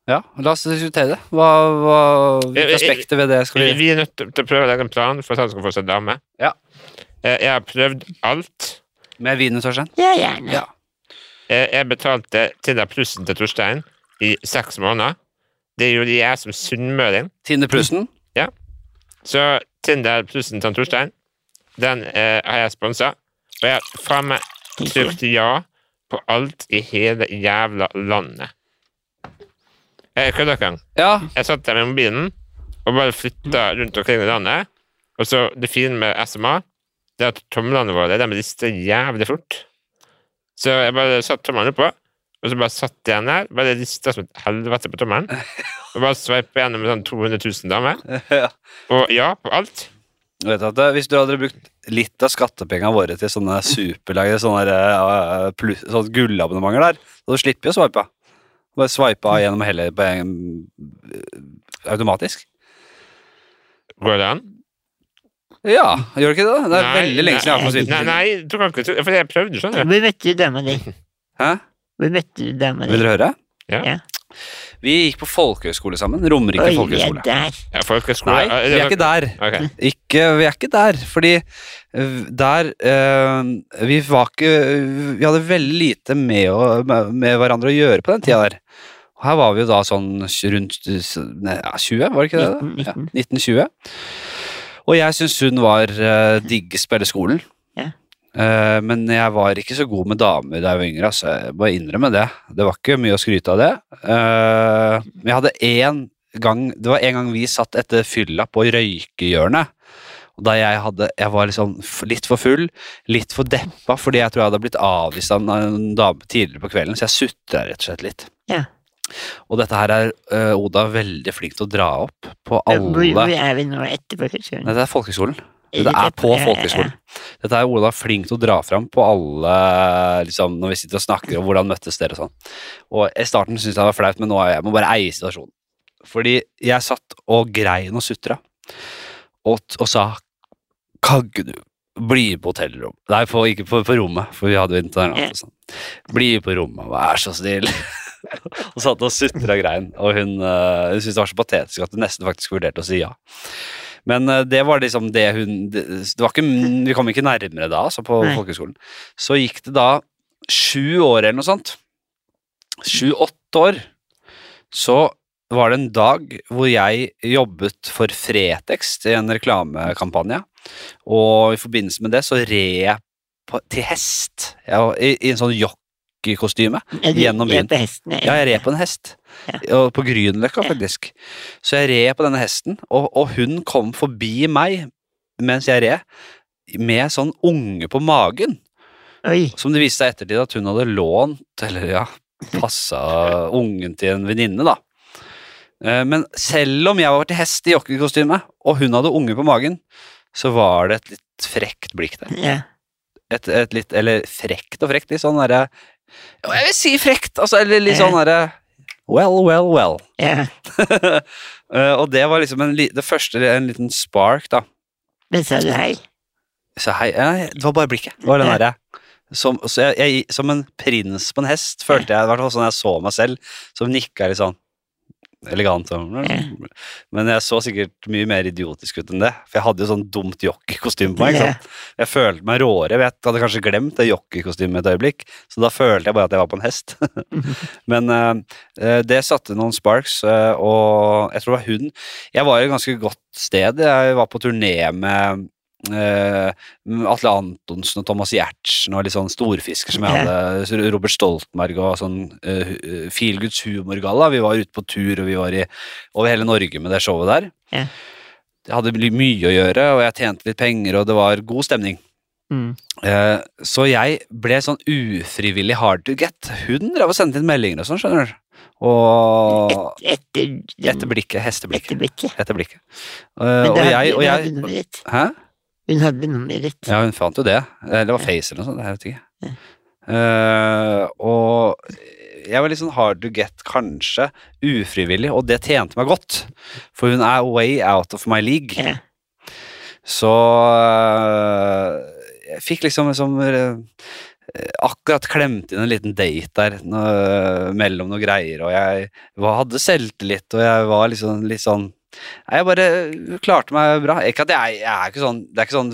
S1: Ja, la oss diskutere det. Hva, hva Hvilke aspekter ved det skal
S3: Vi,
S1: vi
S3: vi er nødt til å prøve å legge en plan for at han skal få seg dame.
S1: Ja.
S3: Eh, jeg har prøvd alt.
S1: Med vinen, Torstein?
S2: Ja, gjerne.
S1: Ja.
S3: Eh, Jeg betalte til deg plussen til Torstein i seks måneder. Det gjorde jeg som sunnmøring.
S1: Tine Prussen?
S3: Så Tinder plussen til Torstein, den eh, har jeg sponsa. Og jeg har faen meg
S2: Tenker
S3: trykt ja på alt i hele jævla landet. Eh, Jeg kødder ikke. engang.
S1: Ja.
S3: Jeg satt der med mobilen og bare flytta rundt omkring i landet. Og så det fine med SMA, det er at tomlene våre de rister jævlig fort. Så jeg bare satt tommelen oppå, og så bare satt jeg den der. Bare rista som et helvete på tommelen. Og bare sveipa gjennom sånn 200 000 damer.
S1: Du
S3: Og ja på alt.
S1: vet at eh, Hvis du hadde brukt litt av skattepengene våre til sånne superlagre sånne, der, eh, pluss- sånne gullabonnementer der, så du slipper jo å swipe. Bare swipe av gjennom hele på en- eh, automatisk.
S3: Går det an?
S1: Ja, gjør du ikke det? da? Det er veldig lenge siden jeg har vært på Syden.
S3: nei, Nei, nei, du kan ikke tro For jeg prøvde, skjønner du.
S2: Hvor møtte du dama di?
S1: Mhm. Hæ?
S2: Hvor møtte du dama di?
S1: Vil dere høre?
S3: Ja.
S2: Ja.
S1: Vi gikk på folkehøyskole sammen. Romerike
S2: Oi, ja,
S1: folkehøgskole.
S2: der.
S3: Ja, folkeskole
S1: Nei, vi er ikke der.
S3: Ok.
S1: Ikke, vi er ikke der, fordi eh, der eh, Vi var ikke Vi hadde veldig lite med, å, med med hverandre å gjøre på den tida der. Og her var vi jo da sånn rundt nei, ja, 20, var det ikke det?
S2: Nitten,
S1: Ja,
S2: nitten.
S1: 1920. Og jeg syns hun var eh, digg spilleskolen.
S2: Ja.
S1: Eh, men jeg var ikke så god med damer da jeg var yngre. Altså. Jeg må innrømme det. Det var ikke mye å skryte av det. Eh, men jeg hadde én gang Det var en gang vi satt etter fylla på røykehjørnet. Og da jeg hadde Jeg var liksom f- litt for full, litt for deppa, fordi jeg tror jeg hadde blitt avvist av en- en dame tidligere på kvelden, så jeg sutra rett og slett litt.
S2: Ja.
S1: Og dette her er eh, Oda veldig flink til å dra opp på
S2: Hvor, hvor
S1: alle
S2: er vi nå etterpå? kanskje?
S1: Nei, det er folkehøyskolen. Dette er på folkehøyskolen. Dette er Ola flink til å dra fram på alle liksom, Når vi sitter og snakker om hvordan møttes dere og sånn. Og I starten syntes jeg det var flaut, men nå er jeg, jeg må bare eie situasjonen. Fordi jeg satt og grein og sutra og, t- og sa Kan ikke du bli på hotellrom? Nei, på, ikke på, på rommet, for vi hadde jo internat. og sånn. Bli på rommet, vær så snill. og satt og sutra og grein. Og hun, eh, hun syntes det var så patetisk at hun nesten faktisk vurderte å si ja. Men eh, det var liksom det hun det, det var ikke, Vi kom ikke nærmere da, altså, på
S2: Nei.
S1: folkehøgskolen. Så gikk det da sju år eller noe sånt. Sju-åtte år. Så var det en dag hvor jeg jobbet for Fretex i en reklamekampanje. Og i forbindelse med det så red jeg på, til hest ja, i, i en sånn jockeykostyme. Gjennom byen.
S2: På hesten,
S1: Ja, jeg red på en hest. Og på Grünerløkka, faktisk. Så jeg red på denne hesten, og, og hun kom forbi meg mens jeg red, med sånn unge på magen.
S2: Oi.
S1: Som det viste seg i ettertid at hun hadde lånt, eller ja, passa ungen til en venninne, da. Eh, Men selv om jeg var til hest i jockeykostyme, og hun hadde unge på magen, så var det et litt frekt blikk der.
S2: Ja.
S1: Et, et litt, eller frekt og frekt, litt sånn derre Ja, Jeg vil si frekt, altså, eller litt
S2: Ja.
S1: sånn derre Well, well, well.
S2: ja.
S1: Eh, og det var liksom en, li- det første, en liten spark, da.
S2: Men sa du hei?
S1: Så hei, nei, det var bare blikket. Det var den
S2: Ja.
S1: derre som, så jeg, jeg, som en prins på en hest, følte jeg, i hvert fall sånn jeg så meg selv, som nikka litt sånn elegant. Sånn.
S2: Ja.
S1: Men jeg så sikkert mye mer idiotisk ut enn det, for jeg hadde jo sånn dumt jockeykostyme på meg. ikke
S2: Ja.
S1: sant? Jeg følte meg råere, men jeg hadde kanskje glemt det jockeykostymet et øyeblikk, så da følte jeg bare at jeg var på en hest. men eh, eh, det satte noen sparks, eh, og jeg tror det var hun Jeg var i et ganske godt sted, jeg var på turné med eh, Atle Antonsen og Thomas Giertsen og litt sånn storfisker som jeg
S2: Ja.
S1: hadde. så Robert Stoltenberg og sånn uh, Feelgoods humorgalla. Vi var ute på tur, og vi var i, over hele Norge med det showet der.
S2: Ja.
S1: Jeg hadde my- mye å gjøre, og jeg tjente litt penger, og det var god stemning.
S2: Mm.
S1: Eh, så jeg ble sånn ufrivillig hard to get. Hun drev og sendte inn meldinger og sånn, skjønner du. Og
S2: Et, etter,
S1: etter blikket, hesteblikket.
S2: Etter blikket.
S1: Etter blikket. Eh,
S2: Men
S1: og
S2: det hadde,
S1: jeg, og
S2: hun
S1: jeg
S2: hadde nummeret ditt.
S1: Hæ?
S2: Hun hadde nummeret ditt.
S1: Ja, hun fant jo det. Eller det var
S2: Ja.
S1: Face eller noe sånt. Jeg vet ikke.
S2: Ja.
S1: Eh, og jeg var litt sånn hard to get, kanskje, ufrivillig, og det tjente meg godt. For hun er way out of my league.
S2: Ja.
S1: Så eh, jeg fikk liksom, liksom eh, Akkurat klemt inn en liten date der nå- mellom noen greier, og jeg var, hadde selvtillit, og jeg var liksom litt sånn Nei, jeg bare klarte meg bra. Ikke at jeg, jeg er ikke sånn, det er ikke sånn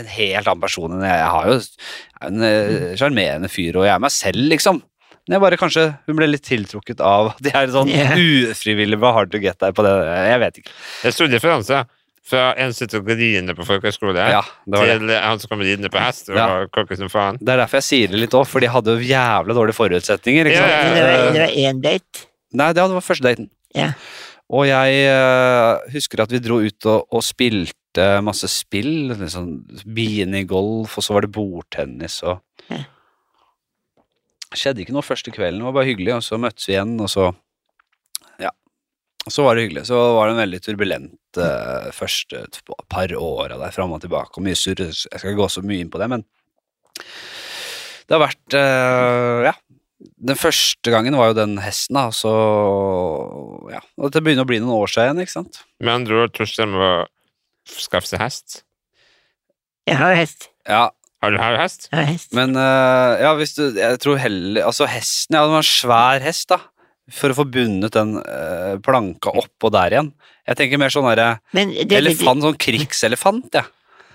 S1: en helt annen person enn jeg, jeg har jo jeg er jo en eh, sjarmerende fyr, og jeg er meg selv, liksom. Men jeg bare kanskje hun ble litt tiltrukket av at jeg er sånn
S2: Ja.
S1: ufrivillig var hard to get der på det. Jeg vet ikke.
S3: Jeg så differanse fra en som sitter og griner på folkehøyskole,
S1: Ja, det var det.
S3: til eh, han som kommer ridende på hest og
S1: Ja.
S3: har kokke som faen.
S1: Det er derfor jeg sier det litt òg, for de hadde jo jævla dårlige forutsetninger. Ikke
S3: Ja,
S1: sant?
S3: ja,
S2: Men det
S1: Eh,
S2: var- det var én date.
S1: Nei, det var første daten.
S2: Ja.
S1: Og jeg eh, husker at vi dro ut og, og spilte masse spill. Liksom Beanie-golf, og så var det bordtennis og
S2: Ja.
S1: Skjedde ikke noe første kvelden, det var bare hyggelig, og så møttes vi igjen, og så Ja. Og så var det hyggelig. Så var det en veldig turbulent eh, første t- par åra der, fram og tilbake, og mye surr. Jeg skal ikke gå så mye inn på det, men det har vært eh, Ja. Den første gangen var jo den hesten, da, så Ja. Og det begynner å bli noen år siden, ikke sant?
S3: Med andre ord, Torstein må skaffe seg hest.
S2: Jeg har hest.
S1: Ja,
S3: Har du her hest?
S2: Jeg har hest.
S1: men eh, Ja, hvis du Jeg tror heller Altså, hesten Ja, det var en svær hest, da. For å få bundet den eh, planka oppå der igjen. Jeg tenker mer sånn derre
S2: Men det, det-
S1: elefant, sånn krigselefant, jeg.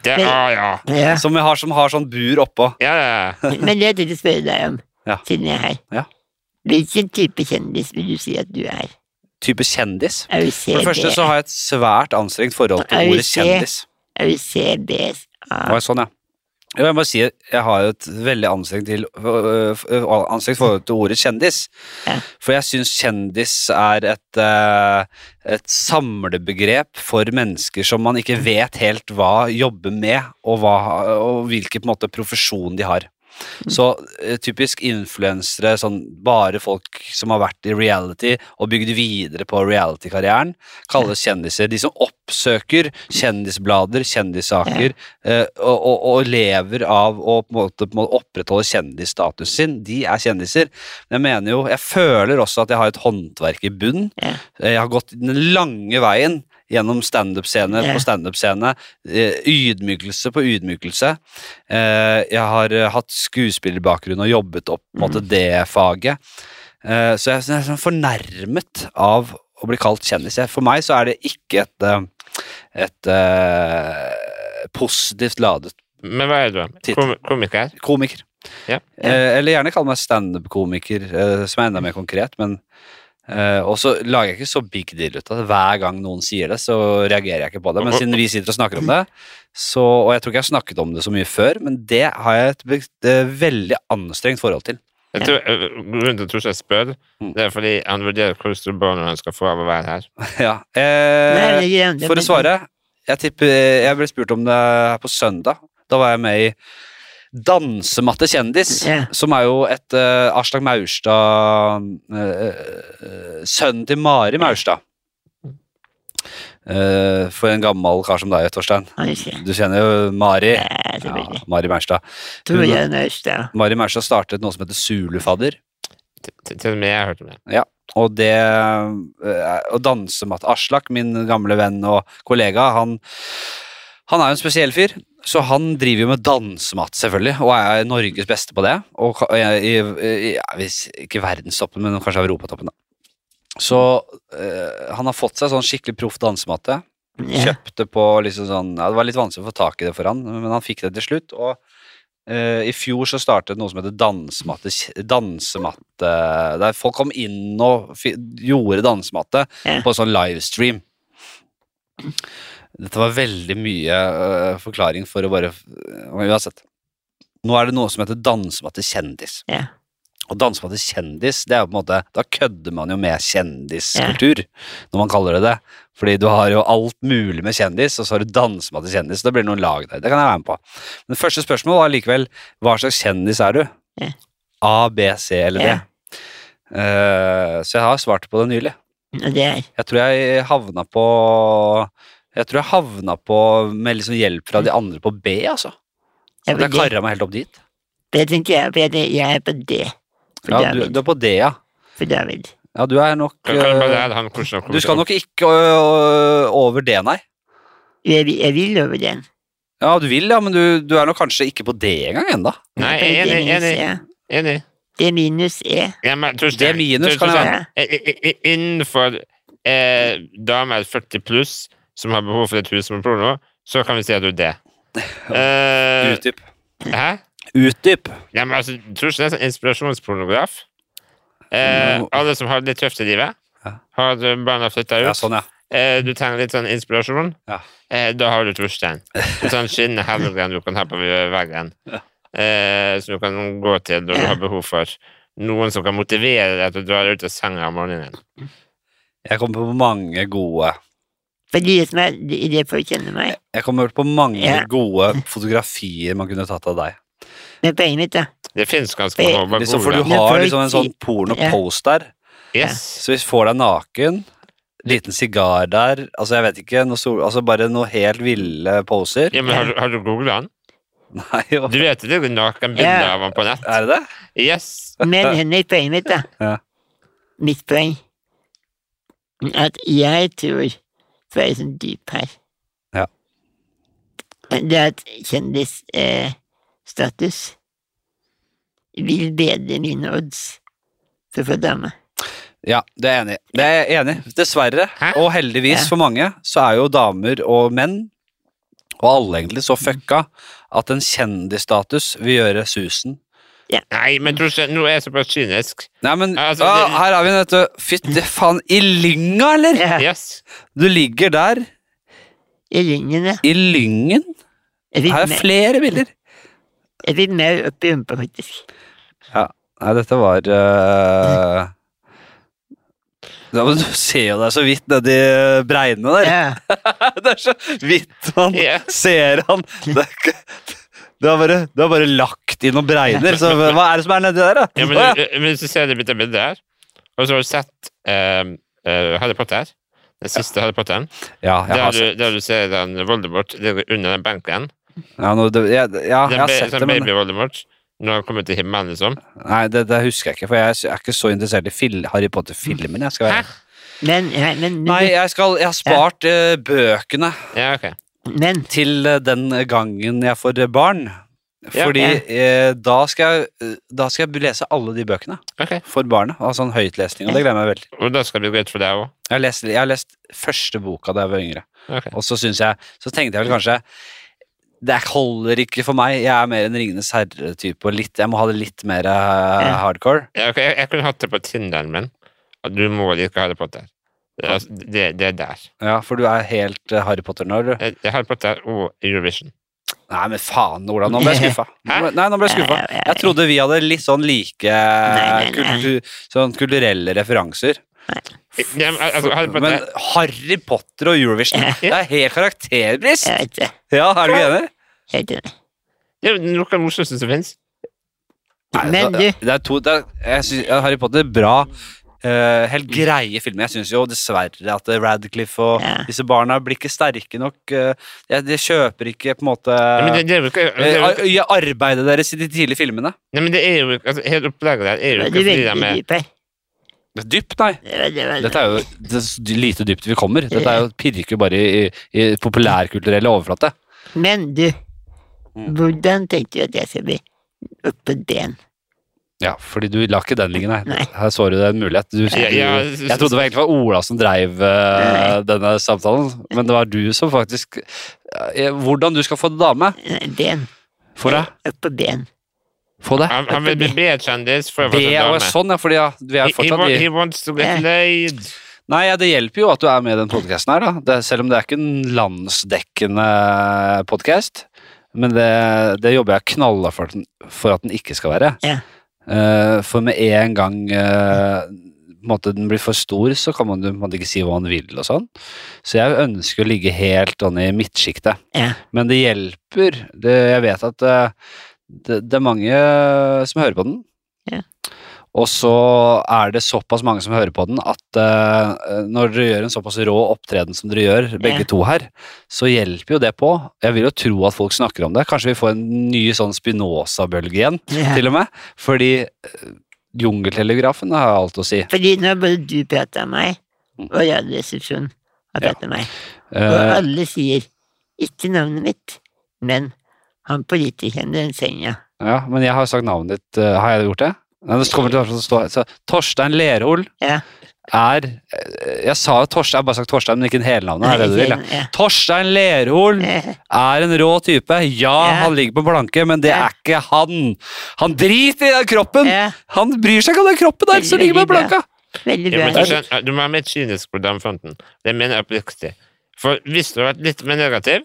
S3: Det
S2: Men-
S3: har ja.
S2: Ja.
S1: Som, jeg har, som har sånn bur oppå.
S3: Ja, ja.
S2: Men det jeg tenkte å spørre deg om,
S1: Ja.
S2: siden jeg er her.
S1: Ja.
S2: Hvilken type kjendis vil du si at du er?
S1: Type kjendis.
S2: Er du
S1: For det første så har jeg et svært anstrengt forhold
S2: Er
S1: til
S2: vi
S1: ordet
S2: se?
S1: kjendis.
S2: Er du CBS?
S1: Å, ja, sånn, ja. Jo, jeg må si jeg har jo et veldig anstrengt, til, øh, øh, anstrengt forhold til ordet kjendis.
S2: Ja.
S1: For jeg syns kjendis er et, øh, et samlebegrep for mennesker som man ikke vet helt hva jobber med, og, hva, og hvilken på en måte, profesjon de har. Så eh, typisk influensere, sånn bare folk som har vært i reality og bygd videre på reality-karrieren, kalles kjendiser. De som oppsøker kjendisblader, kjendissaker, eh, og, og, og lever av å på en måte, på en måte opprettholde kjendisstatusen sin, de er kjendiser. Men jeg mener jo, jeg føler også at jeg har et håndverk i bunn.
S2: Ja.
S1: Eh, Jeg har gått den lange veien gjennom standup-scene
S2: Ja.
S1: på standup-scene. eh, Ydmykelse på ydmykelse. Eh, Jeg har eh, hatt skuespillerbakgrunn og jobbet opp på en
S2: Mm.
S1: måte, det faget. Eh, Så jeg er sånn- jeg er sånn fornærmet av å bli kalt kjendis. Jeg- For meg så er det ikke et, eh, et eh, positivt ladet
S3: Men hva er du?
S1: Titt.
S3: Kom, komiker?
S1: komiker.
S3: Ja.
S1: Eh, eller gjerne kall meg standup-komiker, eh, som er enda mer konkret, men eh, Og så lager jeg ikke så big deal ut av det. Hver gang noen sier det, så reagerer jeg ikke på det. Men siden vi sitter og snakker om det, så Og jeg tror ikke jeg har snakket om det så mye før, men det har jeg et be- eh, veldig anstrengt forhold til.
S3: Jeg tror, øh, grunnen til at jeg tror jeg spør,
S1: Mm.
S3: det er fordi han vurderer hvor store barn han skal få av å være her.
S1: ja.
S2: Nei,
S1: eh,
S2: det er greit, det-
S1: For å svare, jeg, tipper, jeg ble spurt om det her på søndag. Da var jeg med i Dansematte kjendis,
S2: Ja.
S1: som er jo et eh, Aslak Maurstad eh, eh, Sønnen til Mari Maurstad. Eh, for en gammel kar som deg, Torstein.
S2: Han er ikke-
S1: Du kjenner jo Mari.
S2: Ja,
S1: Ja,
S2: selvfølgelig.
S1: Mari Maurstad.
S2: Tror jeg er nøst, da.
S1: Mari Maurstad startet noe som heter Zulufadder.
S3: Til- til- Til og med jeg har hørt om det.
S1: Og det eh, Å danse med Aslak, min gamle venn og kollega, han, han er jo en spesiell fyr. Så han driver jo med dansemat, selvfølgelig, og er Norges beste på det. Og ka- i, i, i, ja, hvis ikke verdenstoppen, men kanskje europatoppen, da. Så eh, han har fått seg sånn skikkelig proff dansematte.
S2: Ja.
S1: Kjøpte på liksom sånn ja, Det var litt vanskelig å få tak i det for han, men han fikk det til slutt. Og eh, i fjor så startet noe som heter dansematte. dansematte der folk kom inn og fi, gjorde dansematte
S2: Ja.
S1: på en sånn livestream. Dette var veldig mye eh, forklaring for å bare Men uansett. Nå er det noe som heter dansematte kjendis.
S2: Ja.
S1: Og dansematte kjendis, det er jo på en måte Da kødder man jo med kjendiskultur, når man kaller det det. Fordi du har jo alt mulig med kjendis, og så har du dansematte kjendis. Da blir det noen lag der. Det kan jeg være med på. Men første spørsmål var likevel hva slags kjendis er du?
S2: Ja.
S1: A, B, C eller D?
S2: Ja.
S1: Eh, så jeg har svart på det nylig.
S2: Og det er
S1: Jeg tror jeg havna på Jeg tror jeg havna på med liksom hjelp fra de andre på B, altså.
S2: Jeg
S1: At
S2: er
S1: jeg
S2: på Mm. det.
S1: kara meg helt opp dit.
S2: Det tenker jeg, for jeg tenker- jeg er på det. For
S1: Ja, du,
S2: David.
S1: du er på D, ja.
S2: For David.
S1: Ja, du er nok
S3: Kan, kan du bare
S1: eh,
S3: lære han hvordan han kommer
S1: Du skal
S3: til å-
S1: nok ikke øh, over D, nei.
S2: Jeg, vil- jeg vil over den.
S1: Ja, du vil, ja, men du, du er nok kanskje ikke på D engang ennå.
S3: Nei,
S2: Det er
S3: enig,
S2: minus
S3: enig.
S2: E.
S3: enig.
S2: Det er minus E.
S3: Ja, men, Torstein,
S1: Det er minus,
S3: Torstein,
S1: kan jeg
S2: være.
S3: i- i- i- Innenfor eh, damer 40 pluss som har behov for et hus som en prono, så kan vi si at du er det. Eh,
S1: Utdyp.
S3: hæ?
S1: Utdyp.
S3: Ja, men altså, Torstein er sånn inspirasjonspornograf. Eh, alle som har det litt tøft i livet,
S1: Ja.
S3: har eh, barna flytta ut.
S1: Ja, sånn, ja.
S3: Eh, du trenger litt sånn inspirasjon,
S1: Ja.
S3: eh, da har du Torstein. En sånn skinnende helgen du kan ha på veggen, eh, som du kan gå til når du har behov for noen som kan motivere deg til å dra deg ut av senga om morgenen.
S1: Jeg kommer på mange gode
S2: For de som er i det for å kjenne meg.
S1: Jeg kommer på mange
S2: Ja.
S1: gode fotografier man kunne tatt av deg.
S2: Men poenget mitt, da.
S3: Det fins ganske
S2: Det-
S3: mange
S1: Liksom, for
S3: gode
S1: du
S2: Men
S1: har
S2: for
S1: liksom en sånn
S2: ti- ja.
S1: porno-post der.
S3: Yes.
S1: Så vi får deg naken, liten sigar der, altså jeg vet ikke, noe sol, altså bare noe helt ville poser.
S3: Ja, men har, du- har du googla han?
S1: Nei, jo.
S3: Du vet jo det er nakenbilder
S2: Ja.
S3: av han på nett?
S1: Er det det?
S3: Yes.
S2: Men Henrik, poenget mitt, da.
S1: Ja.
S2: Mitt poeng. At jeg tror For jeg er sånn dyp her.
S1: Ja.
S2: Det at kjendisstatus eh, status vil bedre mine odds for å få dame.
S1: Ja, det er jeg enig. i. Det er jeg enig. i. Dessverre,
S3: Hæ?
S1: og heldigvis
S2: Ja.
S1: for mange, så er jo damer og menn, og alle egentlig, så fucka at en kjendisstatus vil gjøre susen.
S3: Nei, men Torstein, nå er jeg såpass kynisk.
S1: Nei, men
S3: Altså,
S1: ah,
S3: det-
S1: her har vi en, vet du. Fytti faen, i lynga, eller?
S2: Ja,
S3: Yes.
S1: Du ligger der,
S2: I ringene.
S1: i lyngen.
S2: Jeg
S1: Her
S2: fikk,
S1: er
S2: mer,
S1: flere bilder.
S2: jeg fikk mer opp i rumpa, faktisk.
S1: Nei, dette var eh, ja, men Du ser jo deg så vidt nedi bregnene der.
S2: Ja.
S1: Det er så vidt man
S3: Ja.
S1: ser han. Det, er ikke- Du har bare, du har bare lagt inn noen bregner, så hva er det som er nedi der, da?
S3: Ja, men, eh,
S1: Å, ja.
S3: men hvis du ser det bildet bildet her, og så har du sett eh, eh, Harry Potter, den siste Harry Potteren,
S1: ja, jeg
S3: der
S1: har
S3: du, der du ser den Voldemort ligger under den benken,
S1: Ja, nå, det, jeg, ja, jeg
S3: den
S1: har
S3: ba-
S1: sett det,
S3: sånn
S1: men
S3: baby Voldemort, når han kommer til himmelen, liksom.
S1: Nei, det, det husker jeg ikke, for jeg er ikke så interessert i fil, Harry Potter-filmen. Jeg skal
S3: Hæ?
S1: være.
S2: Men, nei, men, men,
S1: Nei, jeg, skal, jeg har spart eh, bøkene
S3: Ja, ok.
S2: men
S1: til eh, den gangen jeg får eh, barn.
S3: Ja.
S1: Fordi eh, da, skal jeg, eh, da skal jeg lese alle de bøkene
S3: Ok.
S1: for barnet. Altså en høytlesning, og det gleder jeg meg veldig til.
S3: Og da skal det bli greit for deg også.
S1: Jeg har lest, jeg har lest første boka da jeg var yngre,
S3: Ok.
S1: og så synes jeg, så tenkte jeg vel kanskje det holder ikke for meg. Jeg er mer en Ringenes herre-type. og litt- Jeg må ha det litt mer eh,
S2: Ja.
S1: hardcore.
S3: Ja, ok, Jeg, jeg kunne hatt det på Tinderen min, at du må like Harry Potter. Det, er- det, det er der.
S1: Ja, For du er helt eh, Harry Potter-nerd, du.
S3: Jeg- Harry Potter og Eurovision.
S1: Nei, men faen, Ola. Nå ble jeg skuffa. Nå ble- Nei, nå ble jeg skuffa.
S2: Nei, nei, nei.
S1: Jeg trodde vi hadde litt sånn like
S2: Nei, nei, nei.
S1: kultu, sånn kulturelle referanser.
S3: Ja, men, altså, Harry Potter,
S1: Men Harry Potter og Eurovision, det er helt karakterbrist!
S2: jeg vet det.
S1: Ja, er du ikke enig?
S2: Jeg vet det.
S3: ja, men noe av det morsomste som finnes.
S1: Nei,
S2: Men
S1: da-
S2: du-
S1: det er to, det er, jeg synes, ja, Harry Potter, bra. eh, helt greie filmer. Jeg syns jo dessverre at eh, Radcliffe og
S2: Ja.
S1: disse barna blir ikke sterke nok. eh, jeg- de kjøper ikke på en måte
S3: Ja, men det, det er jo ikke, det er jo
S1: eh,
S3: ikke
S1: ar- ja, arbeidet deres i de tidlige filmene.
S3: Nei, men det er jo altså, Hele opplegget der er jo
S2: Du
S3: ikke
S2: er
S3: fordi de
S2: veldig
S3: er
S2: dyp her.
S1: Dypt, nei.
S2: Det var- det var-
S1: Dette er jo det s- lite dypt vi kommer. Dette er jo pirker jo bare i, i, i populærkulturelle overflate.
S2: Men du,
S1: Mm.
S2: hvordan tenkte du at jeg skal bli oppå den?
S1: Ja, fordi du la ikke den ligge, nei.
S2: Nei.
S1: Her så du en mulighet. Du,
S3: Ja, ja,
S1: du, jeg trodde det var egentlig var Ola som dreiv eh, denne samtalen, men det var du som faktisk eh, Hvordan du skal få det dame?
S2: Nei, eh, Den.
S1: Få deg?
S2: Oppå den.
S1: Få det?
S3: Han, han vil bli B-kjendis for å få
S1: Det
S3: seg
S1: er jo
S3: dame.
S1: sånn, ja, fordi ja, vi
S3: He,
S1: er
S3: he,
S1: fortsatt
S3: wa-
S1: i
S3: he wants to get
S2: Eh.
S3: laid.
S1: Nei, ja, det hjelper jo at du er med i den podkasten her, da. Det, er- selv om det er ikke en landsdekkende podkast. Men det, det jobber jeg knalla for, at den- for at den ikke skal være.
S2: Ja.
S1: Eh, for med en gang eh, på en måte den blir for stor, så kan man jo på en måte ikke si hva man vil og sånn. Så jeg ønsker å ligge helt sånn i midtsjiktet.
S2: Ja.
S1: Men det hjelper. Det, jeg vet at eh, det, det er mange som hører på den.
S2: Ja.
S1: Og så er det såpass mange som hører på den, at eh, når dere gjør en såpass rå opptreden som dere gjør, begge
S2: Ja.
S1: to her, så hjelper jo det på. Jeg vil jo tro at folk snakker om det. Kanskje vi får en ny sånn Spinoza-bølge igjen,
S2: Ja.
S1: til og med. Fordi eh, Jungeltelegrafen har alt å si. Eh,
S2: Fordi nå har både du pratet om meg, og Radioresepsjonen har
S1: Ja.
S2: pratet om meg. Og
S1: Eh,
S2: alle sier ikke navnet mitt, men han politikeren i den senga.
S1: ja, men jeg har sagt navnet ditt. eh, har jeg gjort det? Nei, det kommer til å stå så, Torstein Lerhol
S2: Ja.
S1: er eh, Jeg sa jo Torstein, jeg har bare sagt Torstein, men ikke en helnavn. Er det du vil? Ja.
S2: Ja.
S1: Torstein Lerhol
S2: Eh,
S1: er en rå type. Ja,
S2: Ja.
S1: han ligger på blanke, men det
S2: Ja.
S1: er ikke han. Han driter i den kroppen!
S2: ja,
S1: Han bryr seg ikke om den kroppen der som
S2: Veldig
S1: ligger på
S2: bra.
S1: blanka!
S2: Veldig
S3: Ja,
S2: bra.
S3: men du, skjønner, du må være mer kynisk på damefronten. Det mener jeg oppriktig. For hvis du har vært litt mer negativ,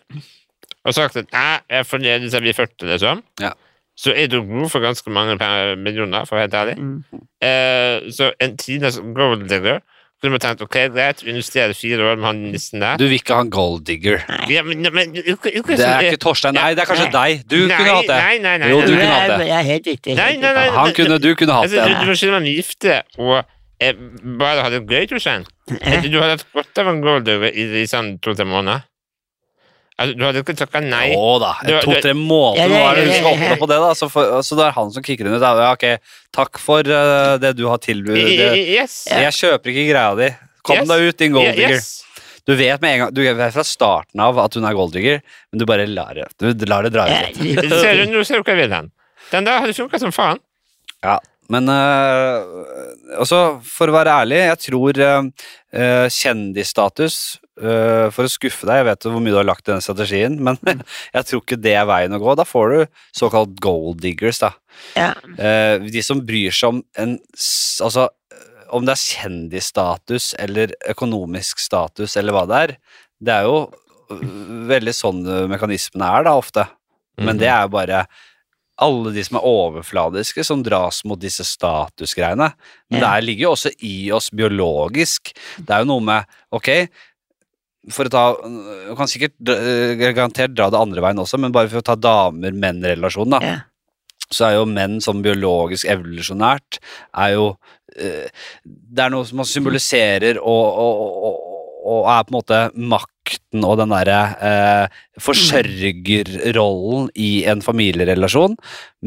S3: og sagt at «Nei, jeg er fornøyd hvis jeg blir 40, liksom,
S1: Ja.
S3: så er du god for ganske mange pe- millioner, for å være helt ærlig.
S2: Mm.
S3: Eh, så en tidenes gold digger kunne man tenkt ok, greit, vi investerer fire år med han nissen der.
S1: Du vil ikke ha en gold digger.
S3: Ja, men, men, det
S1: Det er ikke Torstein. Nei, det er kanskje deg. Du kunne hatt det.
S3: Nei, nei, nei.
S1: Jo,
S3: nei,
S1: du
S3: nei.
S1: kunne hatt det.
S2: Ja, ja, helt riktig.
S3: Nei,
S2: helt
S3: nei,
S1: Ja,
S3: nei.
S2: riktig.
S1: han kunne, du kunne hatt
S3: Altså, du,
S1: det.
S3: du må skille mellom gifte og eh, bare ha det gøy, Torstein.
S2: Eh,
S3: Altså, Du hadde hatt godt av en goldover i, i sånn to-tre måneder. Altså, du hadde ikke takka nei.
S1: Å da.
S3: Du- du-
S1: To-tre måneder,
S2: Ja,
S1: nå
S2: ja,
S1: er det
S2: ja,
S1: du skal
S2: ja, ja.
S1: åpne på det, da. Så, for, så det er han som kicker under. Ja, ok, takk for eh, det du har
S3: I,
S1: tilbudt.
S3: i,
S1: Det-
S3: i- yes.
S1: Jeg kjøper ikke greia di. Kom
S3: Yes.
S1: deg ut, din
S3: Ja,
S1: gold digger.
S3: yes.
S1: Du vet med en gang, du vet fra starten av at hun er gold digger, men du bare lar det, du lar det dra ut litt.
S2: ja,
S3: Ser du, nå ser du hva jeg vil hen. Den der hadde funka som faen.
S1: Ja, men øh, også for å være ærlig, jeg tror øh, øh, kjendisstatus øh, For å skuffe deg, jeg vet jo hvor mye du har lagt i den strategien, men jeg tror ikke det er veien å gå. Da får du såkalt gold diggers, da.
S2: ja.
S1: Eh, de som bryr seg om en s- Altså, om det er kjendisstatus eller økonomisk status eller hva det er, det er jo øh, veldig sånn øh, mekanismene er, da, ofte.
S3: Mm.
S1: Men det er jo bare alle de som er overfladiske, som dras mot disse statusgreiene. Men det
S2: Ja.
S1: her ligger jo også i oss biologisk. Det er jo noe med Ok, for å ta Du kan sikkert øh, garantert dra det andre veien også, men bare for å ta damer-menn-relasjonen, da,
S2: Ja.
S1: så er jo menn som biologisk evolusjonært er jo øh, Det er noe som symboliserer og, og, og, og er på en måte makten og den derre øh, forsørgerrollen i en familierelasjon,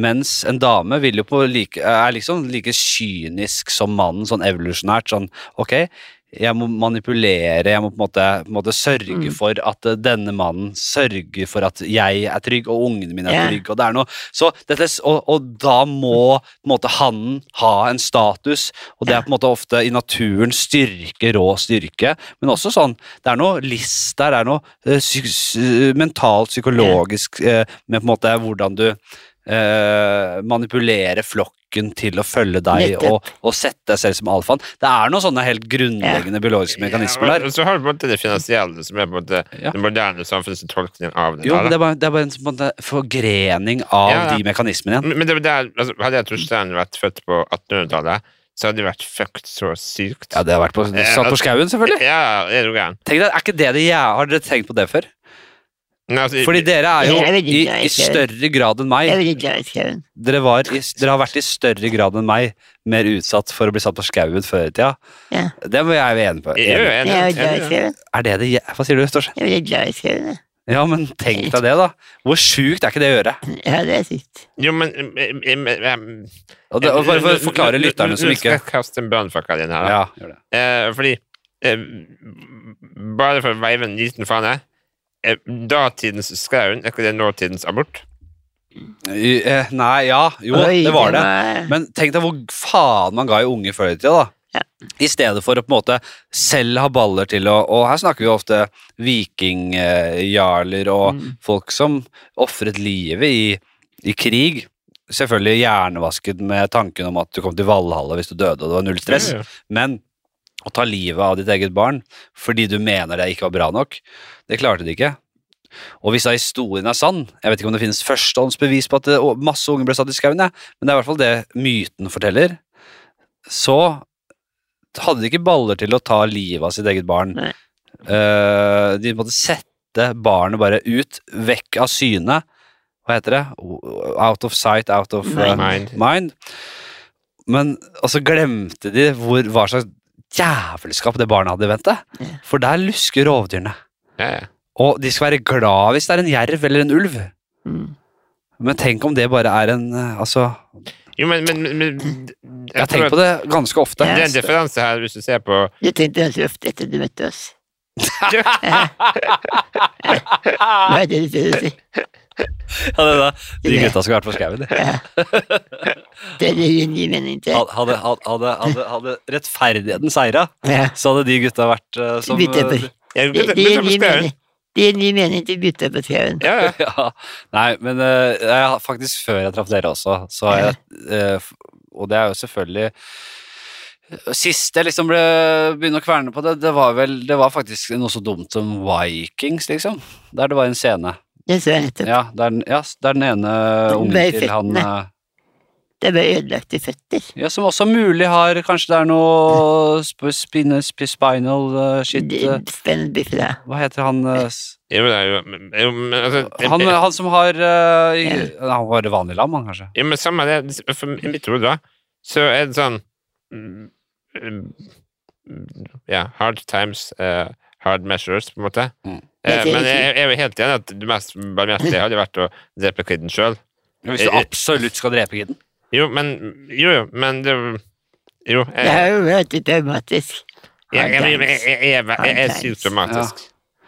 S1: mens en dame vil jo på like, er liksom like kynisk som mannen, sånn evolusjonært. Sånn ok, jeg må manipulere, jeg må på en måte, på en måte sørge
S2: Mm.
S1: for at eh, denne mannen sørger for at jeg er trygg, og ungene mine er
S2: Ja.
S1: trygge, og det er noe. Så dette, s- og, og da må på en måte hannen ha en status, og det er på en måte ofte i naturen styrke, rå styrke, men også sånn, det er noe list der, det er noe eh, psy psy- mentalt, psykologisk, eh, med på en måte hvordan du eh, manipulere flokken til å følge deg
S2: Nettopp.
S1: og, og sette deg selv som alfaen. Det er noen sånne helt grunnleggende biologiske mekanismer
S3: Ja,
S1: der.
S3: og så har du på en måte det finansielle, som er på en måte
S1: Ja.
S3: den moderne samfunnstolkningen av det.
S1: Jo, men
S3: der, da.
S1: det er bare, det er bare en sånn på en måte forgrening av
S3: Ja, ja.
S1: de mekanismene igjen.
S3: Men men det var der, altså, hadde jeg Torstein vært født på 1800-tallet, så hadde det vært fucked så sykt.
S1: Ja, det har vært på,
S3: Ja,
S1: satt på skauen, selvfølgelig.
S3: Ja, er du gæren?
S1: Eh, Tenk deg, er ikke det det jæ- Har dere tenkt på det før?
S3: Nei, altså,
S1: Fordi dere er
S2: Jeg er
S1: jo
S2: veldig
S1: i,
S2: glad i
S1: i
S2: skauen.
S1: større grad enn
S2: Jeg er
S1: meg.
S2: veldig glad i skauen.
S1: Dere, var i, dere har vært i større grad enn meg mer utsatt for å bli satt på skauen før i tida.
S2: Ja.
S1: Det må jeg være enig på.
S3: Jeg er jo
S1: Enig.
S2: Jeg
S3: enig,
S2: er veldig glad i
S3: enig, ja.
S2: skauen.
S1: Er det det jæ- Hva sier du, Stors?
S2: Jeg er veldig glad i skauen. jeg.
S1: Ja, men tenk deg det, da. Hvor sjukt er ikke det å gjøre?
S2: Ja, det er sykt.
S3: Jo, men em, em, em,
S1: Og, det, og bare for å
S3: Nå-
S1: forklare
S3: nå- nå-
S1: lytterne som
S3: Nå skal
S1: ikke
S3: jeg kaste en brannfakkel inn her. da.
S1: Ja, gjør det.
S3: Eh, fordi eh, Bare for å veive en liten fane. Eh, datidens skauen, er ikke det nåtidens abort?
S1: I- eh, Nei, ja, jo,
S2: Oi,
S1: det var det.
S2: var-
S1: Men tenk deg hvor faen man ga i unge før i tida, da.
S2: Ja.
S1: I stedet for å på en måte selv ha baller til å Og her snakker vi jo ofte vikingjarler og
S2: Mm.
S1: folk som ofret livet i, i krig. Selvfølgelig hjernevasket med tanken om at du kom til Valhalla hvis du døde, og det var null stress.
S3: Ja, ja.
S1: Men å ta livet av ditt eget barn fordi du mener det ikke var bra nok, det klarte de ikke. Og hvis da historien er sann, jeg vet ikke om det finnes førstehåndsbevis på at det, å, masse unge ble satt i skauen, jeg, men det er i hvert fall det myten forteller, så hadde de ikke baller til å ta livet av sitt eget barn.
S2: Nei.
S1: Eh, de måtte sette barnet bare ut, vekk av syne. Hva heter det? Out of sight, out of eh,
S3: Mind.
S1: mind. Men og så glemte de hvor, hva slags jævelskap det barnet hadde i vente.
S2: Ja.
S1: For der lusker rovdyrene.
S3: Ja, ja.
S1: Og de skal være glad hvis det er en jerv eller en ulv.
S2: Mm.
S1: Men tenk om det bare er en eh, Altså,
S3: Jo, men, men, men, men
S1: jeg har tenkt på det ganske ofte.
S3: Det er en differanse her, hvis du ser på
S2: Jeg tenkte ganske ofte etter du møtte oss.
S3: Ja.
S2: Hva er det du prøver å si?
S1: Ja, det da. De gutta skulle vært på skauen. de.
S2: Ja. Det gir en ny mening til.
S1: Hadde, hadde, hadde, hadde, hadde rettferdigheten seira,
S2: Ja.
S1: så hadde de gutta vært eh, som
S2: Bytte på.
S1: eh,
S3: Jeg
S2: Det
S3: begynte-
S2: det gir
S3: begynte
S2: en
S3: på
S2: ny
S3: skauen.
S2: mening. Det gir en ny mening til gutta på skauen.
S3: Ja, ja.
S1: ja. Nei, men eh, jeg, har faktisk før jeg traff dere også, så har jeg eh, f- Og det er jo selvfølgelig Sist jeg liksom ble begynne å kverne på det, det var vel Det var faktisk noe så dumt som Vikings, liksom. Der det var en scene.
S2: Det så jeg nettopp.
S1: Ja, der, den- ja, s- der den ene ungen
S2: ble i
S1: til han
S2: føttene.
S1: eh,
S2: Det ble ødelagt i føtter.
S1: Ja, som også mulig har Kanskje det er noe sp spine, sp spinal eh, shit eh,
S2: Spennende biffer, da.
S1: Hva heter han eh, s-
S3: Jo, men, det er jo, men- jo, men, altså,
S1: Han, eh,
S3: jeg-
S1: han som har eh, i-
S2: Ja.
S1: Han var vanlig lam, han kanskje?
S3: jo, men samme det, for i mitt hode, da, så er det sånn mm, mm, Ja, hard times, eh, hard measures, på en måte.
S1: Mm.
S3: Eh,
S2: Det er
S3: men jeg, jeg er jo helt enig at det mest barmhjertige hadde vært å drepe kiden sjøl.
S1: Hvis du
S3: Eh, eh.
S1: absolutt skal drepe kiden?
S3: Jo, men Jo, jo, men det Jo.
S2: Det har
S3: Jeg,
S2: jo vært litt traumatisk.
S3: jeg, jeg, jeg, jeg, jeg, jeg, jeg er
S2: Hard times.
S3: sykt dramatisk.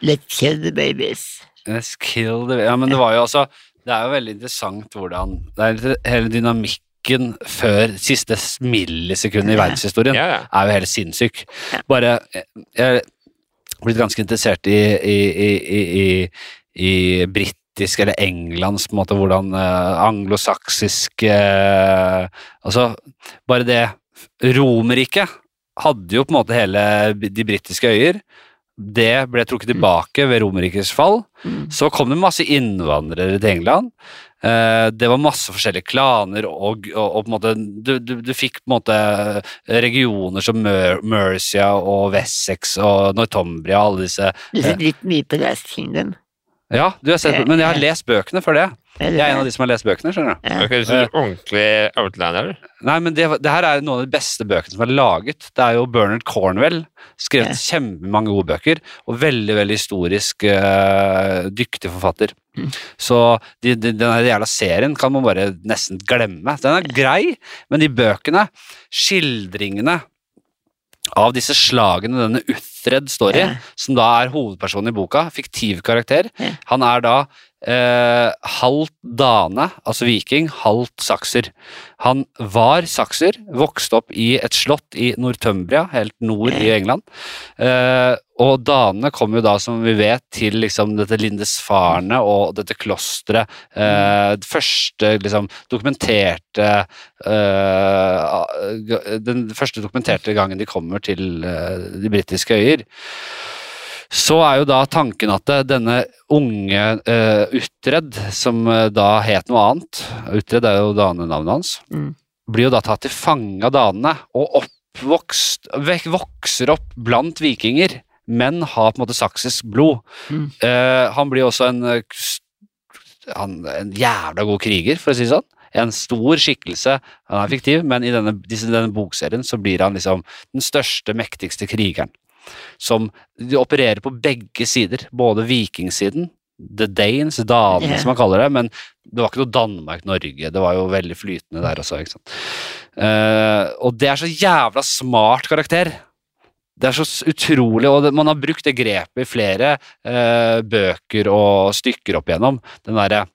S2: Let's kill the babies.
S1: Let's kill the Ja, men det var jo altså Det er jo veldig interessant hvordan Det er litt- hele dynamikken før siste millisekund i
S2: Ja.
S1: verdenshistorien
S3: Ja, ja.
S1: er jo helt sinnssyk.
S2: Ja.
S1: Bare Jeg jeg er blitt ganske interessert i, i, i, i, i, i brittisk eller englandsk på en måte, hvordan eh, anglosaksisk eh, Altså, bare det Romerriket hadde jo på en måte hele de britiske øyer. Det ble trukket tilbake ved Romerrikets fall.
S2: Mm.
S1: Så kom det masse innvandrere til England. Eh, det var masse forskjellige klaner, og, og, og på en måte, du, du, du fikk på en måte eh, regioner som Mer Mercia og Wessex og Northumbria og alle disse
S2: Du fikk litt mye på Last Kingdom.
S1: Ja, du har sett, men jeg har lest bøkene for det.
S2: Eller?
S1: Jeg er en av de som har lest bøkene. skjønner du.
S2: Ja.
S3: Ok, så du er ordentlig outlander?
S1: Nei, men det, det her er noen av de beste bøkene som er laget. Det er jo Bernard Cornwell. Skrevet kjempemange gode bøker, og veldig veldig historisk eh, dyktig forfatter.
S2: Mm.
S1: Så de, de, den her jævla serien kan man bare nesten glemme. Den er grei, men de bøkene, skildringene av disse slagene denne Uthred står i,
S2: Ja.
S1: som da er hovedpersonen i boka, fiktiv karakter,
S2: Ja.
S1: han er da eh, halvt dane, altså viking, halvt sakser. Han var sakser, vokste opp i et slott i Northumbria, helt nord i England. Eh, og danene kom jo da, som vi vet, til liksom dette Lindesfarne og dette klosteret. Eh, det første liksom dokumenterte eh, Den første dokumenterte gangen de kommer til eh, de britiske øyer. Så er jo da tanken at eh, denne unge eh, Utred, som eh, da het noe annet Utred er jo danenavnet hans,
S2: Mm.
S1: blir jo da tatt til fange av danene og oppvokst, vek, vokser opp blant vikinger, men har på en måte saksisk blod.
S2: Mm.
S1: Eh, han blir også en, eh, s- han, en jævla god kriger, for å si det sånn. En stor skikkelse. Han er fiktiv, men i denne, disse, denne bokserien så blir han liksom den største, mektigste krigeren. Som de opererer på begge sider, både vikingsiden, the Danes, danene
S2: Ja.
S1: som man kaller det, men det var ikke noe Danmark-Norge, det var jo veldig flytende der også, ikke sant. Eh, og det er så jævla smart karakter. Det er så s- utrolig, og det, man har brukt det grepet i flere eh, bøker og stykker opp igjennom. Den derre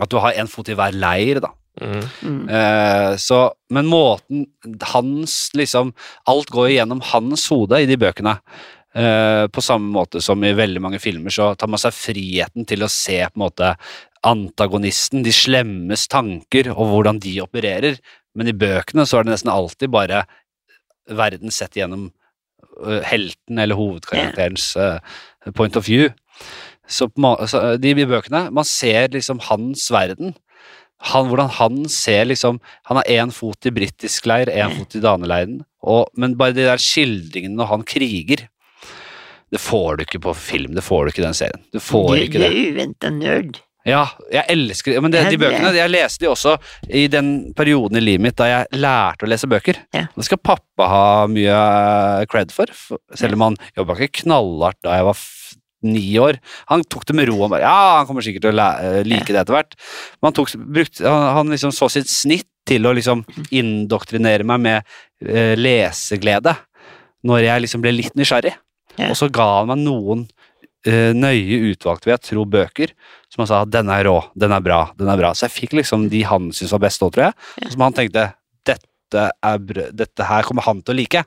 S1: at du har en fot i hver leir, da.
S3: Mm.
S2: Mm.
S1: Eh, så, men måten hans liksom Alt går igjennom hans hode i de bøkene. Eh, på samme måte som i veldig mange filmer så tar man seg friheten til å se på en måte antagonisten, de slemmes tanker og hvordan de opererer. Men i bøkene så er det nesten alltid bare verden sett gjennom eh, helten eller hovedkarakterens eh, point of view. Så, på ma- så eh, de, de bøkene Man ser liksom hans verden. Han, hvordan han ser liksom Han har én fot i britisk leir, én fot i daneleiren. Og, men bare de der skildringene når han kriger Det får du ikke på film. Det får du ikke i den serien. Du får
S2: Du,
S1: ikke
S2: du
S1: det.
S2: er uventa nerd.
S1: Ja, jeg elsker ja, Men det,
S2: Ja,
S1: de
S2: det-
S1: bøkene Jeg leste de også i den perioden i livet mitt da jeg lærte å lese bøker.
S2: Ja.
S1: Det skal pappa ha mye eh, cred for, for selv om han jobba ikke knallhardt da jeg var f- ni år. Han tok det med ro og bare Ja, han kommer sikkert til å læ- eh, like det etter hvert. Men han, tok, brukte, han, han liksom så sitt snitt til å liksom
S2: Mm.
S1: indoktrinere meg med eh, leseglede når jeg liksom ble litt nysgjerrig.
S2: Ja.
S1: Og så ga han meg noen eh, nøye utvalgte, vil jeg tro, bøker som han sa 'den er rå, den er bra', den er bra. Så jeg fikk liksom de han syntes var best òg, tror jeg.
S2: Ja.
S1: Som han tenkte dette, er, br- 'dette her kommer han til å like'.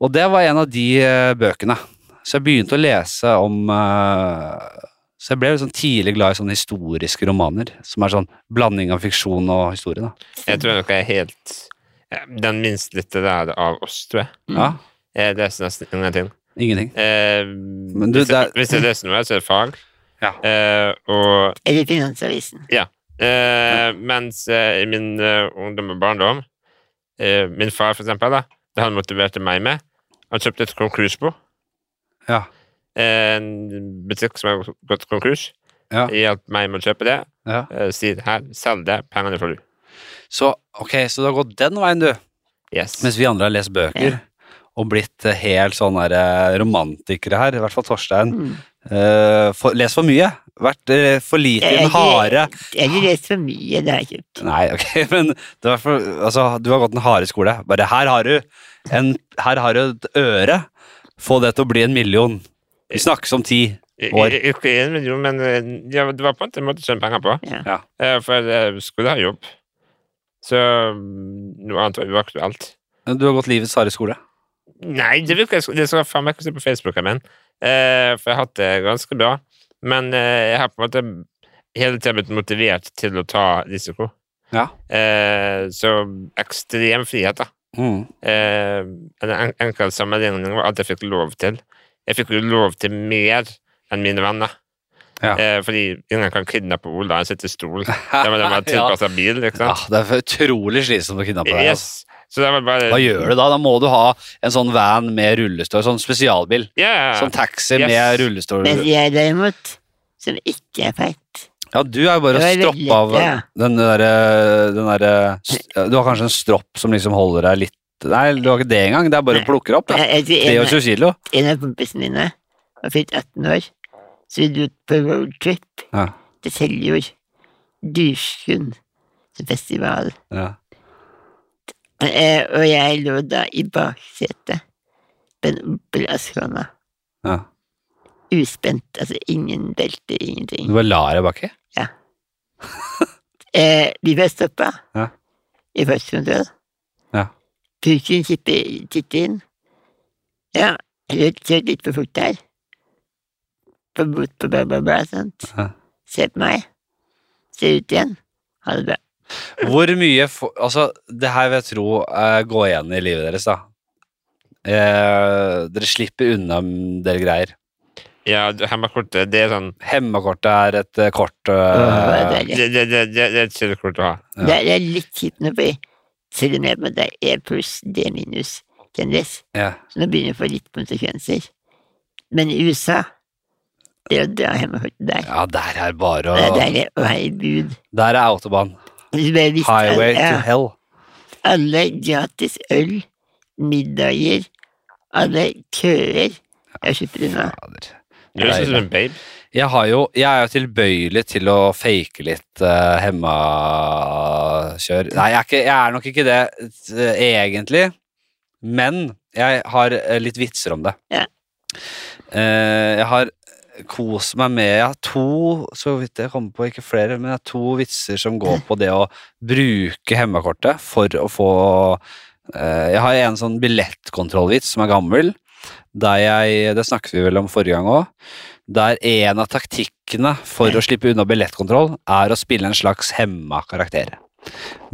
S1: Og det var en av de eh, bøkene. Så jeg begynte å lese om eh, Så jeg ble liksom tidlig glad i sånne historiske romaner, som er sånn blanding av fiksjon og historie. da.
S3: Jeg tror nok jeg er helt ja, den minst litterære av oss, tror jeg.
S2: Mm.
S1: Ja,
S3: Jeg leser nesten ingenting.
S1: ingenting.
S3: Eh,
S1: du,
S3: hvis, jeg,
S1: det er-
S3: hvis jeg leser noe, så er det fag.
S1: Ja.
S3: Eh, og,
S2: Eller Finansavisen.
S3: eh, mens eh, i min eh, ungdom og barndom eh, Min far, for eksempel, da, det han motiverte meg med Han kjøpte et konkursbo.
S1: Ja.
S3: En butikk som har gått konkurs.
S1: Ja.
S3: Hjalp meg med å kjøpe det.
S1: Ja.
S3: Eh, sier her, selg det, pengene får du.
S1: Så ok, så du har gått den veien, du.
S3: Yes.
S1: Mens vi andre har lest bøker. Og blitt eh, helt sånn der, eh, romantikere her, i hvert fall Torstein.
S2: Mm.
S1: Eh, for, les for mye. Vært eh, for lite i
S2: Jeg-
S1: den harde
S2: Jeg
S1: Ah.
S2: har lest for mye da jeg kjøpte.
S1: Nei, ok, men det var for, altså, du har gått den harde skole. Bare her har du, en, her har du et øre. Få det til å bli en million. Vi snakkes om ti. år.
S3: I- i- Ikke en million, men eh, ja, det var på en måte en måte å tjene penger på.
S2: Ja.
S1: Ja.
S3: Eh, For jeg skulle ha jobb. Så mm, noe annet var uaktuelt.
S1: Du har gått livets harde skole.
S3: Nei, det virker Det skal jeg faen meg ikke se på Facebooken min. Eh, For jeg har hatt det ganske bra. Men eh, jeg har på en måte hele tiden blitt motivert til å ta risiko.
S1: Ja.
S3: Eh, Så ekstrem frihet, da.
S1: Mm.
S3: Eh, en en- enkel sammenligning var at jeg fikk lov til. Jeg fikk jo lov til mer enn mine venner.
S1: Ja.
S3: Eh, fordi ingen kan kidnappe Ola. Han sitter i stol.
S1: Ja, Ah,
S3: Da må de ha tilpassa bil, ikke sant?
S1: det er utrolig slitsomt å kidnappe deg. Altså.
S3: Yes. Så det var bare
S1: Hva gjør du da? Da må du ha en sånn van med rullestol, sånn spesialbil.
S3: Ja,
S1: Sånn taxi
S3: Yes.
S1: med rullestol.
S2: Mens jeg derimot, som ikke er feit
S1: Ja, du er jo bare å
S2: Det var veldig
S1: stroppe av
S2: lett, ja.
S1: den derre den derre- s- ja, Du har kanskje en stropp som liksom holder deg litt Nei, du har ikke det engang. Det er bare å
S2: Nei.
S1: plukke opp. da.
S2: Jeg- jeg- jeg- en av-
S1: 23 kilo.
S2: En av kompisene mine var fylt 18 år, så vi dro på roadtrip
S1: Ja.
S2: til Seljord. Dyrskund som festival.
S1: Ja.
S2: Eh, og jeg lå da i baksetet på en Opel Ascona.
S1: Ja.
S2: Uspent, altså ingen belter, ingenting.
S1: Du bare lar deg baki?
S2: Eh, vi ble stoppa
S1: Ja.
S2: i fartskontroll.
S1: Ja.
S2: Purken tipper- titter inn. Ja, kjørt, kjørt litt for fort der. På bot på bla, bla, bla, sant.
S1: Ja.
S2: Se på meg. Se ut igjen. Ha det bra.
S1: Hvor mye for, Altså, det her vil jeg tro eh, går igjen i livet deres, da. Eh, dere slipper unna en del greier.
S3: ja du- hemmekortet, det er sånn
S1: Hemmekortet er et eh, kort
S2: Det var
S1: eh,
S2: deilig.
S3: Det, det, det, det, det er et kildekort å ha.
S1: Ja.
S2: Det, er- det er litt kjipt nå, for jeg- selv om jeg på en måte er E pluss, D minus kjendis,
S1: ja.
S2: så nå begynner jeg å få litt konsekvenser. Men i USA, det å dra hjem og høre der,
S1: ja, der er bare
S2: det er
S1: å
S2: deilig. Å, herregud.
S1: Der er autobahn.
S2: Hvis du bare visste at-
S1: Highway
S2: ja.
S1: to hell.
S2: Eh, alle gratis øl, middager, alle køer. Jeg slipper unna.
S1: Fader.
S3: Du er sånn som
S1: Deilig.
S3: en babe.
S1: Jeg, har jo, jeg er jo tilbøyelig til å fake litt uh, hemmakjør. Nei, jeg er, ikke, jeg er nok ikke det eh, egentlig, men jeg har eh, litt vitser om det.
S2: Ja.
S1: Eh, jeg har kost meg med Jeg har to, så vidt jeg kommer på, ikke flere, men jeg har to vitser som går på det å bruke hemmakortet for å få eh, Jeg har en sånn billettkontrollvits som er gammel. Der jeg, det snakket vi vel om forrige gang òg der en av taktikkene for å slippe unna billettkontroll er å spille en slags hemma karakter.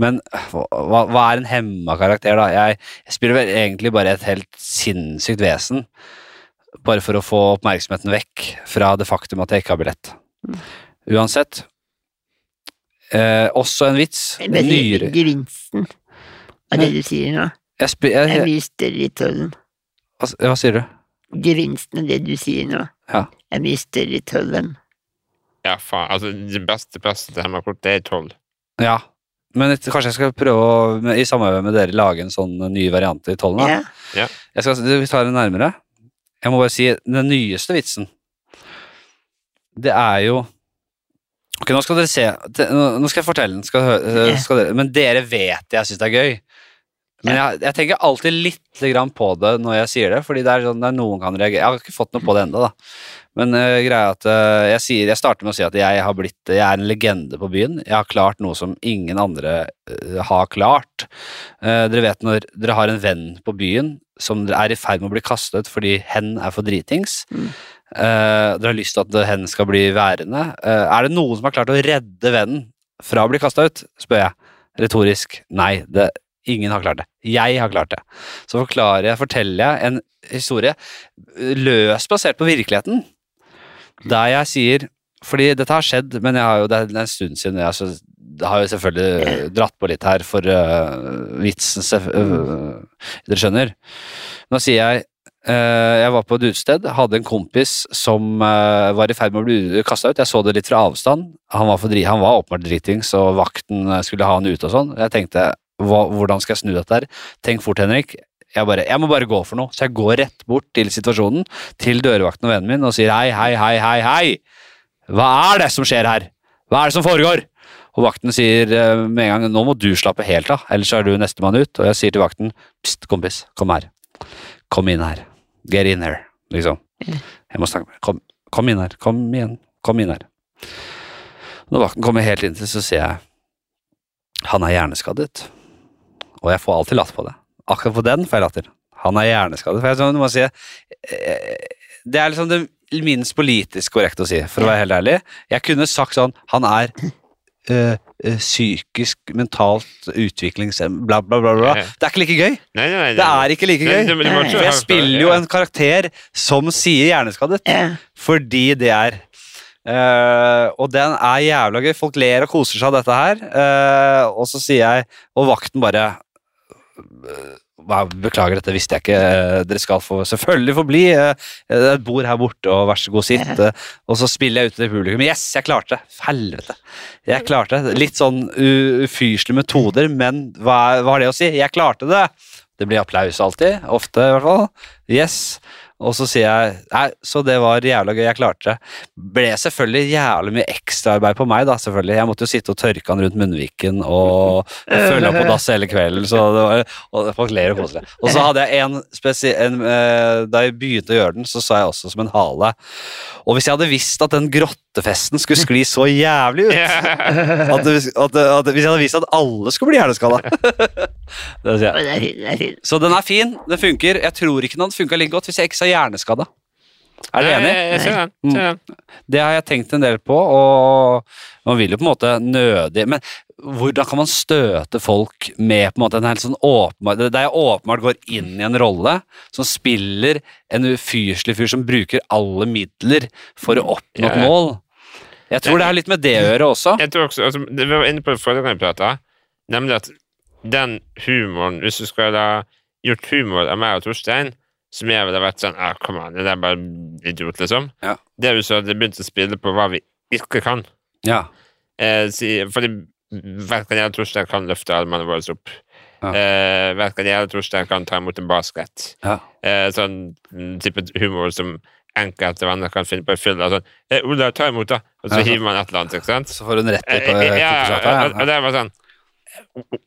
S1: Men hva, hva- hva er en hemma karakter, da? Jeg, jeg spiller vel egentlig bare et helt sinnssykt vesen. Bare for å få oppmerksomheten vekk fra det faktum at jeg ikke har billett. Uansett. Eh, også en vits.
S2: Men
S1: Nyere
S2: Gevinsten av det du sier nå,
S1: jeg spi,
S2: er
S1: jeg,
S2: mye større i tollen.
S1: hva, hva sier du?
S2: Gevinsten av det du sier nå,
S1: Ja.
S2: er mye større i tollen.
S3: Ja, faen. Altså, det beste, beste hemmekortet, det er tolv.
S1: Ja. Men et- kanskje jeg skal prøve å, med- i samarbeid med dere, lage en sånn eh, ny variant i tollen? da?
S2: Ja.
S1: Jeg skal, vi tar det nærmere. Jeg må bare si den nyeste vitsen. Det er jo Ok, nå skal dere se. Det- Nå nå skal jeg fortelle den. Skal, hø-
S2: Ja.
S1: skal dere, men dere vet jeg syns det er gøy. Men jeg, jeg tenker alltid litt grann på det når jeg sier det, fordi det er sånn det er noen kan reagere. Jeg har ikke fått noe på det ennå, da. Men eh, greia er at eh, jeg, sier, jeg starter med å si at jeg, har blitt, jeg er en legende på byen. Jeg har klart noe som ingen andre eh, har klart. Eh, dere vet når dere har en venn på byen som dere er i ferd med å bli kastet fordi hen er for dritings.
S2: Mm.
S1: Eh, dere har lyst til at hen skal bli værende. Eh, er det noen som har klart å redde vennen fra å bli kasta ut? spør jeg. Retorisk. Nei, det, ingen har klart det. Jeg har klart det. Så forklarer jeg, forteller jeg en historie eh, løst basert på virkeligheten, der jeg sier fordi dette har skjedd, men jeg har jo, det er en stund siden jeg så, det har jo selvfølgelig eh, dratt på litt her for eh, vitsen, selv- eh, dere skjønner. Nå sier jeg eh, Jeg var på et utested, hadde en kompis som eh, var i ferd med å bli kasta ut. Jeg så det litt fra avstand. Han var, for dri han var åpenbart dritings, og vakten eh, skulle ha han ut og sånn. Jeg tenkte hva, hvordan skal jeg snu dette her? Tenk fort, Henrik. Jeg, bare, jeg må bare gå for noe. Så jeg går rett bort til situasjonen, til dørvakten og vennen min, og sier hei, hei, hei, hei, hei. Hva er det som skjer her? Hva er det som foregår? Og vakten sier eh, med en gang nå må du slappe helt av, ellers er du nestemann ut. Og jeg sier til vakten pst, kompis, kom her. Kom inn her. Get in here, liksom. Jeg må snakke med Kom, kom inn her. Kom igjen. Kom inn her. Når vakten kommer helt inn til, så ser jeg han er hjerneskadet. Og jeg får alltid latt på det. Akkurat på den får jeg latter. Han er hjerneskadet. For jeg sånn, må si, eh, det er liksom det minst politisk korrekte å si, for å være helt ærlig. Jeg kunne sagt sånn Han er eh, eh, psykisk, mentalt utviklingshemmet, bla, bla, bla, bla.
S3: Ja.
S1: Det er ikke like gøy.
S3: Nei, nei, nei.
S1: Det er ikke like
S3: Nei, du-
S1: gøy.
S3: du må ikke-
S1: For jeg spiller jo en karakter som sier hjerneskadet,
S2: Ja.
S1: fordi det er Eh, og den er jævla gøy. Folk ler og koser seg av dette her. Eh, og så sier jeg, og vakten bare eh, «Hva, Beklager, dette visste jeg ikke. Eh, dere skal få, selvfølgelig få bli. Eh, det er et bord her borte, og vær så god, sitt. Eh, og så spiller jeg ut til publikum. Yes, jeg klarte det! Helvete. Jeg klarte det. Litt sånn u- ufyselige metoder, men hva, er- hva har det å si? Jeg klarte det! Det blir applaus alltid. Ofte, i hvert fall. Yes. Og så sier jeg Nei, så det var jævla gøy. Jeg klarte det ble selvfølgelig jævlig mye ekstraarbeid på meg, da, selvfølgelig. Jeg måtte jo sitte og tørke han rundt munnviken og, og følge opp på dass hele kvelden. Så det var, og folk ler og koser seg. Og så hadde jeg en spesi- en, eh, Da jeg begynte å gjøre den, så sa jeg også som en hale Og hvis jeg hadde visst at den grottefesten skulle skli så jævlig ut at, det- at, det- at, det- Hvis jeg hadde visst at alle skulle bli hjerneskada Det sier jeg.
S2: Og det er fint, det er fint.
S1: Så den er fin, den funker. Jeg tror ikke den hadde funka like godt hvis jeg ikke sa hjerneskada. Er du enig? Mm.
S3: Jeg ser den. ser den.
S1: Det har jeg tenkt en del på, og man vil jo på en måte nødig Men hvordan kan man støte folk med på en måte en helt sånn åpenbar Der jeg åpenbart går inn i en rolle som spiller en ufyrslig fyr som bruker alle midler for å oppnå
S3: Ja,
S1: et
S3: ja.
S1: mål. Jeg tror det har litt med det å gjøre også.
S3: Jeg tror også, altså, det Vi var inne på det forrige gang vi pratet, nemlig at den humoren Hvis du skulle ha gjort humor av meg og Torstein, som jeg ville vært sånn ah, Kom an, det der er bare idiot, liksom.
S1: Ja.
S3: Det er jo så at det begynte å spille på hva vi ikke kan.
S1: Ja.
S3: Eh, si, fordi hverken jeg eller Torstein kan løfte armene våre opp.
S1: Ja.
S3: Eh, hverken jeg eller Torstein kan ta imot en basket.
S1: Ja.
S3: Eh, sånn mm, type humor som enkelte venner kan finne på i fylla. Sånn, eh, 'Ola, ta imot, da!' Og så
S1: Ja.
S3: hiver man et eller annet. ikke sant?
S1: Så får hun rett i
S3: Eh,
S1: på
S3: eh, ja,
S1: kukkesjappa,
S3: og- og det var sånn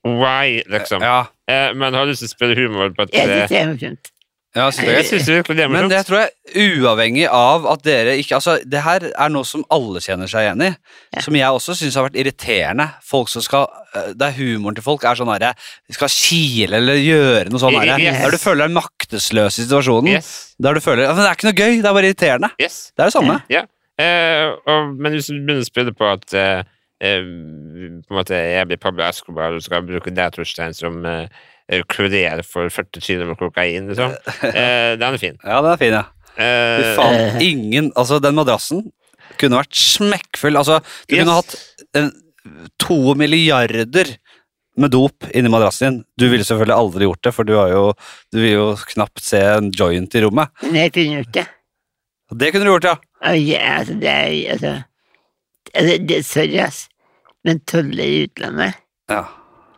S3: Why, liksom.
S1: Ja,
S3: Eh, men har du lyst til å spille humor på et
S2: Jeg
S3: eh,
S2: synes det er morsomt.
S1: ja, så det
S3: Jeg syns virkelig det er
S1: Men
S3: morsomt.
S1: det tror jeg uavhengig av at dere ikke Altså, det her er noe som alle kjenner seg igjen i.
S2: Ja.
S1: Som jeg også syns har vært irriterende. Folk som skal øh, Der humoren til folk er sånn herre Skal kile eller gjøre noe sånn herre.
S3: Yes.
S1: Der du føler deg maktesløs i situasjonen.
S3: Yes.
S1: Der du føler ja, Men det er ikke noe gøy, det er bare irriterende.
S3: yes.
S1: Det er det samme.
S3: Eh, og, men hvis du begynner å spille på at eh, eh, på en måte jeg blir Pablo Escobar, og du skal bruke deg, Torstein, som eh, eh, kurer for 40 kg med kokain, liksom. Eh, den er fin.
S1: Ja, den er fin, ja. Fy
S3: Eh,
S1: faen. Ingen Altså, den madrassen kunne vært smekkfull. Altså, du
S3: yes.
S1: kunne hatt en, to milliarder med dop inni madrassen din. Du ville selvfølgelig aldri gjort det, for du, har jo, du vil jo knapt se en joint i rommet.
S2: Men jeg kunne gjort det.
S1: Og Det kunne du gjort, ja.
S2: Og jeg, altså, det er altså, altså det, Sorry, ass. Men toller i utlandet
S1: ja.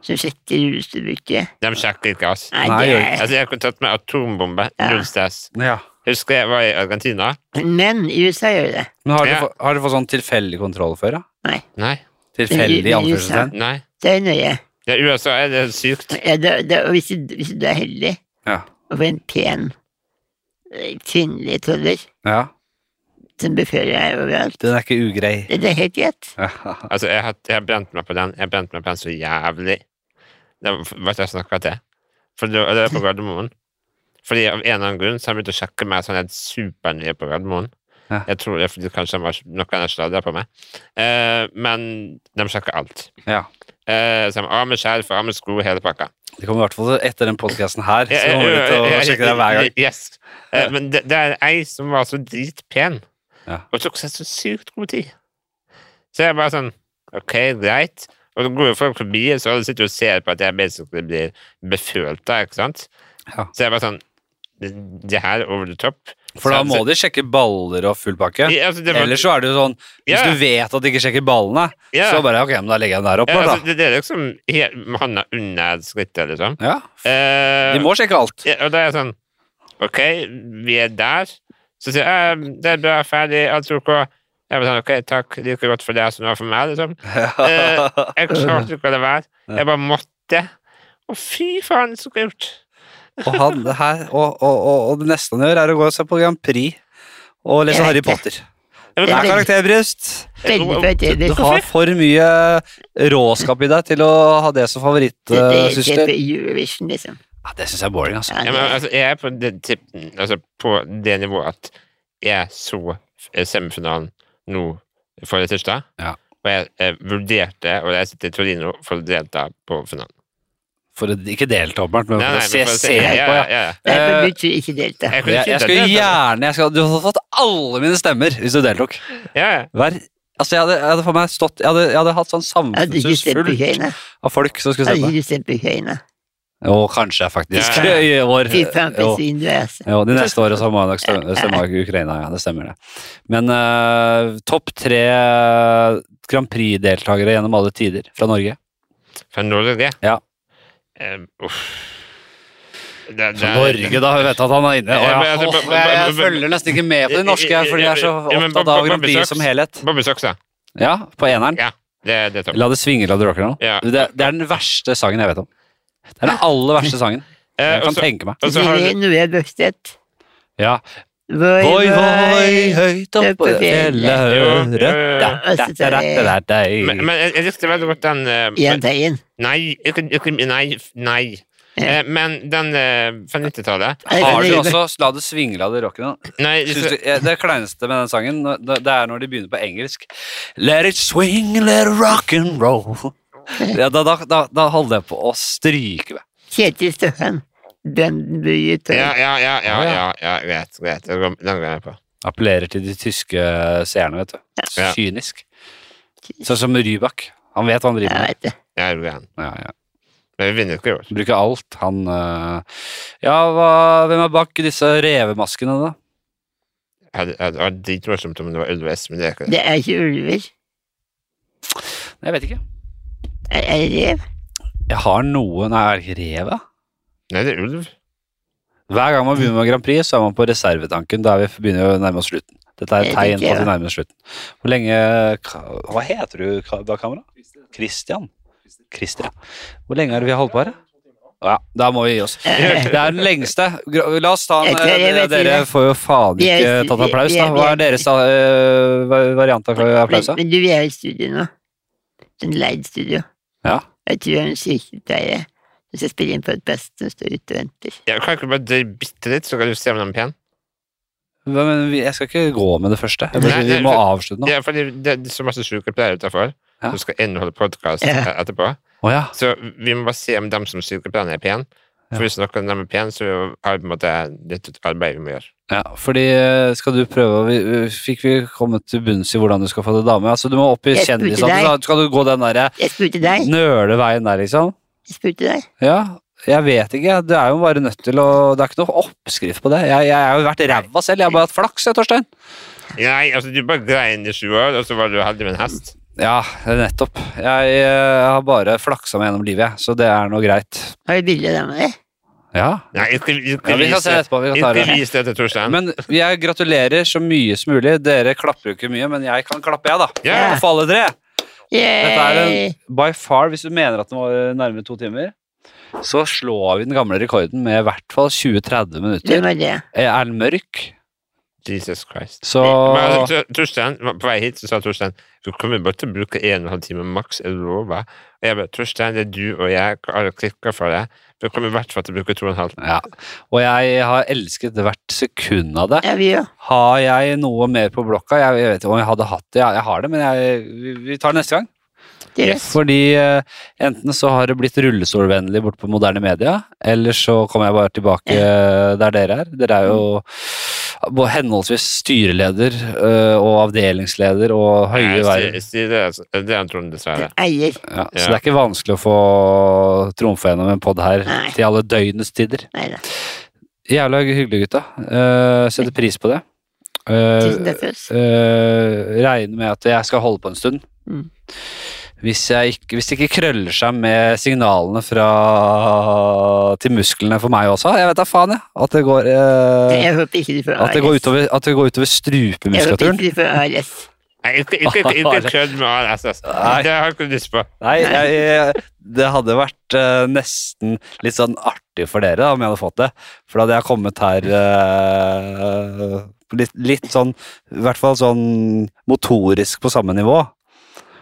S2: som sjekker rullestolbrukere
S3: De sjekker ikke, ass.
S2: Nei,
S1: Nei,
S2: det
S1: gjør
S2: er
S3: Altså, jeg har kontakt med atombombe.
S2: Ja.
S3: Null stress.
S1: ja.
S3: Husker jeg var i Argentina.
S2: Men i USA gjør det.
S1: Men har,
S3: Ja.
S1: du, få- har du fått sånn tilfeldig kontroll før, da?
S3: Nei.
S1: Tilfeldig
S2: I- i
S1: anførselstegn?
S3: nei.
S2: Det er nøye.
S3: Ja, USA er det sykt.
S2: Ja, da, da, og hvis, du- hvis du er heldig
S1: Ja.
S2: og får en pen eh, kvinnelig toller
S1: ja.
S2: som befører deg overalt,
S1: Den er ikke ugrei.
S2: det det er helt greit.
S1: Ja.
S3: Altså, jeg har, jeg har brent meg på den. Jeg har brent meg på den så jævlig. Det var jeg snakka til. For det, det var på Gardermoen. Fordi av en eller annen grunn så har jeg begynt å sjekke meg sånn helt supernye på Gardermoen.
S1: Ja.
S3: Jeg tror det er fordi kanskje de har noen har sladra på meg. Eh, men de sjekker alt.
S1: Ja.
S3: Eh, så de har med skjerf, har med sko, hele pakka.
S1: Det kommer i hvert fall etter den podkasten her. Så kommer vi til å
S3: Jeg- jeg-
S1: sjekke deg hver gang.
S3: Yes. Eh, men det, det er ei som var så dritpen,
S1: Ja.
S3: og tok seg så sykt god tid. Så jeg bare sånn Ok, greit. Og så går jo folk forbi, så alle sitter og ser på at jeg basically blir befølt da, ikke sant?
S1: Ja.
S3: Så jeg bare sånn Det det her er over the top.
S1: For da må de sjekke baller og full pakke.
S3: Ja, altså, det var-
S1: Ellers så er det jo sånn Hvis
S3: Ja.
S1: du vet at de ikke sjekker ballene,
S3: Ja.
S1: så bare ok, men da legger jeg den der opp.
S3: Ja,
S1: da,
S3: altså, det, det er liksom helt, handa under skrittet, liksom.
S1: da. Ja,
S3: Eh,
S1: De må sjekke alt.
S3: Ja, og da er jeg sånn Ok, vi er der. Så sier jeg «Eh, det er bra, ferdig, alt ok. Jeg var sånn, ok, takk, like godt for deg som det var for meg, liksom. Eh, jeg klarte ikke å la være. Jeg bare måtte. Å, fy faen, så kult.
S1: Og, han, det her, og, og, og, og det neste han gjør, er å gå og se på Grand Prix og lese
S2: Jeg
S1: Harry
S2: vet det.
S1: Potter.
S3: Jeg
S1: Det er
S3: vet-
S1: karakterbrist.
S2: Veldig
S1: Du
S2: fortjenlig.
S1: har for mye råskap i deg til å ha det som
S2: Det er
S1: favorittsystem.
S2: type Eurovision, liksom.
S1: eh, Ja, det syns jeg er boring, altså.
S2: Ja,
S3: Ja, men,
S2: det-
S3: altså, jeg er på det, tipp- altså, på det nivået at jeg så f- eh, semifinalen nå forrige tirsdag.
S1: Ja.
S3: Og jeg, eh, vurderte å reise til Torino for å delta på finalen.
S1: For å ikke delta, Bernt, men for å
S3: Nei, nei, men
S1: se,
S3: for å
S1: se
S3: ja,
S1: på.
S3: ja,
S1: Ja.
S3: ja.
S2: Nei, for
S1: Eh,
S2: Gud skyld, ikke delta.
S3: Jeg kunne
S1: Jeg,
S3: ikke
S1: jeg skulle
S3: deltatt.
S1: gjerne jeg skal, Du hadde fått alle mine stemmer hvis du deltok.
S3: Ja, ja.
S1: Hver, altså, jeg hadde, jeg hadde for meg stått Jeg hadde, jeg hadde hatt sånn
S2: Hadde ikke
S1: samfunnshus
S2: stemt på
S1: fullt
S2: Kina.
S1: av folk som skulle
S2: Hadde
S1: stemme.
S2: ikke stemt på Kina.
S1: Jo, kanskje, faktisk.
S3: Ja.
S1: I år.
S2: Fy faen,
S1: Eh, Jo.
S2: for svin du er, altså.
S1: Jo, de neste årene så må jeg nok stemme, stemme av Ukraina, ja, det stemmer det. Men eh, topp tre eh, Grand Prix-deltakere gjennom alle tider fra Norge.
S3: Fra Norge?
S1: Ja.
S3: Em, uff. Det, det,
S1: Fra Norge, da. Jeg vet at han er inne. Og
S3: Ja, men
S1: jeg,
S3: altså,
S1: åh,
S3: ba- ba-
S1: jeg, jeg
S3: ba- ba-
S1: følger nesten ikke med på de norske, her, fordi jeg er så
S3: Ja, men
S1: opptatt
S3: ba-
S1: av
S3: ba-
S1: Grand
S3: Bobby
S1: Prix
S3: Socks.
S1: som helhet.
S3: Bobby Saksa.
S1: Ja, på eneren.
S3: Det, det er topp.
S1: La det svinge, la det rocker nå.
S3: Ja.
S1: Det, det er den verste sangen jeg vet om. Det er den aller verste sangen
S3: Eh,
S1: jeg kan
S3: også-
S1: tenke meg.
S3: Og så har
S2: Siri
S3: du-
S2: Nora Børstedt.
S1: Ja.
S2: Voi,
S1: Voi, voi,
S2: voi.
S1: høyt oppe
S2: oppe
S1: fjellet
S3: Jo, jo,
S1: hører
S3: jo.
S1: Da, da, da, da, da, da.
S3: men, men jeg, jeg likte veldig godt den eh,
S2: Jahn Teigen.
S3: Nei, ikke, ikke, nei, f- nei.
S2: Ja.
S3: Eh, men den eh, fra 90-tallet
S2: Nei,
S1: Har
S2: men
S1: du
S2: det-
S1: også La det svinge, la det rocker nå?
S3: Nei,
S1: Synes du, eh, det kleineste med den sangen, nå- det det er når de begynner på engelsk. Let it swing, let it rock and roll. Ja, da, da, da, da holder jeg på å stryke meg.
S2: Kjetil Støhan. Brønnby Torg.
S3: ja, ja, ja, ja,
S1: Å, ja.
S3: ja, ja, greit, greit. Den går- den går jeg på.
S1: Appellerer til de tyske seerne, vet du.
S3: Ja.
S1: Kynisk. Sånn som Rybak. Han vet hva han driver
S2: Jeg
S1: med.
S2: vet det.
S3: Ja, jeg går igjen.
S1: Ja, ja.
S3: Men vi vinner ikke i år.
S1: Han Bruker alt. Han eh, Ja, hva, hvem er bak disse revemaskene, da?
S3: Jeg hadde- jeg hadde dritmorsomt om det var Ulv S, men det er ikke det.
S2: Det er ikke ulver.
S1: Jeg vet ikke.
S2: Er er det rev?
S1: Jeg har noe Nei, er det ikke rev, da?
S3: Nei, det er ulv.
S1: Hver gang man begynner med Grand Prix, så er man på reservetanken. Da er vi begynner å nærme oss slutten. Dette er et
S2: Det
S1: tegn
S2: tenker
S1: på at vi
S2: jeg.
S1: nærmer oss slutten. Hvor lenge ka- Hva heter du ka- bak kamera? Christian? Christer, ja. Hvor lenge er det vi har holdt på her? da? Ja, da må vi gi oss.
S2: Eh,
S1: Det er den lengste. Gra- La oss ta en
S2: Jeg tror jeg
S1: eh,
S2: vet
S1: Dere
S2: det.
S1: får jo faen
S2: Vi er i
S1: ikke
S2: stu-
S1: tatt
S2: vi-
S1: applaus,
S2: vi er-
S1: da. Hva
S2: vi
S1: er
S2: er-
S1: deres eh, va- variant av applaus, da?
S2: Men, men du, vi er i studio nå. En leid studio.
S1: Ja.
S2: Jeg tror jeg er en sykepleier som skal spille inn podkast som står ute og venter.
S3: Jeg kan ikke bare drøye bitte litt, så kan du se om den er pen.
S1: Hva- Men vi- jeg skal ikke gå med det første. Jeg
S3: Nei,
S1: bare- Vi
S3: det-
S1: må avslutte nå.
S3: Ja, for det, det er så masse sykepleiere utenfor
S1: Ja.
S3: som skal inneholde podkast
S2: Ja.
S3: etterpå.
S1: Å ja.
S3: Så vi må bare se om dem som sykepleiere er pen. For hvis noen av dem er pen, så har vi på en måte litt arbeid vi må gjøre.
S1: Ja, fordi eh, skal du prøve å- vi, vi- Fikk vi kommet til bunns i hvordan du skal få deg dame? Altså, du må opp i
S2: Jeg spurte deg.
S1: kjendisene. Skal du gå den derre
S2: Jeg spurte deg.
S1: nøleveien der, liksom?
S2: Jeg spurte deg.
S1: Ja, jeg vet ikke. Det er jo bare nødt til å Det er ikke noe oppskrift på det. Jeg, jeg har jo vært ræva selv. Jeg har bare hatt flaks, jeg, Torstein.
S3: Nei, altså, du bare grein i sju år, og så var du heldig med en hest.
S1: Ja, nettopp. Jeg, eh, har bare flaksa meg gjennom livet, jeg. Så det er nå greit.
S2: Har du bilde av deg med det?
S1: Ja.
S3: Nei, ikke, ikke,
S1: ja vi kan se
S3: vise-
S1: etterpå. Vi kan ta det.
S3: ikke vis det til Torstein.
S1: Men jeg gratulerer så mye som mulig. Dere klapper jo ikke mye, men jeg kan klappe, jeg, da.
S3: Ja.
S1: For alle tre. Dette er
S2: Yay!
S1: en by far, hvis du mener at den var nærmere to timer, så slår vi den gamle rekorden med i hvert fall 20-30 minutter.
S2: Hvem er det?
S1: Er den mørk,
S3: Jesus Christ.
S1: så
S3: Men altså, Tor- Torstein, på vei hit så sa Torstein du kommer bare til å bruke en og en halv time maks, jeg lover. Og jeg bare Torstein, det er du og jeg, har klikka for deg. Du kommer i hvert fall til å bruke to og en halv.
S1: ja. Og jeg har elsket hvert sekund av det.
S2: Ja, vi òg.
S1: Har jeg noe mer på blokka? Jeg, jeg vet ikke om jeg hadde hatt det. Jeg, jeg har det, men jeg, vi, vi tar det neste gang.
S2: Yes.
S1: Fordi eh, enten så har det blitt rullestolvennlig borte på moderne media, eller så kommer jeg bare tilbake eh, der dere er. Dere er jo
S2: Mm.
S1: både henholdsvis styreleder eh, og avdelingsleder og høye
S3: Jeg sier-
S1: verv.
S3: jeg sier Det altså, det er han Trond, dessverre.
S2: Eier.
S1: Ja,
S3: Ja.
S1: så det er ikke vanskelig å få trumfa gjennom en pod her
S2: Nei.
S1: til alle døgnets tider.
S2: Nei da.
S1: Jævla hyggelig, gutta. Eh, setter pris på det. Eh,
S2: Tusen takk for oss.
S1: Eh, regner med at jeg skal holde på en stund.
S2: Mm.
S1: Hvis, jeg ikke, hvis det ikke krøller seg med signalene fra til musklene for meg også. Jeg vet da faen, jeg. At det går, eh,
S2: Jeg håper ikke du får
S1: at det går utover, at det går utover
S2: Jeg håper
S1: strupemuskulaturen.
S2: ikke du får ALS.
S3: Nei, ikke, ikke, ikke, ikke kødd med ALSS.
S1: Nei.
S3: Det har jeg ikke lyst på.
S1: Nei, jeg, jeg, det hadde vært eh, nesten litt sånn artig for dere da, om jeg hadde fått det. For da hadde jeg kommet her eh, litt, litt sånn I hvert fall sånn motorisk på samme nivå.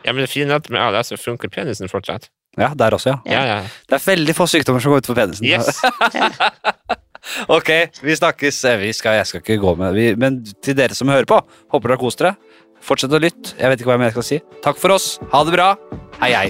S3: Ja, men det fine er at med ALS så funker penisen fortsatt.
S1: Ja, der også, ja.
S3: Ja, ja.
S1: Det er veldig få sykdommer som går utenfor penisen.
S3: Yes.
S1: Ok, vi snakkes. Eh, Vi skal, jeg skal ikke gå med vi, Men til dere som hører på, håper dere har kost dere. Fortsett å lytte. Jeg vet ikke hva jeg mer skal si. Takk for oss. Ha det bra. Hei, hei.